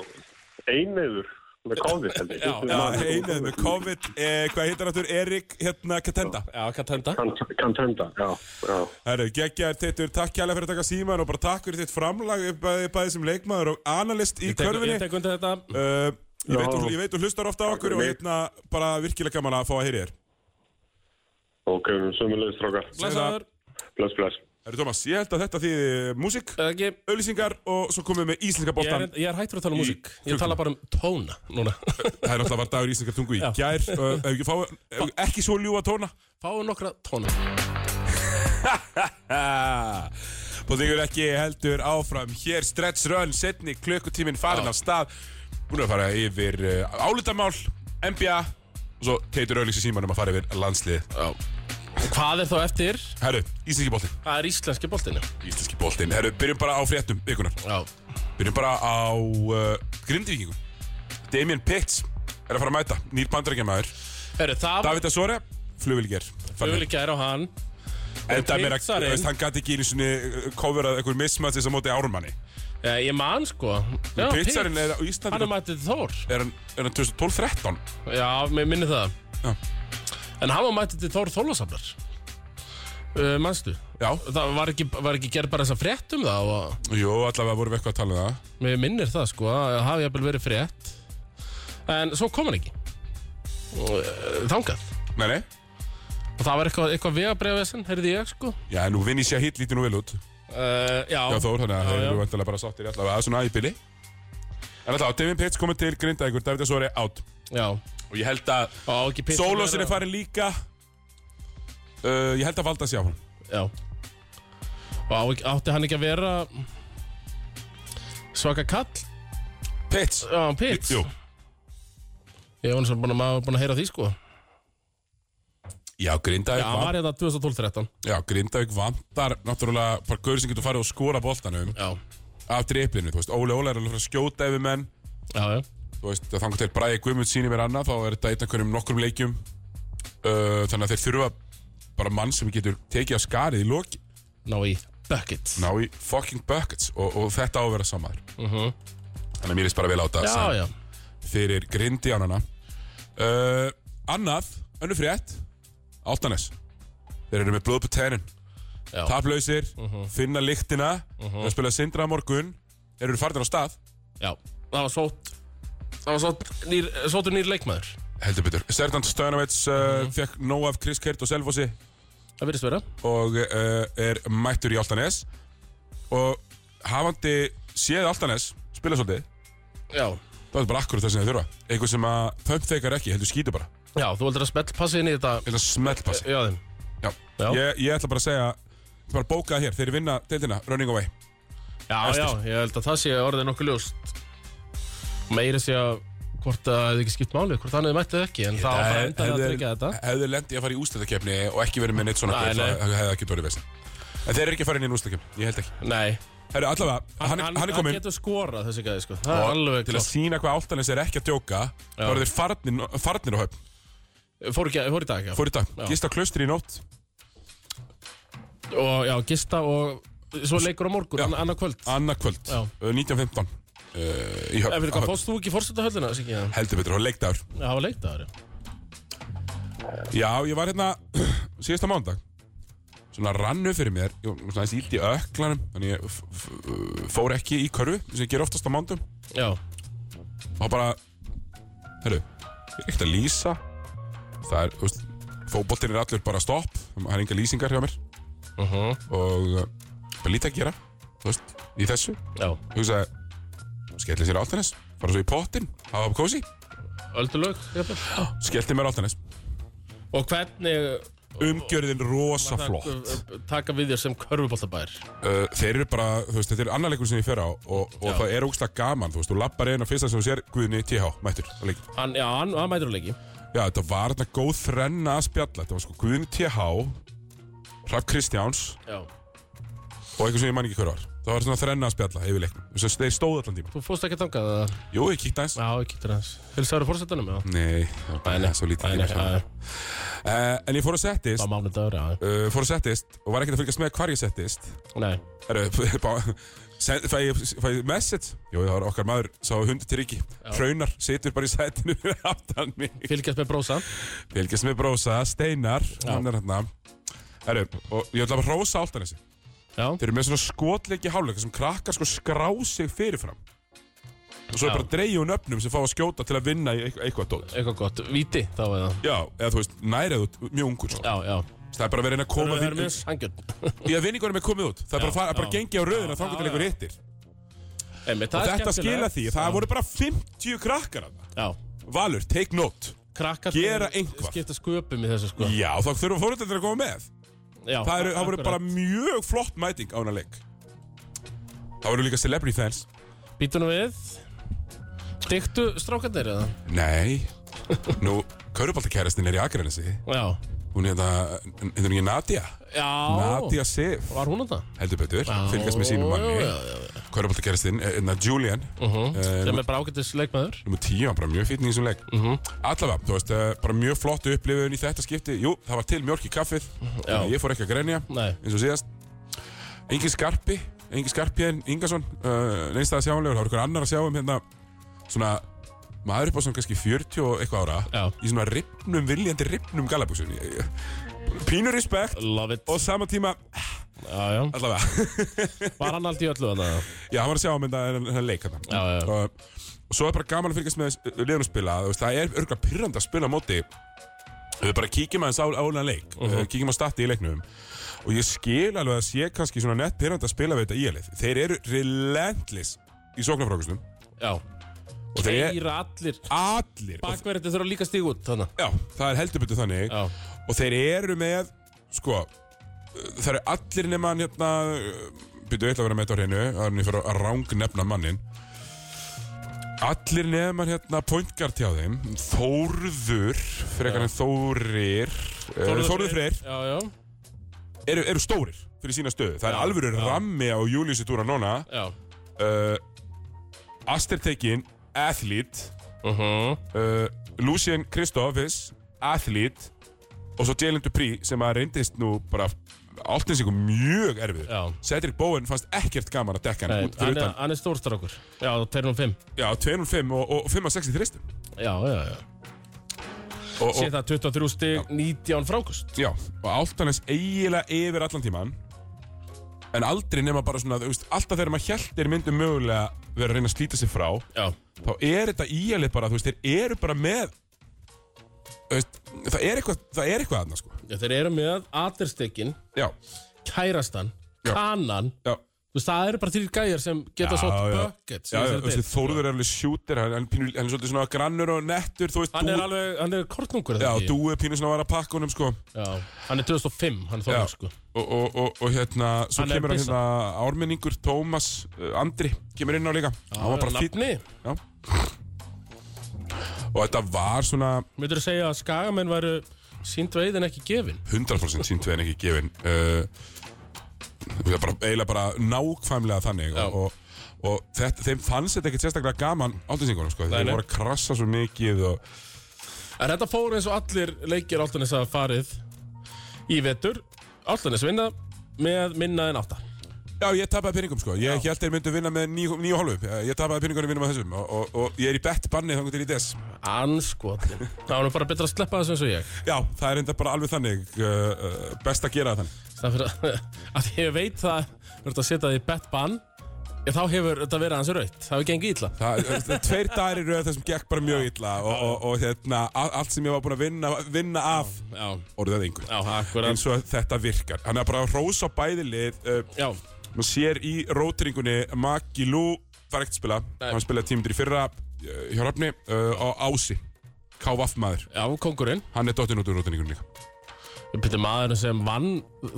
Speaker 4: einneður með COVID held ég.
Speaker 3: Já,
Speaker 2: Já, einuð með COVID, eh, hvað heitir hann Erik, hérna, Katenda.
Speaker 3: Já, Katenda
Speaker 4: Kantenda, já, já.
Speaker 2: Herru, geggjaður teitur, takk kjærlega fyrir að taka síman og bara takk fyrir þitt framlag, eh, bæði, bæði sem leikmaður og analist í
Speaker 3: Ég tek- ég
Speaker 2: körfinni.
Speaker 3: tek undir þetta
Speaker 2: Uh, ég, veit,
Speaker 4: Já.
Speaker 2: þú- ég veit, þú hlustar ofta á okkur og
Speaker 4: fyrir mig.
Speaker 2: hérna, bara virkilega gaman að fá að heyri þér.
Speaker 4: Ok, við erum sömulegist strákar.
Speaker 3: Blessaður
Speaker 4: Bless, bless.
Speaker 2: Herru, Tómas, ég held að þetta þýði músík,
Speaker 3: Eða ekki
Speaker 2: auðlýsingar og svo komum við með íslenska
Speaker 3: Ég er,
Speaker 2: boltan.
Speaker 3: ég er hættur að tala um músík Ég tala bara um tóna núna
Speaker 2: Það er náttúrulega var dagur íslenskar tungu í gær, uh, ef ekki, fá, ef ekki svo ljúa tóna.
Speaker 3: Fáum nokkra tóna
Speaker 2: Ah. Bóðingur ekki heldur áfram Hér stretch run, setni klukkutíminn farin af stað Búin að fara yfir uh, álutamál, NBA Og svo teitur öllings í símanum að fara yfir landslið
Speaker 3: Hvað er þá eftir?
Speaker 2: Herru, íslenski boltinn
Speaker 3: Það er íslenski boltinu
Speaker 2: Íslenski boltinn, herru, byrjum bara á fréttum vikunar
Speaker 3: Já
Speaker 2: Byrjum bara á uh, grindvíkingum Damien Pitts er að fara að mæta, nýr bandarækjamaður
Speaker 3: Herru, það var
Speaker 2: David Asore, flugvilger
Speaker 3: möguleik gær á hann
Speaker 2: Enda meira, þú
Speaker 3: Pitsarinn.
Speaker 2: veist, hann gæti ekki einu sinni Coverað einhver mismatch þess að móti ármanni
Speaker 3: eh, Ég man sko Já,
Speaker 2: Pitsarinn
Speaker 3: Pits.
Speaker 2: er á Íslandi
Speaker 3: Hann er mættið Þór
Speaker 2: er hann, er hann 2012-13
Speaker 3: Já, mér minni það
Speaker 2: Já.
Speaker 3: En hann var mættið til Þór Þólasafnar uh, Manstu?
Speaker 2: Já,
Speaker 3: Það var ekki, var ekki gerð bara þess að frétt um það og
Speaker 2: jú, allavega vorum við eitthvað að tala um það
Speaker 3: mér minnir það sko að hafi jafnvel verið frétt en svo kom hann ekki uh, þangað
Speaker 2: Nei, nei,
Speaker 3: og það var eitthvað, eitthvað vegabrefessin, heyrði ég sko
Speaker 2: já, nú vinn ég sé að hitt lítið nú vel út
Speaker 3: uh, Já,
Speaker 2: Já, Þór, þannig að
Speaker 3: Já,
Speaker 2: þeir
Speaker 3: já.
Speaker 2: eru vantilega bara sáttir allavega svona í bili En allavega, Devin Pitts komið til Grindavíkur, David Asori átt
Speaker 3: já.
Speaker 2: Og ég held að
Speaker 3: Á, ekki Pits-
Speaker 2: Solosin er farin líka uh, Ég held að valda sér á hann
Speaker 3: Já Og á, ekki- átti hann ekki að vera Svaka kall
Speaker 2: Pitts
Speaker 3: Já, Pits
Speaker 2: Jú,
Speaker 3: Ég var náttúrulega búin að, maður var búin að heyra því sko Já,
Speaker 2: já, Grindavík
Speaker 3: hann
Speaker 2: vant-
Speaker 3: var hérna 2012-13
Speaker 2: Já, Grindavík vantar Náttúrulega, bara gaur sem getur farið og skora boltanum
Speaker 3: Já,
Speaker 2: Af driplinu, þú veist, Óli Óla er alveg að fara að skjóta yfir menn
Speaker 3: já, já
Speaker 2: þú veist, að þangur til bræði Guðmund sýnir mér annað, þá er þetta einn af hverjum nokkrum leikjum uh, þannig að þeir þurfa bara mann sem getur tekið að skarið í loki,
Speaker 3: Ná í Bucket
Speaker 2: ná í fucking buckets og, og þetta á að vera samaður
Speaker 3: Mhm.
Speaker 2: þannig að mér er bara vel á þetta
Speaker 3: Já, já
Speaker 2: fyrir grindjánana uh, Annað, önnur frétt Altanes Þeir eru með blóð på tennin
Speaker 3: Já. Mhm.
Speaker 2: Taplausir, finna lyktina uh -huh. spila sindra á morgun Þeir eru farnir á stað
Speaker 3: Já, það var sótt Það var sótt nýr, sóttur nýr leikmaður
Speaker 2: Heldur betur Sertan Stöðanavits uh,
Speaker 3: Mhm.
Speaker 2: fekk nóg af Chris Kert og Selfossi
Speaker 3: Það virðist vera
Speaker 2: og uh, er mættur í Altanes og hafandi séð Altanes spila svolítið
Speaker 3: Já,
Speaker 2: það er bara akkurat það sem þið þurfa eitthvað sem að pumpfeikar ekki, heldur skýtu bara
Speaker 3: já þú heldur að smell passi inn í þetta
Speaker 2: eitthvað smellpassi
Speaker 3: Já, þeim
Speaker 2: Já.
Speaker 3: Eh, Já.
Speaker 2: Ég, ég ætla bara að segja ég bara bókaði hér, þeir vinna deildina Running Away
Speaker 3: Já, já, ég held að það sé orðið nokkuð ljóst Meiri sé að hvort að það hefði ekki skipt máli Hvort hann hefði mættið ekki En það var bara endan að tryggja þetta
Speaker 2: Eh, hefðu lendi að fara í ústættakefni og ekki verið með neitt svona
Speaker 3: Nei,
Speaker 2: gaur,
Speaker 3: nei.
Speaker 2: það hefði ekki dórið vesinn en þeir eru ekki að fara inn í ústættakefni, ég held ekki
Speaker 3: Nei,
Speaker 2: Herru, allavega, hann, hann, er kominn
Speaker 3: getur skorað þessi gæði sko Það er
Speaker 2: og
Speaker 3: alveg
Speaker 2: til að
Speaker 3: klart
Speaker 2: sína hvað Altanes er ekki að djóka þá
Speaker 3: Já.
Speaker 2: eru þeir farnir, farnir á höfn
Speaker 3: fór, ekki- fór í dag, já
Speaker 2: fór í dag,
Speaker 3: Já.
Speaker 2: gist á klaustri í nótt
Speaker 3: Og já, gista og Svo leikur á morgun,
Speaker 2: Já.
Speaker 3: anna- annað kvöld
Speaker 2: annað kvöld,
Speaker 3: Já.
Speaker 2: uh, 19.15 uh, í
Speaker 3: Ef
Speaker 2: höfn, á
Speaker 3: við hvað,
Speaker 2: höfn.
Speaker 3: fórstu þú ekki fórstu þetta höllina? Siggi? Já,
Speaker 2: heldur betur, og leikdagur
Speaker 3: það var leikdagur já.
Speaker 2: Já, ég var hérna síðasta mándag Svona rannu fyrir mér Ég var svona aðeins ílt í öklanum Þannig ég f- f- fór ekki í körfu sem ég ger oftast á mándum
Speaker 3: Já,
Speaker 2: Og bara, herru Ég er ekkert að lýsa Það er, þú veist, fótboltinn er allur bara stopp Það er enga lýsingar hjá mér
Speaker 3: uh
Speaker 2: Og uh, bara lítið að gera Þú veist, í þessu
Speaker 3: já,
Speaker 2: Hugsaði, skellir sér áltanis Fara svo í pottin, hafa upp kósi
Speaker 3: öldulög jafnvel.
Speaker 2: Skellti mér áltanis
Speaker 3: Og hvernig
Speaker 2: Umgjörðin rosa flott
Speaker 3: taka við þér sem körfuboltabær
Speaker 2: Uh, þeir eru bara, þú veist, þetta er annar leikur sem ég fer á og, og það er ógslag gaman, þú veist, þú lappar inn og fyrsta sem þú sér Guðni TH, mættur að leik.
Speaker 3: hann, Já, hann, hann mætir á leiki
Speaker 2: Já, þetta var þarna góð þrenna að spjalla, þetta var sko Guðni TH, Hraf Kristjáns
Speaker 3: Já,
Speaker 2: og eitthvað sem ég man ekki hver var. Það var svona þrenna að spjalla yfir leiknum, þess að þeir stóðu allan tíma.
Speaker 3: þú fórst ekki þangað eða?
Speaker 2: Jú, ég kíkti aðeins.
Speaker 3: Já, ég kýttir hans Hilsaður fórsetanum, já
Speaker 2: Nei, það var bara svo lítið
Speaker 3: Nei, nei,
Speaker 2: tíma.
Speaker 3: já,
Speaker 2: saman.
Speaker 3: já,
Speaker 2: Uh, en ég fór að
Speaker 3: Það
Speaker 2: settist,
Speaker 3: var mánudagur, já
Speaker 2: uh, fór að settist og var ekkert að fylgjast með hvar ég settist.
Speaker 3: Nei,
Speaker 2: Herru, bara, send- Fæ ég, fæ ég message? Jú, það var okkar maður, sá hundi til ríki Hraunar, situr bara í sætinu fyrir aftan mig
Speaker 3: fylgjast með brósa
Speaker 2: Fylgjast með brósa, Steinar Hann er hérna Herru, og ég ætla bara að rósa Áltanesi
Speaker 3: Já,
Speaker 2: Þeir eru með svona skotleiki háluleika sem krakkar sko skrá sig fyrirfram Og svo er
Speaker 3: Já.
Speaker 2: bara að dreigja hún öfnum sem fá að skjóta til að vinna í eitthvað, eitthvað dót
Speaker 3: eitthvað gott Víti, þá var það
Speaker 2: Já, eða þú veist, nærið út, mjög ungur sko.
Speaker 3: Já, já
Speaker 2: Það er bara að vera að reyna að koma
Speaker 3: Það er
Speaker 2: því
Speaker 3: mjög sangjörn
Speaker 2: Í að vinningunum er komið út Það er bara að, fara, að bara
Speaker 3: já.
Speaker 2: gengi á röðina þá
Speaker 3: Já,
Speaker 2: getur
Speaker 3: já.
Speaker 2: leikur hittir
Speaker 3: Einmitt,
Speaker 2: Og
Speaker 3: það er
Speaker 2: þetta skila
Speaker 3: skemmtilegt.
Speaker 2: því, það voru bara 50 krakkar að
Speaker 3: Já,
Speaker 2: Valur, take note
Speaker 3: krakkar
Speaker 2: Gera eitthvað.
Speaker 3: Skipta sköpum í þessu sko
Speaker 2: Já, þá þurfa fóröldendur að koma með
Speaker 3: Já,
Speaker 2: Það, eru, það voru
Speaker 3: akkurat.
Speaker 2: bara mjög flott mæting á hana leik Það voru líka celebrity fans
Speaker 3: Býtu nú við Dyktu strákarnir eða?
Speaker 2: Nei Nú, Körubaltakærastin er í Akranesi
Speaker 3: Já
Speaker 2: Hún er þetta, hendur hún ekki Nadia
Speaker 3: Já
Speaker 2: Nadia Sif,
Speaker 3: Var hún þetta?
Speaker 2: heldur betur Fylgast með sínum manni Körubaltakærastin, hérna Julian uh
Speaker 3: Mhm.
Speaker 2: -huh.
Speaker 3: Sem er bara ágættis leikmaður
Speaker 2: Númer 10 var bara mjög fítn í þessum leik
Speaker 3: Mhm.
Speaker 2: Allavega, þú veist, eh, bara mjög flott upplifun í þetta skipti Jú, það var til mjölk í kaffið
Speaker 3: Mhm, Já.
Speaker 2: Ég fór ekki að grenja
Speaker 3: Nei
Speaker 2: eins og síðast Engin Skarpi, engin Skarpi en Ingarsson uh, neins það sjáanlegur, það var ykkur annar að sjá um hérna svona maður upp á svona kannski 40 og eitthvað ára
Speaker 3: Já.
Speaker 2: í svona ripnum, viljandi ripnum galabúsun pínur respekt
Speaker 3: Love it
Speaker 2: og sama tíma
Speaker 3: Já, já
Speaker 2: allavega,
Speaker 3: Var hann aldrei öllu þarna?
Speaker 2: já, hann var að sjá um þetta hérna leik hérna
Speaker 3: Já, já.
Speaker 2: Og, og svo er bara gaman að fylgjast með eh, liðunum spila, þú veist, það er örgulega pyrrandi að spila á móti við bara kíkjum aðeins á álega leik uh
Speaker 3: Mhm.
Speaker 2: kíkjum á stati í leiknum og ég skil alveg að sé kannski svona nett pyrrandi að spila við þetta í alið þeir eru relentless í sóknarfrákustum
Speaker 3: Já
Speaker 2: og þeir eru
Speaker 3: Keira allir
Speaker 2: allir og,
Speaker 3: Bakverðin þurfa líka að stíga út þarna
Speaker 2: já, það er heldur betur þannig
Speaker 3: Já
Speaker 2: og þeir eru með sko, uh, það eru allir nema hann hérna byrju, ég ætla að vera með þetta á hreinu það er ég fyrir að ráng nefna mannin allir nema hann hérna pointgard hjá þeim Þórður, frekar en Þórir Þórður, Þórður Freyr
Speaker 3: Já, já
Speaker 2: eru, eru stórir fyrir sína stöðu það er
Speaker 3: Já,
Speaker 2: alvöru rammi á Júliusi Dúra Nóna
Speaker 3: Já
Speaker 2: uh, Aster Tekin, Athlete
Speaker 3: uh -huh.
Speaker 2: uh, Lucien Kristoffis Athlete og svo Jalen Dupree sem að reyndist nú bara Altnesíku mjög erfiður
Speaker 3: Já.
Speaker 2: Cedric Bowen fannst ekkert gaman að dekka
Speaker 3: Nei,
Speaker 2: hann út fyrir
Speaker 3: hann, er,
Speaker 2: utan
Speaker 3: hann er stórstrákur Já, 205
Speaker 2: Já, 205 og, og 5 að 6 í þristum
Speaker 3: Já, já, já
Speaker 2: og, og,
Speaker 3: Sér það 23 stig, 19 frákust
Speaker 2: Já, og Altanes eiginlega yfir allan tíman En aldrei nema bara svona, þú veist, alltaf þegar maður hjælt er myndum mögulega vera að reyna að slíta sig frá
Speaker 3: Já,
Speaker 2: Þá er þetta íalið bara, þú veist, þeir eru bara með þú veist, Það er eitthvað, það er eitthvað aðna, sko
Speaker 3: já þeir eru með Aderstekin,
Speaker 2: Já,
Speaker 3: Kærastan,
Speaker 2: Já.
Speaker 3: Kanan
Speaker 2: já
Speaker 3: Þú veist, það eru bara þrjir gæjar sem geta
Speaker 2: Já,
Speaker 3: svo
Speaker 2: já.
Speaker 3: bucket
Speaker 2: Já,
Speaker 3: sem
Speaker 2: já,
Speaker 3: þessari
Speaker 2: þú veist,
Speaker 3: deild.
Speaker 2: Þórður er alveg sjútir, hann, hann, pínu- hann er svolítið svona grannur og nettur, þú veist
Speaker 3: Hann
Speaker 2: dú-
Speaker 3: er alveg, hann er
Speaker 2: Já,
Speaker 3: kortnungur er það ekki?
Speaker 2: dúi pínu svona var að pakka honum, sko
Speaker 3: Já, hann er 2005, hann er
Speaker 2: Já,
Speaker 3: þóður sko
Speaker 2: og, og, og, og hérna, svo
Speaker 3: Hann er
Speaker 2: kemur hann
Speaker 3: byssan.
Speaker 2: hérna ármenningur, Tómas, uh, Andri, kemur inn á líka Hann var bara fínn.
Speaker 3: Nafni,
Speaker 2: Já. Og þetta var svona
Speaker 3: myndur þú segja að skagamenn væru sínd veið en ekki gefin
Speaker 2: 100% sínt við en ekki gefin uh, það var bara, eiginlega bara nákvæmlega þannig
Speaker 3: Já.
Speaker 2: og, og, og þetta, þeim fannst þetta ekkert sérstaklega gaman áttinsingunum sko,
Speaker 3: Nei,
Speaker 2: þeir
Speaker 3: nei.
Speaker 2: voru að krassa svo mikið og,
Speaker 3: En þetta fór eins og allir leikir Altanis að farið í vetur Altanis vinna með minna en átta
Speaker 2: Já, ég tapaði peningum sko, ég held þeir myndu vinna með níu níu og hálfu, ég tapaði peningunum vinna með þessum og, og, og ég er í bett banni þangur til í des
Speaker 3: Anskotin Það var nú bara betra að sleppa þessu eins og ég
Speaker 2: Já, það er enda bara alveg þannig uh, uh, best að gera það þannig
Speaker 3: Það fyrir að, að ég veit það Þú ert að setja því bett bann ég, Þá hefur þetta verið hans raut Það hefur gengið illa
Speaker 2: Það, það- tveir dagir í röð þessum gekk bara mjög illa og, og, og hérna, a- allt sem ég var búinn að vinna, vinna af
Speaker 3: Já,
Speaker 2: orðið að yngur
Speaker 3: já, akkurat
Speaker 2: eins og þetta virkar hann er bara að rósa bæði lið uh,
Speaker 3: Já,
Speaker 2: maður sér í rótringunni Maggi Lú var ekkert að spila
Speaker 3: Nei.
Speaker 2: hann spilaði tímundir í fyrra uh, hjá Rafni uh, og Ási K.V.A.F. maður
Speaker 3: já, kongurinn
Speaker 2: hann er dottinn út úr rótringunni líka
Speaker 3: Við byrjum maðurinn sem vann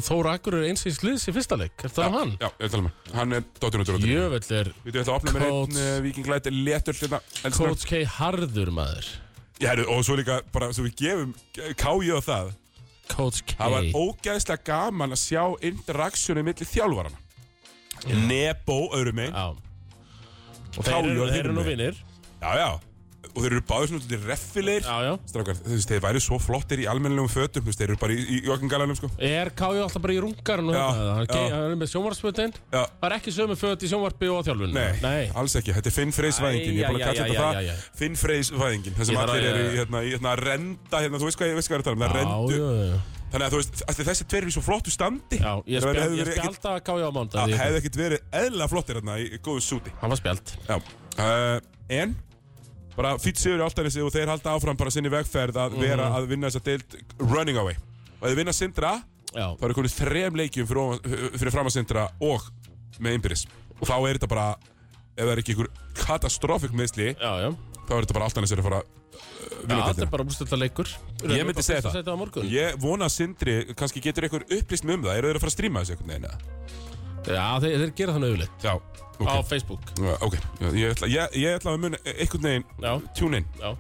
Speaker 3: Þóra Akkur er eins í sliðs í fyrsta leik Er það hann?
Speaker 2: já, ég tala með hann er dottinn út úr rótringunni
Speaker 3: Jöfell er
Speaker 2: við ætlum að opna með
Speaker 3: Coach.
Speaker 2: einn uh, vikinglæti letur hluta
Speaker 3: Coach K. Harður maður
Speaker 2: og svo líka bara svo við gefum K.J. á það
Speaker 3: Coach K.
Speaker 2: Það var ógæðslega gaman að sjá interaktsjónu millir þjálfarana. Nebo, öðrum einn.
Speaker 3: Já Og þeir
Speaker 2: Káju
Speaker 3: eru,
Speaker 2: og
Speaker 3: þeir eru nú
Speaker 2: Hilmi.
Speaker 3: vinnir
Speaker 2: Já, já. Og þeir eru báðir svona til reffilegir.
Speaker 3: Já, já
Speaker 2: Strákar, þú veist, þeir væri svo flottir í almennilegum fötum, þú veist, þeir eru bara í, í, í okkingalanum, sko.
Speaker 3: Er Káju alltaf bara í rungarinn og
Speaker 2: Já,
Speaker 3: þetta? Hann, ge-
Speaker 2: já.
Speaker 3: hann er með sjónvarpsfötin
Speaker 2: Já,
Speaker 3: Það er ekki sömu föt í sjónvarpi og á þjálfunni
Speaker 2: nei,
Speaker 3: Nei
Speaker 2: alls ekki. Þetta er Finn Freys
Speaker 3: Æ,
Speaker 2: væðingin, ég er búin
Speaker 3: já,
Speaker 2: að kalla
Speaker 3: já,
Speaker 2: þetta
Speaker 3: já,
Speaker 2: það.
Speaker 3: já, já.
Speaker 2: Finn Freys væðingin, það sem
Speaker 3: Ég þarf
Speaker 2: allir
Speaker 3: að-
Speaker 2: eru í, hérna, í hérna, að renda, hérna, þú veist hvað ég veist hvað ég er að tala um, það
Speaker 3: Já,
Speaker 2: rendu.
Speaker 3: já, já.
Speaker 2: Þannig að þú veist, af því þessi tveir eru í svo flottu standi.
Speaker 3: já
Speaker 2: það
Speaker 3: Ég spjald,
Speaker 2: hefði
Speaker 3: ég
Speaker 2: verið ekkit-
Speaker 3: spjald að Káju á
Speaker 2: það
Speaker 3: mándag
Speaker 2: hefði ekkert verið eðla flottir hérna í góðu súti.
Speaker 3: Hann var spjald
Speaker 2: Já, uh, en bara fýtt sigur í Altanesi og þeir halda áfram bara sinni vegferð
Speaker 3: Mhm.
Speaker 2: að vera að vinna þessa deild running away. Og ef þeir vinna Sindra,
Speaker 3: Já
Speaker 2: þá eru konið þrem leikjum fyrir, ofan- eh, fyrir fram að Sindra og með innbyrðis. Og þá er þetta bara, ef það er ekki einhver katastrófik meðsli,
Speaker 3: Já, já
Speaker 2: þá er þetta bara Altanesi að fara að uh,
Speaker 3: Já,
Speaker 2: vinna
Speaker 3: þetta er
Speaker 2: deildina.
Speaker 3: bara úrstöldar leikur
Speaker 2: Ég myndi segja það.
Speaker 3: Þetta á morgun
Speaker 2: Ég vona að Sindri, kannski getur einhver upplýst mig um það, eru þeir að fara að stríma þessu einhvern veginn? eða?
Speaker 3: Já, þeir, þeir gera þannig auðvitað
Speaker 2: Já,
Speaker 3: Á
Speaker 2: ok.
Speaker 3: Facebook
Speaker 2: Já, Ok, Já, ég ætla, ég, ég ætla að muna einhvern veginn
Speaker 3: Já,
Speaker 2: tune in.
Speaker 3: já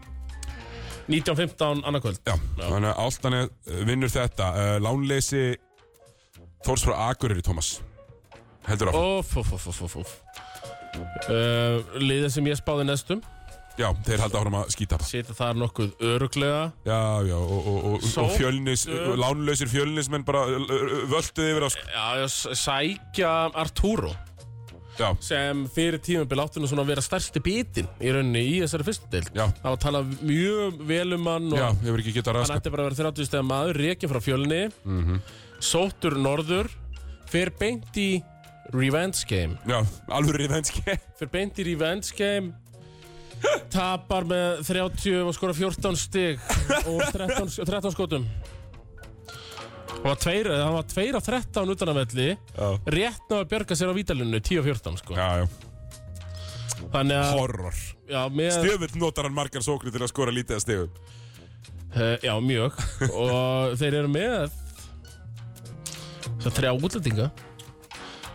Speaker 3: 19.15 annarkvöld
Speaker 2: Já, þannig að Álftane vinnur þetta uh, Lánleysi Þórs frá Akureyri, Tómas Heldur áfram
Speaker 3: Óf, óf, óf, óf, óf, óf. Uh, Liðið sem ég spáði næstum
Speaker 2: Já, þeir halda áfram að skýta
Speaker 3: Sita þar nokkuð öruglega
Speaker 2: Já, já, og, og, og,
Speaker 3: Sótt,
Speaker 2: og fjölnis
Speaker 3: ö-
Speaker 2: Lánleysir fjölnismenn bara ö, ö, völduð yfir á sko.
Speaker 3: Já, já, s- sækja Arturo
Speaker 2: Já,
Speaker 3: sem fyrir tímabil áttunum svona að vera stærsti bitin í rauninni í þessari fyrstu deild
Speaker 2: Já.
Speaker 3: Það var að tala mjög vel um hann og
Speaker 2: já, hefur ekki getað
Speaker 3: hann
Speaker 2: raskað
Speaker 3: ætti bara að vera 30 stegar maður reikin frá fjölni sóttur norður fyrir beint í revenge game
Speaker 2: Já, alveg reyðvenski
Speaker 3: fyrir beint í revenge game tapar með 30 og skora 14 stig og 13, sk- 13 skotum Það var tveir, það var tveir af 13 utan að velli
Speaker 2: Já,
Speaker 3: rétt ná að bjarga sér á vítalunni 10-14 sko.
Speaker 2: já, já,
Speaker 3: þannig að
Speaker 2: horror
Speaker 3: já, með,
Speaker 2: Djöfull notar hann margar sóknir til að skora lítið að stegum
Speaker 3: uh, já, mjög og þeir eru með þess að þrjá útlendinga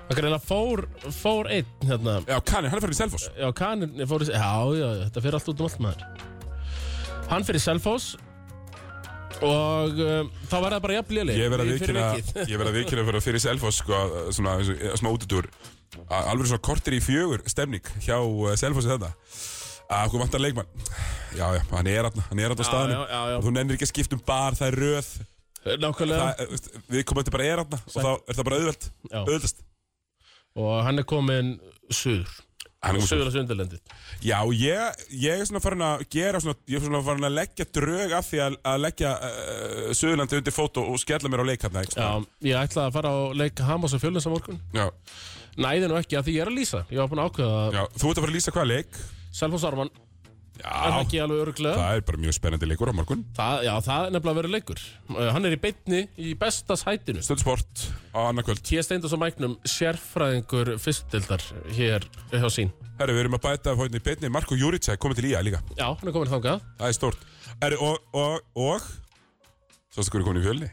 Speaker 3: það greinlega fór fór einn hérna
Speaker 2: Já, Kani, hann er fyrir í Selfoss
Speaker 3: já, kanin fór í já, já, þetta fyrir allt út um allt maður hann fyrir Selfoss og um, þá var það bara jafnlega
Speaker 2: Ég verð að vikina Ég verð að vikina fyrir, fyrir Selfoss sko, að- svona, svona, svona útutúr að alveg svona kortir í fjögur stemning hjá uh, Selfossi þetta að okkur vantar leikmann já já, hann er aðna, hann er aðna á
Speaker 3: Já,
Speaker 2: staðinu
Speaker 3: já, já, já.
Speaker 2: og þú nennir ekki að skipta um bar, það er röð
Speaker 3: nákvæmlega
Speaker 2: Það, veist, við komum þetta bara er aðna og þá er það bara auðvelt,
Speaker 3: Já.
Speaker 2: auðveldast.
Speaker 3: og hann er komin suður
Speaker 2: Hann er
Speaker 3: suður að sundalendi
Speaker 2: Já, ég, ég er svona farin að gera svona, ég er svona farin að leggja drög af því að, að leggja uh, Suðurlandi undir fót og, og skella mér á leik hérna, ekki?
Speaker 3: Já, ég ætlaði að fara og leika Hamas og Fjölins á morgun
Speaker 2: Já.
Speaker 3: Næði nú ekki að því ég er að lýsa Ég var búin að ákveða að
Speaker 2: Já, þú ert að fara að lýsa hvaða leik?
Speaker 3: Selfos Ármann er
Speaker 2: Já,
Speaker 3: ekki alveg örglega
Speaker 2: það er bara mjög spennandi leikur á morgun.
Speaker 3: það, Já, það er nefnilega að vera leikur Uh, Hann er í beitni í besta sætinu
Speaker 2: Stöldsport á annarkvöld.
Speaker 3: T.S. Steindos og Mæknum sérfræðingur fyrstildar hér hjá sín
Speaker 2: Herru, við erum að bæta af hóðinni í beinni. Marko Júritsæk komið til IA líka.
Speaker 3: Já, hann er komin þangað
Speaker 2: Það er stórt. Herru, og, og, og, svo stu hverju komin í fjölni?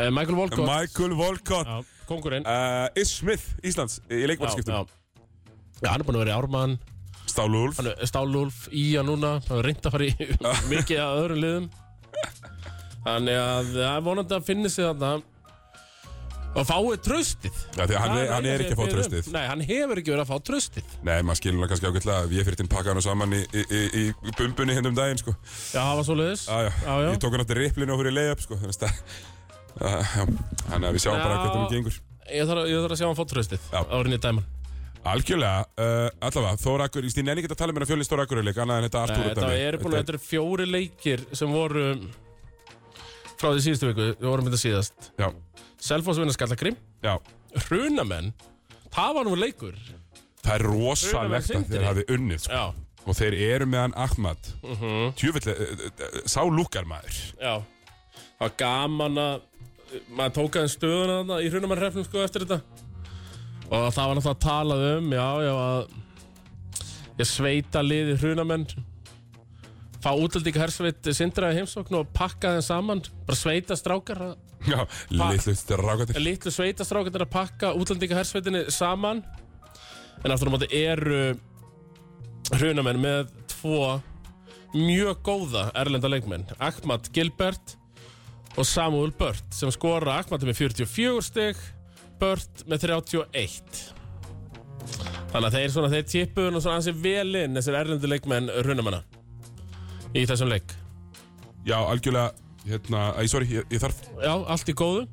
Speaker 3: Eh, Michael Walcott
Speaker 2: Michael Volkott.
Speaker 3: Já, kongurinn
Speaker 2: Uh, Ish Smith, Íslands, í leikmannskiptum.
Speaker 3: já. já, hann er búin að vera í Ármann
Speaker 2: Stálúlf.
Speaker 3: hann er Stálúlf í að núna hann er reynd að fara í mikið að öðrum liðum þannig að það er vonandi að finna sig þarna og fái tröstið
Speaker 2: Já, því að hann, er- hann er ekki að fá tröstið.
Speaker 3: um. Nei, hann hefur ekki verið að fá tröstið
Speaker 2: Nei, maður skilur hann kannski ágætlega að ég fyrir tinn pakka hann saman í, í, í, í bumbunni hérna um daginn, sko.
Speaker 3: Já, það var svo leiðis
Speaker 2: Já, já.
Speaker 3: Já, já.
Speaker 2: Ég tók hann átti riplinu og fyrir leiðab, sko. Þannig að, uh, já, þannig að við sjáum bara
Speaker 3: Já.
Speaker 2: hvernig það gengur.
Speaker 3: Ég þarf, að- ég þarf að sjá hann fá tröstið
Speaker 2: Já.
Speaker 3: árinni dæman
Speaker 2: Algjörlega, uh, allavega, Þóra Akur, ég nenni ekki að tala um hérna fjölinn Stóra Akurleik, annað en þetta Artúr
Speaker 3: Þetta er búin að þetta eru fjóri leikir sem voru um, frá því síðustu viku við vorum þetta síðast
Speaker 2: Já,
Speaker 3: Selfoss vinna skallakrim
Speaker 2: já.
Speaker 3: Hrunamenn Það var nú leikur
Speaker 2: Það er
Speaker 3: Unnu með
Speaker 2: rosalegt að þeir
Speaker 3: Sindri.
Speaker 2: hafi unnið, sko.
Speaker 3: Já, Mhm.
Speaker 2: Og þeir eru með hann Ahmad. Uh -huh. eh, sá lúkar maður.
Speaker 3: já Það var gaman að maður tók aðeins stöðuna þarna í hrunamannhrefnum sko eftir þetta og það var náttúrulega talað um já, já, að ég sveita liði hrunamenn fá útlendinga hersveit sindraði heimsókn og pakka þeim saman bara sveita strákar að-
Speaker 2: Já, litlu strákatir.
Speaker 3: litlu sveita strákar að pakka útlendinga hersveitinni saman en aftur á móti eru hrunamenn með tvo mjög góða erlenda leikmenn Ahmad Gilbert og Samuel Burt sem skora Ahmad er með 44 stygg Burt með 31 þannig að þeir, svona, þeir tippuðu nú svona ansi vel inn þessir erlendu leikmenn runamanna í þessum leik
Speaker 2: Já, algjörlega, hérna, æ, sorry, ég, ég þarf
Speaker 3: já, allt í góðu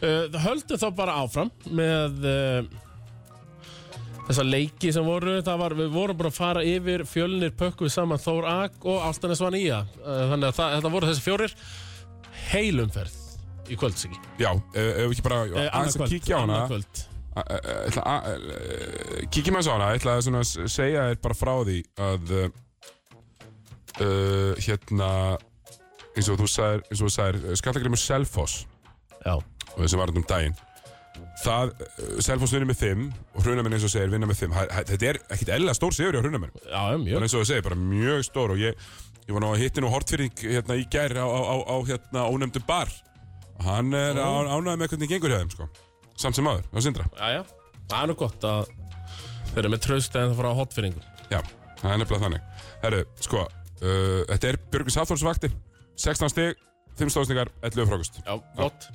Speaker 3: uh, höldum þá bara áfram með uh, þessa leiki sem voru það var, við vorum bara að fara yfir fjölnir pökku við saman Þór Ak og Altanes Van Ía uh, þannig að það, þetta voru þessi fjórir heilumferð í kvöldsiki
Speaker 2: Já, eh, ef við ekki bara
Speaker 3: Eh,
Speaker 2: aðeins að
Speaker 3: annað kvöld,
Speaker 2: kíkja á hana
Speaker 3: annað kvöld.
Speaker 2: Eh, eh, ég ætla að- eh, Kíkjum aðeins á hana, ég ætla að svona s- segja þér bara frá því að eh, uh, hérna eins og þú sagðir, eins og þú sagðir Skallagrimur Selfoss
Speaker 3: Já,
Speaker 2: og þessi varðan um daginn það, eh, Selfoss vinnur með fimm og hrunamenn eins og þú segir vinna með fimm Ha- ha- þetta er ekkit eðla stór sigur hjá hrunamenn
Speaker 3: já,
Speaker 2: en
Speaker 3: mjög
Speaker 2: eins og þú segir, bara mjög stór og ég, ég var nú að hitti nú Hortfyrring hérna í gær á, á, á, á hérna ónefndum bar hann er oh. ánægð með hvernig gengur hjá þeim sko samt sem aður, á Sindra
Speaker 3: já, já. Það er nú gott að þeir eru með tröst en það fara á hotfyrringum
Speaker 2: Já, það er nefnilega þannig Herru, sko, uh, þetta er Björgvins Hafþórs vakti 16 stig, 5 stóðsningar, 11 frákust
Speaker 3: Já, gott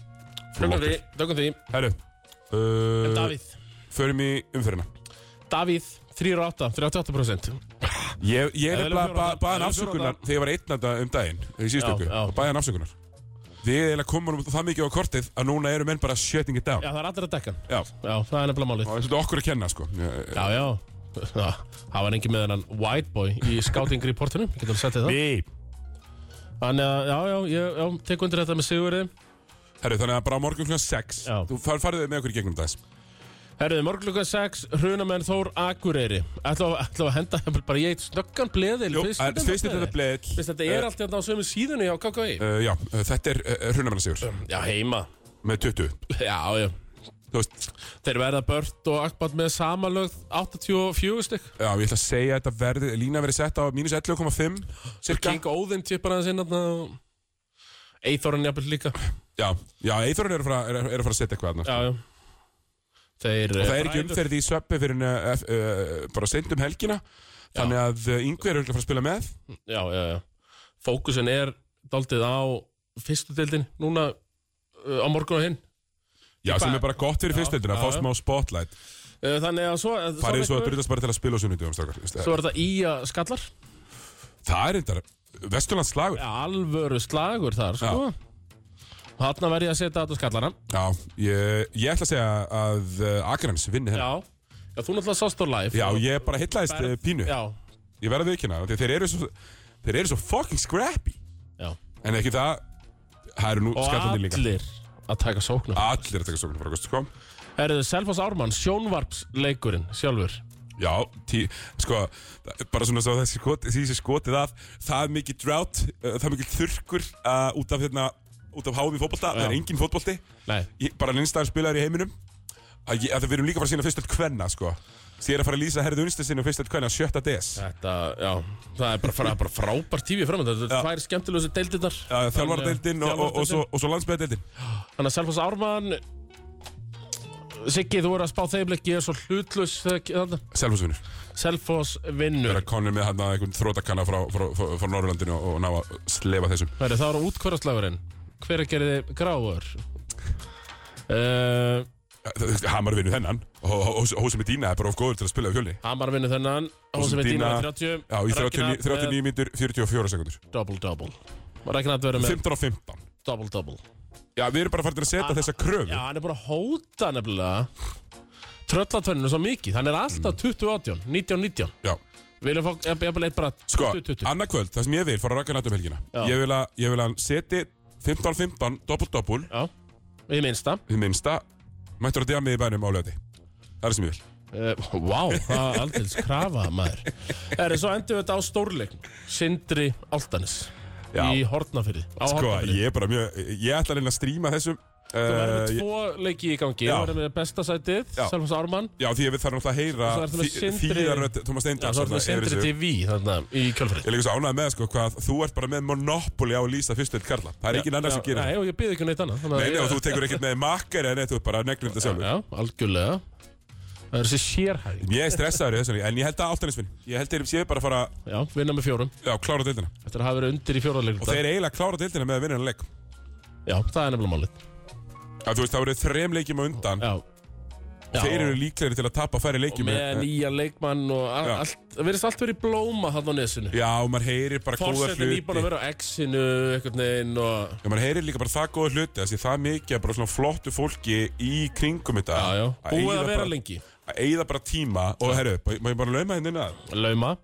Speaker 3: Frögnum því, dögum því
Speaker 2: Herru, uh,
Speaker 3: Davíð
Speaker 2: förum í umferðina
Speaker 3: Davíð, 3 og 8, 38%
Speaker 2: Ég, ég
Speaker 3: Eða
Speaker 2: er
Speaker 3: viljum
Speaker 2: nefnilega ba baðan
Speaker 3: fjóra þetta? Eða viljum fjóra
Speaker 2: afsökunar
Speaker 3: þetta?
Speaker 2: þegar ég var einnanda um daginn í
Speaker 3: Já,
Speaker 2: síðustu ykkur,
Speaker 3: já.
Speaker 2: baðan afsökunar Við eiginlega komum það mikið á kortið að núna eru menn bara shutting it down
Speaker 3: Já, það er allir að dekka hann.
Speaker 2: Já,
Speaker 3: Já, það er nefnilega málið
Speaker 2: og þetta er okkur að kenna sko Eh,
Speaker 3: Já, já Já, Það var engin með hennan white boy í scouting reportinu Getur þú settið það
Speaker 2: Bí.
Speaker 3: Þannig að, já, já, ég já, tek undir þetta með Sigurði
Speaker 2: Herru, þannig að bara á morgun klukkan 6
Speaker 3: Já.
Speaker 2: Þú far, farið með okkur í gegnum þess
Speaker 3: Herriði, morgluga 6, hrunamenn Þór Akureyri Ætla að, ætla að henda bara ég eitt snöggan bleðil
Speaker 2: Fyrst er þetta bleið
Speaker 3: Fyrst þetta er allt hérna á sömu síðunni á KKI
Speaker 2: Já, eh, þetta er uh, hrunamennasigur
Speaker 3: Já, heima
Speaker 2: með 20
Speaker 3: Já, já
Speaker 2: Þú veist,
Speaker 3: Þeir verða bört og akbat með samanlögð 84 stykk
Speaker 2: Já, ég ætla að segja að þetta verði, lína verið sett á mínus 11,5 cirka.
Speaker 3: King Óðinn tippar aðeins inn þarna og Eithorinn jafnvel líka
Speaker 2: Já, já Eithorun er, að fara- er, að- er að fara að setja eitthvað þarna.
Speaker 3: Já, já Þeir eh,
Speaker 2: Og það er ekki umferð í söppi fyrir en, uh, uh, bara seint um helgina Þannig að uh, yngvi er örugglega að fara að spila með
Speaker 3: Já, já, já Fókusin er daldið á fyrstu deildin núna uh, á morgun og hinn
Speaker 2: Já, sem
Speaker 3: bara-
Speaker 2: er bara gott fyrir fyrstöldin að
Speaker 3: já,
Speaker 2: fá
Speaker 3: já.
Speaker 2: smá spotlight
Speaker 3: uh, Þannig að svo
Speaker 2: Farið svo að
Speaker 3: leikur-
Speaker 2: brutast bara til að spila á sunnudum strákar. eh,
Speaker 3: Svo er þetta í að skallar
Speaker 2: Það er endar, Vesturlands slagur
Speaker 3: Alvöru slagur þar, sko Hanna verði ég að setja þetta á skallana
Speaker 2: Já, ég, ég ætla að segja að uh, Akrans vinni hérna.
Speaker 3: Já, já þú náttúrulega sást á live
Speaker 2: Já, ég bara heitlaðist uh, pínu.
Speaker 3: Já,
Speaker 2: Ég verði viðkynna, því að þeir eru svo, þeir eru svo fucking scrappy.
Speaker 3: já
Speaker 2: En ekki það, það eru nú
Speaker 3: Og
Speaker 2: skallandi líka.
Speaker 3: allir að taka sóknar
Speaker 2: Allir að taka sóknum frá sko.
Speaker 3: Herðu, Selfoss Ármann, sjónvarpsleikurinn sjálfur
Speaker 2: Já, tí, sko, það er bara svona svo þessi skot, þessi skotið af, það er mikið drought, uh, það er mikið þurrkur uh, út af hérna, út af háum í fótbolta, það er
Speaker 3: Já.
Speaker 2: engin fótbolti,
Speaker 3: Nei,
Speaker 2: ég, bara linnstæðar spilaður í heiminum, að, ég, að við erum líka að fara að sína fyrstöld kvenna, sko. Þér að fara að lýsa herðu unnstasinn og fyrstöld kvenna 7. des.
Speaker 3: þetta, já Það er bara, bara, bara frábær tífi framönda Þetta
Speaker 2: Já.
Speaker 3: er tvær skemmtilegustu deildirnar
Speaker 2: Já, Eh, Þjálfaradeildin og, og, og, svo, og svo landsbyðadeildin
Speaker 3: Þannig að Selfoss Ármann Siggi, þú er að spá þeim leik Ég er svo hlutlaus þegar-
Speaker 2: Selfosvinur
Speaker 3: Selfoss
Speaker 2: Það
Speaker 3: vinnur
Speaker 2: er konur með hann að einhvern þrótakanna frá, frá, frá, frá Norrlandinu og, og ná að slefa þessum
Speaker 3: Herðu, það var útkvarðaslægurinn Hver gerði gráður? Uh,
Speaker 2: Þa- Hamar vinnur þennan og, og, og, og Hósi Medina er bara of góður til að spila við fjölni
Speaker 3: Hamar vinnur þennan Hósi með Dína
Speaker 2: Medina-
Speaker 3: 30
Speaker 2: Já, í 39 39 mínútur 44 sekundur
Speaker 3: Double double Ragnar verður með
Speaker 2: 15 og 15
Speaker 3: double double
Speaker 2: Já, við erum bara farin að setja þessa kröfu
Speaker 3: Ah, Já, hann er bara að hóta nefnilega Tröllatörninu svo mikið Hann er alltaf
Speaker 2: Mhm.
Speaker 3: 20-18, 19-19
Speaker 2: Já,
Speaker 3: Viljum fá, ég er bara
Speaker 2: sko,
Speaker 3: 20-20
Speaker 2: annað kvöld, það sem ég vil fara að rakka nættum helgina
Speaker 3: Já.
Speaker 2: ég vil, að, ég vil að hann seti 15-15, doppel-doppel
Speaker 3: Já, við minnsta
Speaker 2: Þið minnsta, mættur að djamið í bænum á löði Það er það sem ég vil
Speaker 3: uh, Vá, það er aldrei skrafa maður Erið, svo endum við þetta á stórleik Sindri Altanis
Speaker 2: Já.
Speaker 3: Í Hortnafyrði Á
Speaker 2: Sko,
Speaker 3: Hortnafyrði
Speaker 2: ég er bara mjög, ég ætla að reyna að stríma þessum
Speaker 3: Þú
Speaker 2: Eh,
Speaker 3: verður með
Speaker 2: ég-
Speaker 3: tvo leiki í gangi
Speaker 2: Já.
Speaker 3: Þú verður með besta sætið,
Speaker 2: Já.
Speaker 3: Selfons Ármann
Speaker 2: Já, því að við þarfum alltaf að
Speaker 3: Og svo ertu
Speaker 2: heyra
Speaker 3: með Sindri-
Speaker 2: þýðarödd Tómas
Speaker 3: Já,
Speaker 2: Steindar
Speaker 3: þú verður með Sindri TV þarna í kjölfrið
Speaker 2: Ég er líka svo ánægð með sko, hvað þú ert bara með monopoli á að lýsa fyrstu eitt karla Það er engin annar sem gerir það
Speaker 3: Nei, og ég byrði ekki um neitt annað þannig að
Speaker 2: Nei, nei,
Speaker 3: ég-
Speaker 2: og þú tekur ekkert með makkar en þú er bara neglum þetta sjálfur
Speaker 3: Já, algjörlega Það er þessi sérhæðing
Speaker 2: Ég er stressaður í þessu, en ég held að áltanisvinn Ég held þeir séu bara að fara
Speaker 3: Já, vinna með fjórum
Speaker 2: já, klára deildina
Speaker 3: Eftir að hafa verið undir í fjóraðleikum
Speaker 2: Og þeir eiginlega klára deildina með að vinna hann leik
Speaker 3: Já, það er nefnilega málið
Speaker 2: Já, þú veist, það voru þrem leikjum á undan
Speaker 3: Já, Já
Speaker 2: Þeir eru líklegri til að tapa færri
Speaker 3: og
Speaker 2: leikjum
Speaker 3: Með
Speaker 2: en-
Speaker 3: nýja leikmann og a-
Speaker 2: Já.
Speaker 3: allt Það verðist allt verið í blóma hann á nesinu
Speaker 2: Já, og maður heyrir bara góða
Speaker 3: Forsetin
Speaker 2: hluti
Speaker 3: nýbúin að vera á X-inu Eitthvað neginn og
Speaker 2: Já, maður heyrir líka bara það góða hluti Það sé það mikið að bara svona flottu fólki í kringum þetta
Speaker 3: Já, já Búið
Speaker 2: eyða
Speaker 3: að vera
Speaker 2: bara-
Speaker 3: lengi
Speaker 2: að eyða bara tíma og herru, má má ég bara lauma henni inn að
Speaker 3: Lauma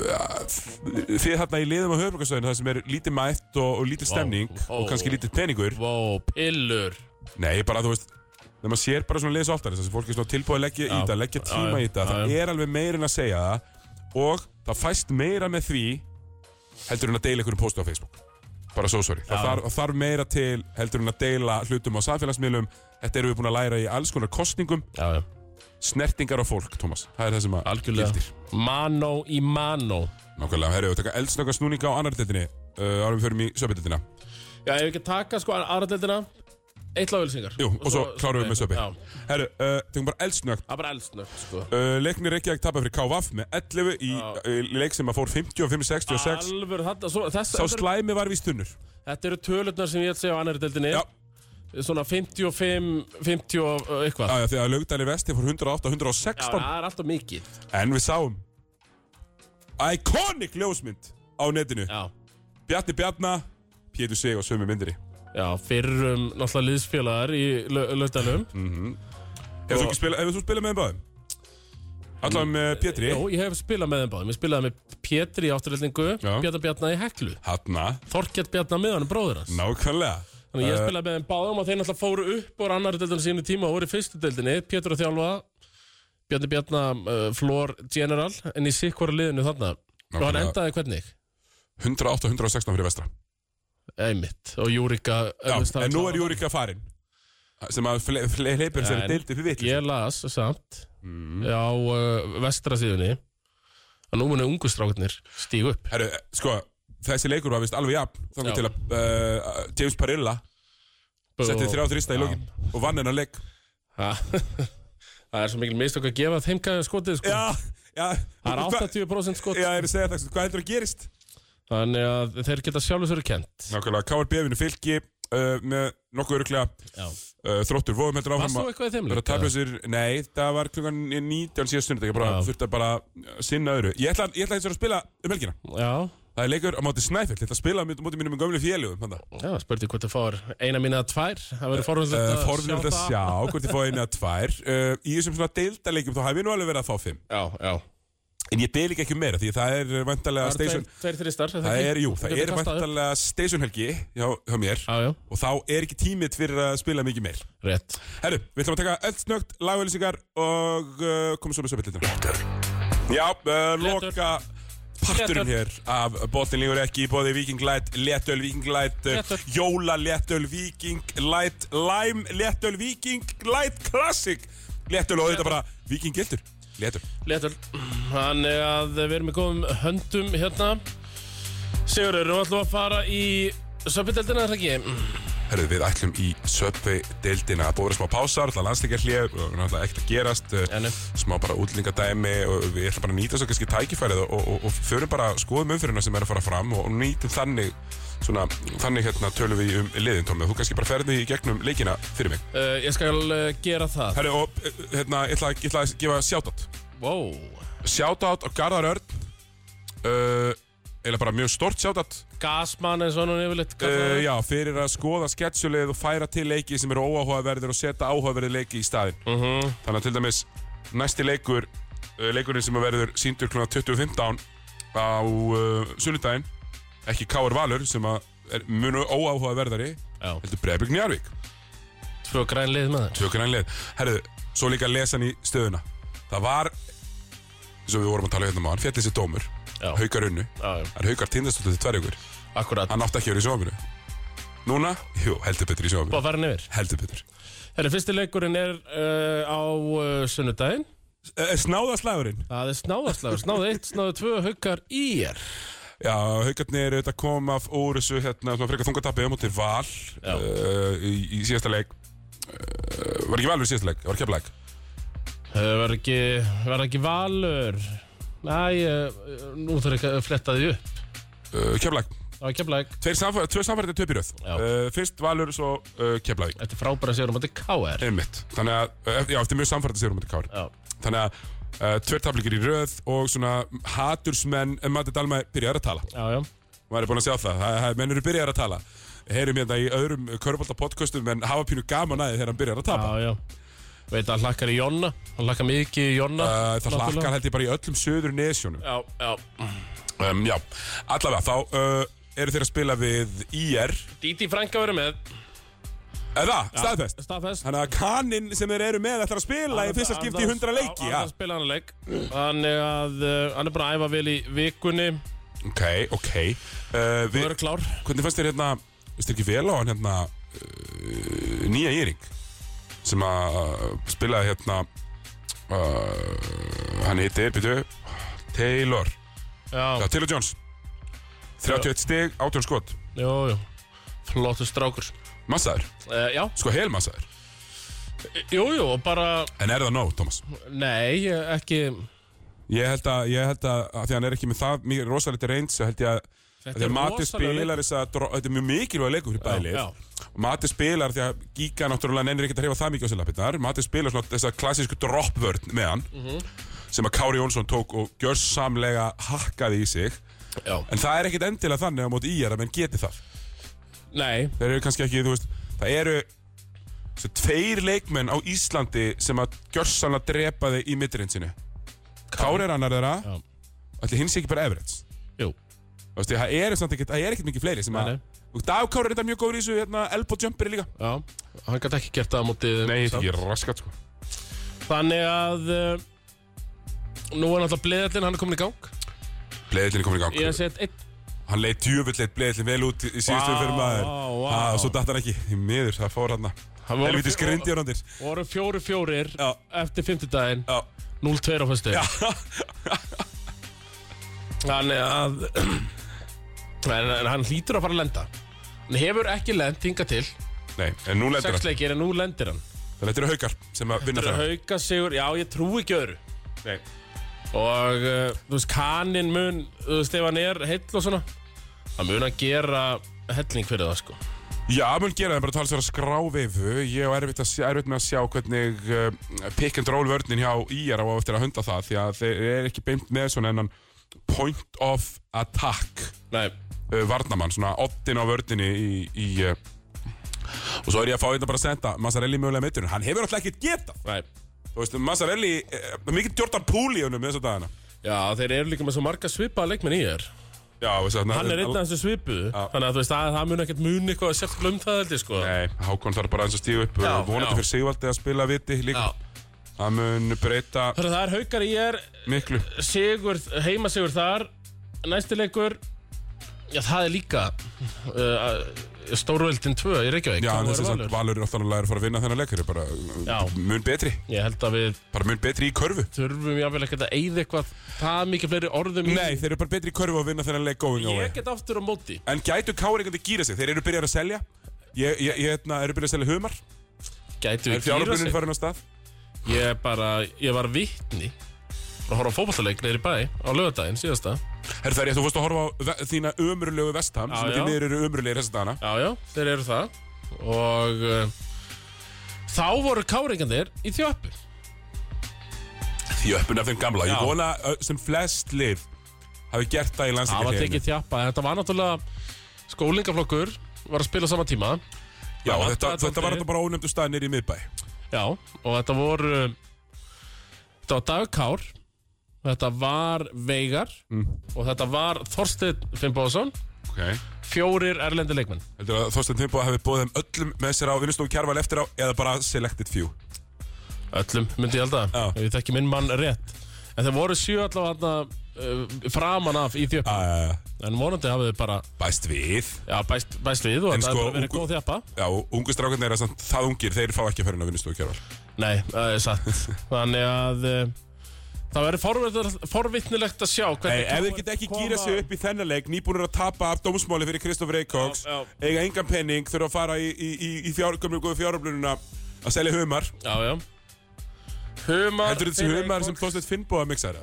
Speaker 2: þið þarna í liðum á höfbrukarstöðinu það sem er lítið mætt og, og lítið stemning
Speaker 3: vá.
Speaker 2: og kannski lítið peningur
Speaker 3: Vó, pillur
Speaker 2: nei, bara þú veist þegar maður sér bara svona liðs oftar þess að fólk er svona tilbúið að leggja í
Speaker 3: Já.
Speaker 2: þetta leggja
Speaker 3: Já,
Speaker 2: tíma
Speaker 3: já,
Speaker 2: í þetta,
Speaker 3: já,
Speaker 2: það
Speaker 3: já.
Speaker 2: er alveg meira en að segja það og það fæst meira með því heldur en að deila einhverjum póstu á Facebook bara svo sorry, það
Speaker 3: Já.
Speaker 2: þarf, það þarf meira til heldur en að deila hlutum á samfélagsmiðlum þetta erum við búin að læra í alls konar kostningum
Speaker 3: Já, já
Speaker 2: snertingar á fólk, Thomas, það er það sem að
Speaker 3: Algjörlega
Speaker 2: gildir.
Speaker 3: Mano í mano
Speaker 2: Nákvæmlega, herru, við taka eldsnöka snúninga á annar deildinni uh, árum við förum í söpidildina
Speaker 3: Já, ef við ekki taka sko aðradeldina Eitt lagvölsingar
Speaker 2: Jú, og svo klárum við með söpi
Speaker 3: Já,
Speaker 2: Herru, uh, tegum bara eldsnökt
Speaker 3: það er bara eldsnögt sko
Speaker 2: uh, Leiknir Reykjavík tapar fyrir KVF með 11 í
Speaker 3: Já.
Speaker 2: uh, leik sem að fór 55-66
Speaker 3: Alvöru, þetta, svo, þess,
Speaker 2: Sá
Speaker 3: þetta,
Speaker 2: slæmi var við stunnur
Speaker 3: eru, þetta eru tölurnar sem ég ætla að segja á annari deildinni
Speaker 2: Já,
Speaker 3: Svona 55, 50 og uh, eitthvað
Speaker 2: já, já, því að Laugdæli Vesti fór 108-116
Speaker 3: Já, það er alltaf mikið
Speaker 2: En við sáum Iconic ljósmynd á netinu
Speaker 3: Já,
Speaker 2: Bjarni Bjarna, Pétur Sig og sömu myndinni
Speaker 3: já fyrrum náttúrulega liðsfélagar í lögdælum mm.
Speaker 2: Hefur þú ekki spilað, hefur þú spilað með þeim báðum? Allan með Pétri
Speaker 3: Jó, ég hef spilað með þeim báðum Ég spilaði með Pétri í átturreldingu
Speaker 2: Já.
Speaker 3: Bjarnar Bjarnar í Heklu
Speaker 2: Hanna,
Speaker 3: Þorkett Bjarnar með hann, bróður hans
Speaker 2: nákvæmlega
Speaker 3: Þannig að ég spilaði með þeim báðum og þeir náttúrulega fóru upp úr annari deildinu sínu tíma og voru í fyrstu deildinni, Pétur að þjálfa Bjarni Bjarnar, uh, Flór General en í sikkvara liðinu þarna og hann
Speaker 2: Nákvæmlega.
Speaker 3: endaði hvernig?
Speaker 2: 108-116 fyrir vestra
Speaker 3: Einmitt, og Júrika
Speaker 2: Já, en nú er Júrika farin sem að fle- fle- hleypir sér
Speaker 3: En
Speaker 2: deildi fyrir vitt
Speaker 3: Ég las samt
Speaker 2: Mm.
Speaker 3: á uh, vestra síðunni að nú muni ungu stráknir stígu upp
Speaker 2: Herru, sko, þessi leikur var vist alveg jafn
Speaker 3: Já.
Speaker 2: þannig til að uh, James Parilla setti
Speaker 3: Og-
Speaker 2: þrjá þrista í
Speaker 3: Já.
Speaker 2: lokin og vann hennar leik
Speaker 3: Ha, Það er svo mikil mistök að gefa þeim gæði skotið sko.
Speaker 2: Já, já
Speaker 3: Það er
Speaker 2: hva-
Speaker 3: 80% skot
Speaker 2: Já, ég er að segja það, sko, hvað heldur að gerist?
Speaker 3: Þannig að þeir geta sjálfsögur kent
Speaker 2: Nákvæmlega, KRB vinur fylki uh, með nokkuð öruglega
Speaker 3: Já.
Speaker 2: uh, þróttur vóðum heldur
Speaker 3: Varst
Speaker 2: áfram
Speaker 3: þú eitthvað í þeim
Speaker 2: vera
Speaker 3: leik, eða?
Speaker 2: taplausir, nei, það var klukkan 19 síðan stund, ég bara
Speaker 3: Já.
Speaker 2: þurfti að bara uh, sinna öðru Ég ætla, ég ætla eins og að spila um helgina
Speaker 3: Já,
Speaker 2: Það er leikur á móti Snæfell, þetta spila á móti mínum gömlu félugum þannig.
Speaker 3: Já, spurði hvort þið fáir eina mín eða tvær. Það verður forvöldilegt
Speaker 2: uh, Forvinnilegt að sjá hvort þið fá einu að tvær uh, Í þessum svona deildarleikjum þá hef ég nú alveg verið að fá fimm
Speaker 3: Já, já.
Speaker 2: En ég deil ekki ekki meira því það er vantarlega
Speaker 3: Það
Speaker 2: station
Speaker 3: eru tveir þristar.
Speaker 2: Það er, jú, það er vantarlega stationhelgi hjá, hjá mér
Speaker 3: Já, já,
Speaker 2: Og þá er ekki tímið fyrir að spila mikið meir
Speaker 3: rétt.
Speaker 2: Herru, við ætlum að taka öll snögt lagauðlýsingar og uh, komum svo með söpillitur Já, uh, loka parturinn hér af Bóttin lífur ekki í bóði Viking Light, Letöl Viking Light uh,
Speaker 3: Léttöl.
Speaker 2: Jóla Letöl Viking Light Lime Letöl Viking Light Classic Letöl og þetta bara Viking Gildur Letöl
Speaker 3: Letur. Þannig að við erum í góðum höndum hérna. Sigurður, nú ætlum við að fara í söpindeldina, er það ekki?
Speaker 2: Herru, við ætlum í söpvi-deildina Búið að vera smá pásar, alltaf landsleikja hlið og náttúrulega ekkert að gerast uh,
Speaker 3: Ennu.
Speaker 2: smá bara útlendingadæmi og við ætlum bara að nýta svo kannski tækifærið og, og, og förum bara skoðum umfyrirna sem er að fara fram og, og nýtum þannig svona, þannig hérna tölum við um liðin Tómi þú kannski bara ferði í gegnum leikina fyrir mig
Speaker 3: Uh, ég skal uh, gera það.
Speaker 2: Herri og eh, hérna, ég ætla, ég ætla að gefa shoutout
Speaker 3: Wow.
Speaker 2: shoutout á Garðar Örn uh, eða bara mjög stort shoutout
Speaker 3: Gasmann eins og hann yfirleitt.
Speaker 2: uh,
Speaker 3: kallaður.
Speaker 2: já, fyrir að skoða sketsjulið og færa til leiki sem eru óáhugaverðir og setja áhugaverði leiki í staðin
Speaker 3: Mhm.
Speaker 2: Þannig að til dæmis næsti leikur uh, leikurinn sem verður síndur kl. 20.15 á uh, sunnudaginn ekki K.R. Valur sem að er munu óáhuga verðari
Speaker 3: Já,
Speaker 2: heldur Breiðbygg Njarvík
Speaker 3: tvö græn lið með þér.
Speaker 2: tökurnanlega herðu, svo líka lesan í stöðuna það var eins og við vorum að tala hérna maður fjallið sér dómur
Speaker 3: Já.
Speaker 2: haukar unnu
Speaker 3: Já, já,
Speaker 2: það er haukar tindastóttu til tverjugur
Speaker 3: akkurat.
Speaker 2: hann átti ekki að vera í sjófinu núna, jú, heldur betur í
Speaker 3: Búið
Speaker 2: sjófinu
Speaker 3: að fara nefnir.
Speaker 2: heldur betur
Speaker 3: Herri, fyrsti leikurinn er uh, á uh, sunnudaginn.
Speaker 2: Eh, snáðaslagurinn
Speaker 3: Það er snáðaslagur, snáð 1, snáð 2, huggar í er.
Speaker 2: Já, haugarnir auðvitað koma af úr þessu hérna, svona frekar þungatappi á móti val uh, í, í síðasta leik uh, Var ekki valur í síðasta leik? Var keflæk?
Speaker 3: Það var Eh, ekki, var ekki valur. Næ, uh, nú þarf ekki að fletta því upp.
Speaker 2: Uh, keflæk
Speaker 3: Það var kemlaðið
Speaker 2: Tveir samfæ- Tvö samfærið er töpiröð
Speaker 3: Já.
Speaker 2: uh, Fyrst valur, svo uh, keflæk
Speaker 3: eftir frábæra sigurum á KR.
Speaker 2: Einmitt Þannig að, uh, já, eftir mjög samfærið sér um þetta kár
Speaker 3: Já,
Speaker 2: Þannig að uh, tveir taflíkir í röð og svona hatursmenn um Matti Dalmæ byrjar að tala
Speaker 3: já, já.
Speaker 2: maður er búin að sjá það, það, það menn eru byrjar að tala heyrum hérna í öðrum körfaldar podcastum en hafa pínu gaman aðeins þegar hann byrjar að tapa
Speaker 3: Já, já. Veit að hann hlakkar í Jonna. Hann hlakkar mikið í Jonna.
Speaker 2: Uh, það
Speaker 3: náttúrulega.
Speaker 2: hlakkar held ég bara í öllum söður nesjónum
Speaker 3: Já, já.
Speaker 2: um, Já, allavega þá uh, eru þeir að spila við IR
Speaker 3: Díti Franka verið með.
Speaker 2: Eða, staðfest
Speaker 3: Staðfest.
Speaker 2: Þannig að kaninn sem þeir eru með ætlar að spila í fyrsta skipti í 100 leiki
Speaker 3: Já,
Speaker 2: já.
Speaker 3: hann spila hann að leik. Þannig að uh, hann er bara að æfa vel í vikunni.
Speaker 2: Ok, ok uh,
Speaker 3: Þú
Speaker 2: við,
Speaker 3: eru klár.
Speaker 2: Hvernig fannst þér hérna, veist ekki vel á hann hérna uh, Nýja Íring sem að uh, spilaði hérna uh, Hann heitir, byrju Taylor,
Speaker 3: Já,
Speaker 2: já, Taylor Jones 31 stig, 18 skot
Speaker 3: jú, jú. Flottu strákur.
Speaker 2: Massaður,
Speaker 3: Uh, já,
Speaker 2: sko helmassaður
Speaker 3: jú, jú, og bara,
Speaker 2: En er það nóg, Tómas?
Speaker 3: nei, ekki,
Speaker 2: Ég held að, ég held að, að því að hann er ekki með það mikið rosalítið reyns, ég held ég að Þetta er matið
Speaker 3: rosalegur leikur.
Speaker 2: spilar þess að, dro- þetta er mjög mikilvæg leikur fyrir bæðið
Speaker 3: já.
Speaker 2: og matið spilar því að Gíga náttúrulega nennir ekkert að hrifa það mikið á sér lappirnar matið spilar svona þessa klassísku droppvörn með hann sem að Kári Jónsson tók og gjörsamlega hakkaði í sig
Speaker 3: Já.
Speaker 2: en það er ekkert endilega þannig á móti í er að menn geti það
Speaker 3: Nei,
Speaker 2: þeir eru kannski ekki, þú veist, það eru þessi tveir leikmenn á Íslandi sem að gjörsanlega drepa þig í middirinn sinni Kári er annar þeirra
Speaker 3: Já.
Speaker 2: allir hins ekki bara Everett
Speaker 3: jú,
Speaker 2: Þú veist, það eru samt ekkert, það eru ekkert mikið fleiri sem að
Speaker 3: Nei, nei.
Speaker 2: og Dag Kári er þetta mjög góður í þessu, hérna, elbow jumper líka
Speaker 3: já, hann gæti ekki gert það á móti
Speaker 2: er raskat sko
Speaker 3: Þannig að, uh, nú er náttúrulega bleðallinn, hann er komin í gang
Speaker 2: Bleiðillin er komin í gang,
Speaker 3: Ég hef sett einn,
Speaker 2: hann leitt djöfull leitt bleiðillin vel út í síðustu
Speaker 3: Vá,
Speaker 2: fyrir maður
Speaker 3: vá.
Speaker 2: Ha, Svo datt hann ekki, í miður, það fór hann
Speaker 3: Hann var-
Speaker 2: Helviti skrindi hann þér
Speaker 3: voru fjóri fjórir
Speaker 2: Já.
Speaker 3: eftir fimmtudaginn,
Speaker 2: Já,
Speaker 3: 0-2 á fyrstu Þannig að, en, en hann hlýtur að fara að lenda Hann hefur ekki lent hinga til,
Speaker 2: nei, en nú lendir
Speaker 3: sex
Speaker 2: hann
Speaker 3: leikir en nú lendir hann
Speaker 2: Þannig að þetta eru haukar sem að vinna
Speaker 3: Þetta
Speaker 2: það
Speaker 3: eru hauka sigur, já ég trúi ekki öðru
Speaker 2: Nei.
Speaker 3: Og uh, þú veist, kaninn mun, þú veist, ef hann er heill og svona Það mun að gera helling fyrir það sko
Speaker 2: Já, mun gera það bara tala sér að skrá vifu Ég er erfitt, að, sjá- erfitt með að sjá hvernig eh, uh, pick and roll vörnin hjá IR á eftir að hunda það því að þeir eru ekki beint með svona en hann point of attack
Speaker 3: Nei,
Speaker 2: uh, varnamann, svona oddin á vördinni í, í uh, og svo er ég að fá þetta bara að senda Massarelli mögulega meittunum, hann hefur alltaf ekkert getað
Speaker 3: nei
Speaker 2: þú veist, Massarelli, uh, mikið Jordan Poole í honum þess að dagana
Speaker 3: Já, þeir eru líka með svo marga svipaða leikmenn í þér
Speaker 2: Já, veist,
Speaker 3: Hann er einn af þessu svipuðu Þannig að þú veist að það mun ekkert mun eitthvað sérstaklega um það held ég sko
Speaker 2: Nei, Hákon þarf bara aðeins að stíða upp eh,
Speaker 3: Já, já.
Speaker 2: vonandi fyrir Sigvaldi að spila viti líka
Speaker 3: Já.
Speaker 2: það mun breyta
Speaker 3: Hörru, Það er haukar í er
Speaker 2: miklu
Speaker 3: sigur, heima sigur þar Næsti leikur Já, það er líka uh, Stórveldin 2 í Reykjavík
Speaker 2: Já, en
Speaker 3: KR
Speaker 2: þessi samt
Speaker 3: Valur.
Speaker 2: Valur er alltaf að fara að vinna þennan leikari bara
Speaker 3: Já.
Speaker 2: mun betri,
Speaker 3: Ég held að við
Speaker 2: bara mun betri í körfu
Speaker 3: þurfum jáfnvel ekkert að eyða eitthvað það mikið fleiri orðum í
Speaker 2: Nei, þeir eru bara betri í körfu að vinna þennan leik going away
Speaker 3: Ég get aftur á móti
Speaker 2: En gætu Kári einhvern veginn gýra sig, þeir eru byrjar að selja Ég, ég, ég hérna, eru byrjar að selja humar
Speaker 3: Gætu
Speaker 2: Er
Speaker 3: við kýra
Speaker 2: fjárlöfbrunin
Speaker 3: sig
Speaker 2: farin á stað?
Speaker 3: Ég bara, ég var vittni að horfa á fótballaleik neyri bæ á lögadaginn síðasta
Speaker 2: Herðu það er ég, þú fórst að horfa á ve- þína ömurlegu vestham
Speaker 3: Já,
Speaker 2: sem
Speaker 3: já.
Speaker 2: ekki niður eru ömurlegir þessa dagana
Speaker 3: Já, já, þeir eru það og uh, þá voru káringandir í þjöppu
Speaker 2: Þjöppun af þeim gamla,
Speaker 3: Já.
Speaker 2: ég vona ö, sem flest lið hafi gert það í
Speaker 3: Það var
Speaker 2: landsleikarhléinu.
Speaker 3: tekið þjappa, þetta var náttúrulega skólingaflokkur var að spila á sama tíma
Speaker 2: Já,
Speaker 3: Það
Speaker 2: þetta,
Speaker 3: vantaði
Speaker 2: þetta var
Speaker 3: dálítið.
Speaker 2: þetta bara ónefndu stað nýri í miðbæ
Speaker 3: Já, og þetta voru þetta var Dagur Kár þetta var Veigar og þetta var Þorsteinn Finnbóðsson
Speaker 2: okay.
Speaker 3: fjórir erlendi leikmenn
Speaker 2: Heldur að Þorstein Timbo hafi bóðið þeim öllum með sér á vinnustofu kjærval eftir á eða bara selected few
Speaker 3: öllum myndi ég halda,
Speaker 2: Já.
Speaker 3: ef ég þekki minn mann rétt en þeir voru sjö allavega uh, framan af í þjöppu
Speaker 2: uh,
Speaker 3: en vonandi hafið þið bara
Speaker 2: Bæst við
Speaker 3: já, bæst, bæst við og
Speaker 2: En sko,
Speaker 3: þetta sko, er bara verið
Speaker 2: ungu-
Speaker 3: góð þjappa
Speaker 2: Já, ungu strákarnir er samt það ungir, þeir fá ekki að ferðin á vinnustofu kjærval
Speaker 3: Nei, það er satt Þannig að uh, það verður forvittnilegt að sjá
Speaker 2: Nei,
Speaker 3: hvernig
Speaker 2: ef þeir geta ekki gýra sig upp í þennan leik Nýbúnir að tapa af dómsmáli fyrir Kristoffer Eikóks
Speaker 3: Já, já.
Speaker 2: Eiga engan penning, þurfa að fara í, í, í, í fjár, gömlu góðu fjáröflununa að selja humar
Speaker 3: Já, já Humar
Speaker 2: Heldur þetta þessi humar sem Þorstein Finnbóða mixaði?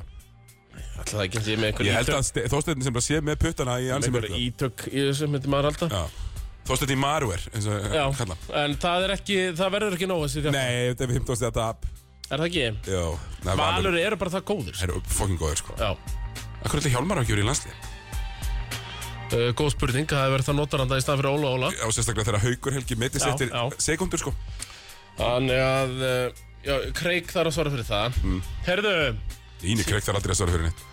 Speaker 3: Alltaf það ekki ég með einhver
Speaker 2: Ég held
Speaker 3: ítök
Speaker 2: að Ste- Þorsteinn sem bara sé með puttana í ansi
Speaker 3: einhver
Speaker 2: mörgum
Speaker 3: ítök í þessu myndi maður halda
Speaker 2: Já. Þorsteinn í Marwer, eins og
Speaker 3: Já,
Speaker 2: kalla hann.
Speaker 3: en það er ekki, það verður ekki nóg þessi þjálf
Speaker 2: Nei, þetta er 15 stíða tap
Speaker 3: Er það ekki?
Speaker 2: Já, það er Valur
Speaker 3: Valur eru bara það góðir
Speaker 2: Það eru fokkin góður sko
Speaker 3: Já,
Speaker 2: Akkur ætla Hjálmar að gjöra í landslið
Speaker 3: uh, góð spurning, það hefur verið það notaranda í stað fyrir Óla Óla
Speaker 2: Já, sérstaklega þegar Haugur Helgi meitist
Speaker 3: Já,
Speaker 2: eftir
Speaker 3: já.
Speaker 2: sekundur sko
Speaker 3: Þannig að, uh, já, Craig þarf að svara fyrir það
Speaker 2: Mm.
Speaker 3: Herðu,
Speaker 2: Íni Kreik þarf aldrei að svara fyrir henni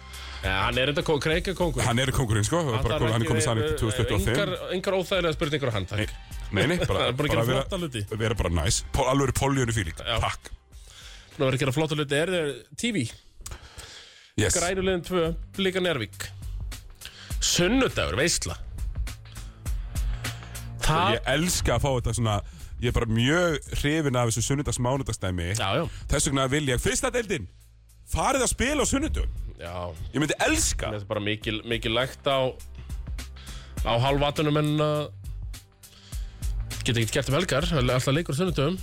Speaker 3: ja, hann er enda, Craig er kongur
Speaker 2: Hann er kongurinn sko Hann, bara,
Speaker 3: þarf
Speaker 2: hann er
Speaker 3: ekki- eh,
Speaker 2: komið sann upp til
Speaker 3: Engar,
Speaker 2: 2025
Speaker 3: engar óþægilega spurningar á hann, takk.
Speaker 2: Nei, nei, bara,
Speaker 3: Það er bara að gera flotta hluti.
Speaker 2: vera, vera bara næs Pol, Alveg er poljónu fílík
Speaker 3: Já.
Speaker 2: Takk
Speaker 3: Nú er að gera flotta hluti. Er þau TV?
Speaker 2: Yes
Speaker 3: Grænulegin 2, Blika Nervík. Sunnudagur, veistla. Það...
Speaker 2: Ég elska að fá þetta svona Ég er bara mjög hrifin af þessu sunnudags mánudagsdæmi
Speaker 3: Já, já,
Speaker 2: Þess vegna vil ég Fyrsta deildin Farið að spila á sunnudum
Speaker 3: já.
Speaker 2: Ég myndi elska
Speaker 3: Mér finnst bara mikil, mikil lægt á, á halvatunum en að geta ekkert gert um helgar, alltaf leikur á sunnudagum.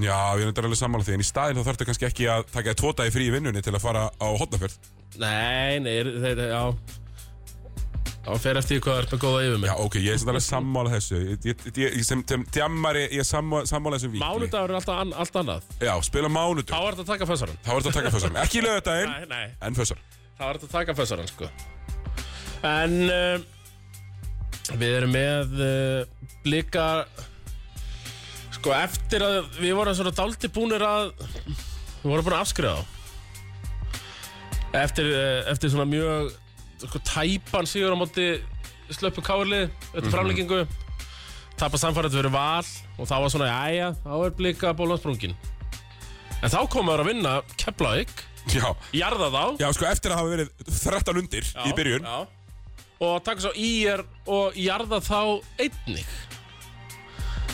Speaker 2: Já, ég er þetta alveg sammála því En í staðinn þá þarftu kannski ekki að taka þér tvo dagi frí í vinnunni Til að fara á hotnafjörð
Speaker 3: Nei, nei, er- þeir, já. Já, fer eftir því hvað það er með góða yfir mig.
Speaker 2: Já, ok, ég er sem alveg sammála þessu Ég, ég, ég, sem sem djammari, ég er sammála, sammála þessu víkli
Speaker 3: Mánudagur er alltaf an, allt annað.
Speaker 2: Já, spila
Speaker 3: Þá
Speaker 2: mánudum
Speaker 3: er þetta að taka fæsaran.
Speaker 2: Þá er þetta að taka fössar Ekki lögadaginn,
Speaker 3: Nei, nei,
Speaker 2: en fössar
Speaker 3: það var þetta að taka fessarann sko En uh, Við erum með uh, Blika Sko eftir að við vorum svona dálti búnir að Við vorum búin að afskriða þá Eftir, uh, eftir svona mjög sko, Tæpan sigur á móti Slöppu kálið, eftir framleggingu Tappa samfærið verið val Og þá var svona, jæja, þá er blika Bólansbrungin En þá komaður að vinna Keflavík,
Speaker 2: Já,
Speaker 3: jarða þá
Speaker 2: já, sko, eftir að hafa verið 13 undir í byrjun
Speaker 3: já. Og taka svo ír og jarða þá einnig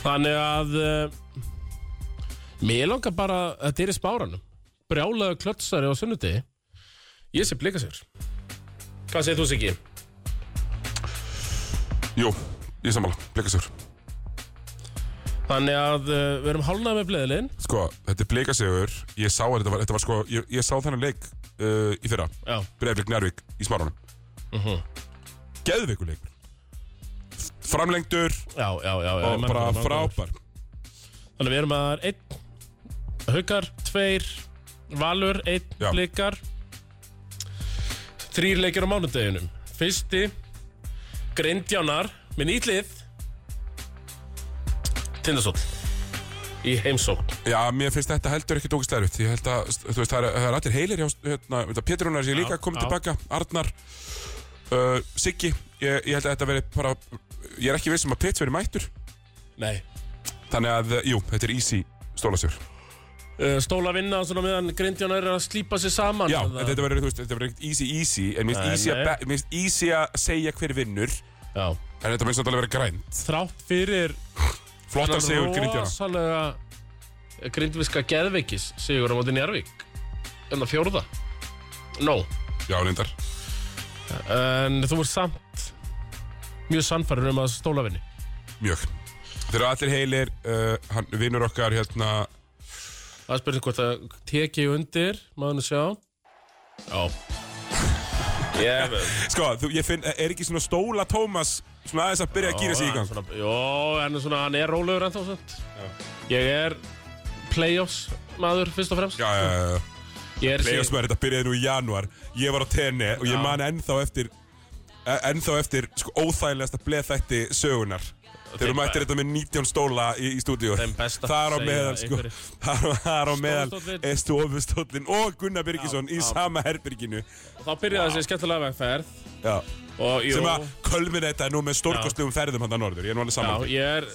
Speaker 3: Þannig að uh, Mér langar bara Þetta er í spáranum Brjálaðu klötsari á sunnudegi Ég sé blika sér Hvað segir þú Siggi?
Speaker 2: Jú, ég er sammála, blikasögur
Speaker 3: Þannig að uh, við erum hálnað með bleðilinn
Speaker 2: Sko, þetta er blikasögur Ég sá að þetta var, þetta var sko Ég, ég sá þennan leik uh, í fyrra
Speaker 3: Já,
Speaker 2: Breiðblik Njárvík í smáranum uh
Speaker 3: Mhm.
Speaker 2: -huh. Geðveikuleikur Framlengdur
Speaker 3: já, já, já, já ég
Speaker 2: og
Speaker 3: man
Speaker 2: bara
Speaker 3: hvað það var.
Speaker 2: frábær
Speaker 3: Þannig að við erum að það er einn Haukar, tveir Valur, einn,
Speaker 2: Já.
Speaker 3: blikar Þrýr leikir á mánudeginum Fyrsti Grindjánar með nýtlið Tindastóll Í heimsókn
Speaker 2: Já, mér finnst þetta heldur ekki tókist erfitt Ég held að, þú veist, það er, það er allir heilir hjá, hérna, hérna, Pétur Rúnar sé líka komið
Speaker 3: já.
Speaker 2: tilbaka Arnar uh, Siggi, ég, ég held að þetta veri bara Ég er ekki viss um að Pétur veri mættur
Speaker 3: Nei
Speaker 2: Þannig að, jú, þetta er easy stólasjör
Speaker 3: Uh, Stóla vinna og svona meðan Grindjánar er að slípa sér saman
Speaker 2: Já,
Speaker 3: eða-
Speaker 2: þetta verður, þú veist, þetta verður ekkert easy easy En mér
Speaker 3: Nei,
Speaker 2: finnst easy að
Speaker 3: nei.
Speaker 2: be- mér finnst easy að segja hver vinnur
Speaker 3: Já.
Speaker 2: En þetta minnst náttúrulega verið grænt
Speaker 3: Þrátt fyrir
Speaker 2: Flottar segur grindjana
Speaker 3: Rosalega Grindviska geðveikis Sigur á móti Njarvík En það fjórða Nó
Speaker 2: Já, lindar
Speaker 3: En þú ert samt Mjög sannfærin um að stóla vinni
Speaker 2: Mjög Þeir eru allir heilir uh, hann, Vinnur okkar hérna
Speaker 3: Það er spurning hvort að teki ég undir Maður nú sjá Já Ég
Speaker 2: Sko, þú, ég finn Er ekki svona stóla Tómas Svona aðeins að byrja að gýra sig í gang
Speaker 3: Svona, jó, en svona, hann er rólegur ennþá svont Ég er playoffs maður fyrst og fremst
Speaker 2: Já, já, já, já
Speaker 3: Ég er
Speaker 2: Leifas maður þetta byrjaði nú í januar Ég var á tenni Og ég man ennþá eftir e- Ennþá eftir sko, óþægilegasta bleð þætti sögunar Þeir eru
Speaker 3: þeim
Speaker 2: mættir þetta með 19 stóla í, í stúdíu
Speaker 3: Þeim best að
Speaker 2: Þar á
Speaker 3: segja
Speaker 2: meðal, sko
Speaker 3: einhverju.
Speaker 2: Þar þar á meðal
Speaker 3: Stofustóllinn.
Speaker 2: er stofustóllin Og Gunnar Birgisson í
Speaker 3: já.
Speaker 2: sama herbyrginu
Speaker 3: Þá byrjaði þessi skemmtilega vegferð
Speaker 2: Já
Speaker 3: og, jú,
Speaker 2: sem að kölmina þetta nú með stórkostlegum ferðum hann að norður, ég er nú alveg
Speaker 3: Já,
Speaker 2: saman
Speaker 3: ég er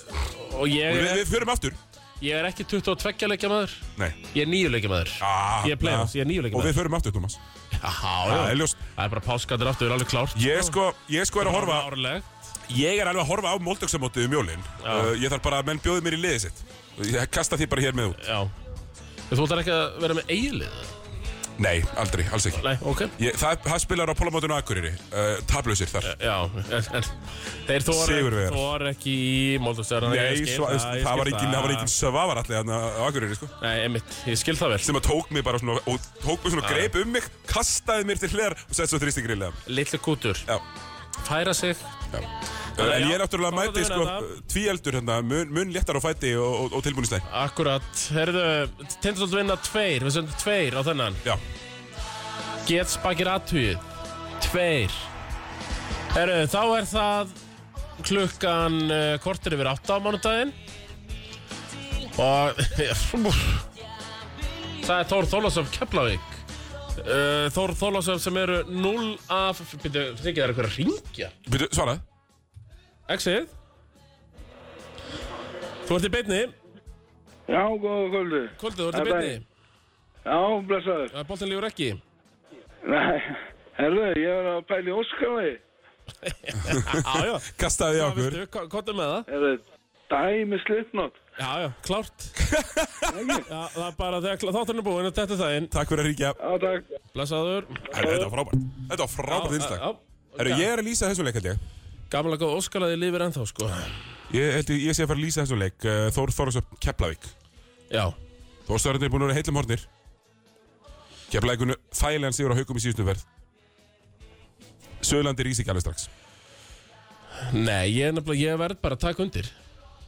Speaker 3: Og ég
Speaker 2: Við,
Speaker 3: er,
Speaker 2: við fjörum aftur
Speaker 3: ég er ekki 22 leikja maður
Speaker 2: Nei
Speaker 3: Ég er 9 leikja maður
Speaker 2: ah,
Speaker 3: Ég er playoffs, ég er níu leikja
Speaker 2: Og
Speaker 3: maður.
Speaker 2: við fjörum aftur, Thomas Það
Speaker 3: Já,
Speaker 2: er
Speaker 3: já
Speaker 2: ljóst
Speaker 3: Það er bara páskatir aftur, það er alveg klárt
Speaker 2: Ég sko, ég sko er að horfa
Speaker 3: Árleg
Speaker 2: Ég er alveg að horfa á Moldöksamótið um jólin uh, Ég þarf bara að menn bjóði mér í liðið sitt Ég kasta því bara hér með út
Speaker 3: Já Þú ætlar ekki að vera með eigilið
Speaker 2: Nei, aldrei, alls ekki
Speaker 3: Nei, ok
Speaker 2: ég, það, það spilar á Pólamótinu Akureyri uh, Tablausir þar
Speaker 3: Já, en, en þeir þóra,
Speaker 2: Sigurvegarar.
Speaker 3: þóra ekki í Moldovstæðan
Speaker 2: Nei, svo, það, var engin, það var engin svavar allir hann á Akureyri sko
Speaker 3: Nei, einmitt, ég skil það vel
Speaker 2: sem að tók mig bara svona og tók mig svona greip um mig kastaði mér til hliðar og sett svo þrýsti grillega
Speaker 3: Lillu kútur,
Speaker 2: Já
Speaker 3: færa sig
Speaker 2: En
Speaker 3: Þannig
Speaker 2: ég
Speaker 3: að já,
Speaker 2: er náttúrulega
Speaker 3: þá
Speaker 2: mæti
Speaker 3: þarf að
Speaker 2: sko
Speaker 3: vera þetta.
Speaker 2: tvíeldur hérna, mun, mun léttar á fæti og, og, og tilbúin í slæg.
Speaker 3: Akkurat, herðu Tindastótt vinna tveir, við sendum tveir á þennan
Speaker 2: Já,
Speaker 3: Get spakir aðtugið Tveir Herru, þá er það klukkan uh, kortir yfir átta á mánudaginn og það er Þór Þólasöf Keflavík uh, Þór Þólasöf sem eru 0 af byrju, þykir það er eitthvað að ringja
Speaker 2: byrju, svaraði.
Speaker 3: Exið Þú ert í beinni
Speaker 1: Já, góða kvöldu.
Speaker 3: Kvöldið, þú ert í
Speaker 1: Þetta er-
Speaker 3: beinni
Speaker 1: Já, blessaður.
Speaker 3: Það er boltin lífur ekki
Speaker 1: Nei, herðu, ég var að pæla í Óskarlegi.
Speaker 3: Já, já,
Speaker 2: Kastaði í
Speaker 3: hvað
Speaker 2: okkur.
Speaker 3: viltu, hvað er með það?
Speaker 1: Herðu, dæmi slipnot.
Speaker 3: Já, já, klárt Já, það er bara þegar þátturinn er búinn og þetta er það inn
Speaker 2: Takk fyrir að ríkja.
Speaker 1: Já, takk.
Speaker 3: Blessaður
Speaker 2: Herru, þetta var frábært. Þetta var frábært
Speaker 3: Já,
Speaker 2: innslag.
Speaker 3: já.
Speaker 2: Herru, ég er að lýsa þessum leik held ég.
Speaker 3: Gamla góð óskalaði lifir ennþá sko
Speaker 2: Ég held ég, ég sé að fara að lýsa þessum leik. Uh, Þór Þórasöp Keflavík.
Speaker 3: Já,
Speaker 2: Þórstörðin er búin að vera heillum hornir. Keflavíkunu þægilegan sigur á haugum í síðustu verð. Söðlandi rýs ekki alveg strax.
Speaker 3: nei, ég er nefnilega, ég verð bara að taka undir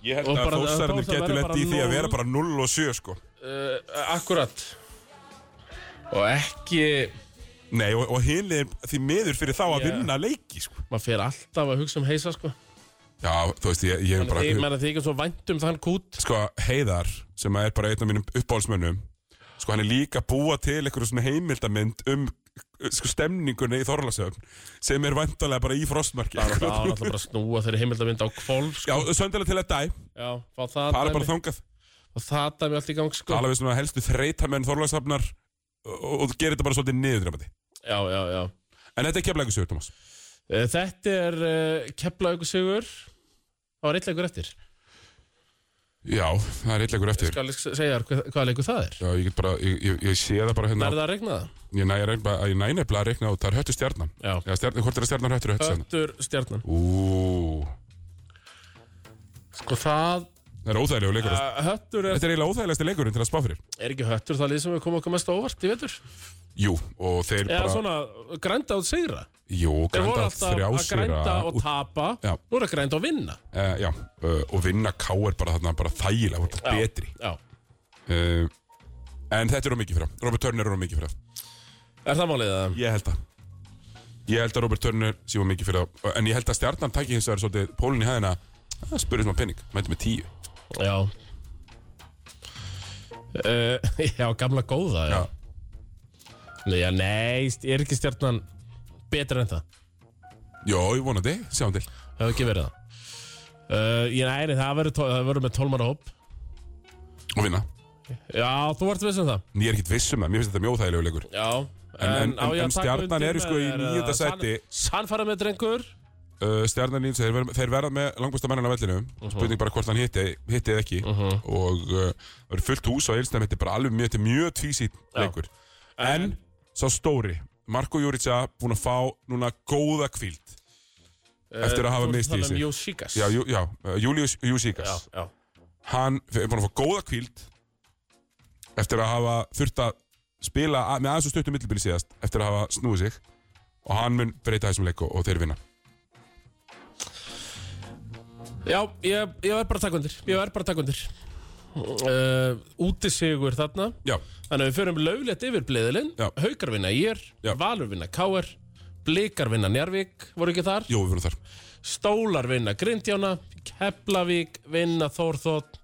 Speaker 2: Ég held
Speaker 3: Og
Speaker 2: að
Speaker 3: bara-
Speaker 2: Þórstörðin
Speaker 3: Þórsararnir
Speaker 2: getur
Speaker 3: verða
Speaker 2: lett
Speaker 3: bara
Speaker 2: í því að
Speaker 3: núll.
Speaker 2: vera bara 0 og 7 sko.
Speaker 3: uh, Akkurat Og ekki,
Speaker 2: Nei, og, og hinliðin því miður fyrir þá að
Speaker 3: Já.
Speaker 2: vinna leiki sko.
Speaker 3: maður fer alltaf að hugsa um heisa sko
Speaker 2: Já, þú veist, ég, ég er bara...
Speaker 3: Ég menna þykir svo vænt um þann kút
Speaker 2: sko, Heiðar, sem er bara einn af mínum uppáhaldsmönnum sko, hann er líka að búa til einhverjum svona heimildamynd um sko, stemningunni í Þorlasöfn sem er vandalega bara í frostmarki
Speaker 3: Það er alltaf bara að snúa þeirri heimildamind á kvolf sko.
Speaker 2: Já, söndalega til að dæ,
Speaker 3: Já, fá það
Speaker 2: bara bara
Speaker 3: dæmi
Speaker 2: þangað
Speaker 3: Og það dæmi allt í gang sko
Speaker 2: tala við svona helstu þreytamenn Þorlasöfnar og, og gera þetta bara svolítið niðurdrefandi
Speaker 3: Já, já, já
Speaker 2: En þetta er kemleikur sigur, Thomas
Speaker 3: Eh, Þetta er uh, Keflavíkur sigur Það var eitt leikur eftir
Speaker 2: Já, það er eitthvað eftir
Speaker 3: Skal ég segja þér hvað- hvaða leikur það er?
Speaker 2: Já, ég get bara, ég, ég, ég sé það bara hérna
Speaker 3: Það er það að regna það
Speaker 2: Ég næ ég reyna bara- ég næ nefnilega að reikna út, það er höttu stjarnan
Speaker 3: Já.
Speaker 2: Já, stjarnan, hvort er að stjarnan höttur og höttu stjarnan?
Speaker 3: Höttur stjarnan
Speaker 2: Ú,
Speaker 3: Sko það
Speaker 2: það er óþægilegu leikur
Speaker 3: uh, Höttur er,
Speaker 2: Þetta er eiginlega óþægilegasti leikurinn til að spá fyrir
Speaker 3: er ekki höttur það lið sem við komum okkur mest á óvart í vetur
Speaker 2: Jú, og þeir
Speaker 3: Eða
Speaker 2: bara
Speaker 3: svona grænda og sigra
Speaker 2: Jú,
Speaker 3: Þeir
Speaker 2: grænda
Speaker 3: voru
Speaker 2: þrjá
Speaker 3: alltaf að grænda og tapa
Speaker 2: Já.
Speaker 3: Nú er að grænda og vinna
Speaker 2: uh, Já, uh, og vinna K er bara þarna bara þægilega, voru bara betri
Speaker 3: Já
Speaker 2: uh, En þetta er of mikið fyrir það Robert Turner er of mikið fyrir það
Speaker 3: Er það málið það?
Speaker 2: Ég held það Ég held að Robert Turner sé var mikið fyrir það En ég held að stjarnan taki hins vegar svolítið pólun í hæðina Það spurði smá penning, mætti með tíu
Speaker 3: Já uh, Já, gamla góða Já,
Speaker 2: Já,
Speaker 3: Nei, já nei, st- er ekki stjarnan betur en það
Speaker 2: Jó, ég vonandi, sjáum til
Speaker 3: Það hefur ekki verið það uh, Ég næri, það verður tó- það verður með 12 manna hóp
Speaker 2: Og vinna
Speaker 3: Já, þú ert viss um það
Speaker 2: En ég er ekkit viss um það, mér finnst þetta mjög óþægilegu leikur
Speaker 3: Já
Speaker 2: en- en- en Stjarnan eru sko í
Speaker 3: uh,
Speaker 2: níunda sæti.
Speaker 3: Sannfara með drengur
Speaker 2: uh, Stjarnan Nýns, þeir, ver- þeir verða með langbústa mennina á vellinu Spurning bara hvort hann hitti, hitti eða ekki Og uh, það verður fullt hús á Eilstam Þetta er bara alveg mjög, þetta er mjög tvísýtt leikur En sá stóri Marko Júrica búin að fá núna góða kvíld
Speaker 3: uh,
Speaker 2: Eftir að hafa mist í sig.
Speaker 3: um Jósíkas
Speaker 2: Já, jú, já uh, Július
Speaker 3: já,
Speaker 2: Júsíkas
Speaker 3: já
Speaker 2: Hann er búin að fá góða kvíld Eftir að hafa þurft að spila að, með aðeins og stuttum millibili síðast Eftir að hafa snúið sig Og hann mun breyta þessum leik og, og þeir vinna
Speaker 3: Já, ég, ég verð bara að taka undir Ég verð bara að taka undir uh, Útisigur þarna
Speaker 2: Já,
Speaker 3: Þannig að við förum löglegt yfir bleðilinn
Speaker 2: Já.
Speaker 3: Haukar vinna IR,
Speaker 2: Já.
Speaker 3: Valur vinna KR Blikar vinna Njarvík, voru ekki þar
Speaker 2: jú, við verðum þar
Speaker 3: Stólar vinna Grindjána Keflavík vinna Þórþótt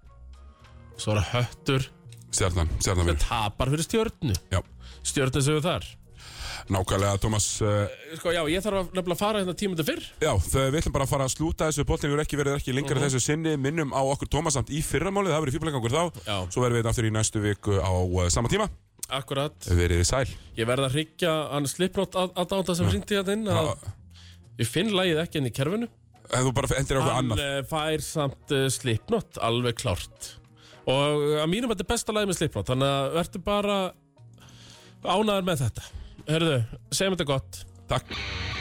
Speaker 3: Svo er það höttur
Speaker 2: Stjarnan, stjarnan vinnur
Speaker 3: Tapar fyrir stjörnu
Speaker 2: Já,
Speaker 3: Stjörnu sem við þar
Speaker 2: nákvæmlega Tómas uh,
Speaker 3: Sko já, ég þarf að nefnilega að fara hérna tímundu fyrr
Speaker 2: Já, þau, við ætlum bara að fara að slúta þessu Bóttin hefur ekki verið ekki lengra þessu sinni Minnum á okkur Tómasamt í fyrramálið Það verið fýrblegangur þá
Speaker 3: Já.
Speaker 2: Svo verðum við þetta aftur í næstu viku á uh, sama tíma
Speaker 3: Akkurat
Speaker 2: Verið þið sæl
Speaker 3: Ég verð að hryggja hann slipnót aðdánda sem hringdi hérna inn að Ég finn lagið ekki inn í kerfinu
Speaker 2: Ef þú bara endur okkur
Speaker 3: Hann
Speaker 2: annað
Speaker 3: eh, fær samt uh, Slipknot alveg klárt og eh, að mínum þetta er besta lagi með Slipknot þannig að verður bara ánæður með þetta Herðu, segjum þetta gott
Speaker 2: Takk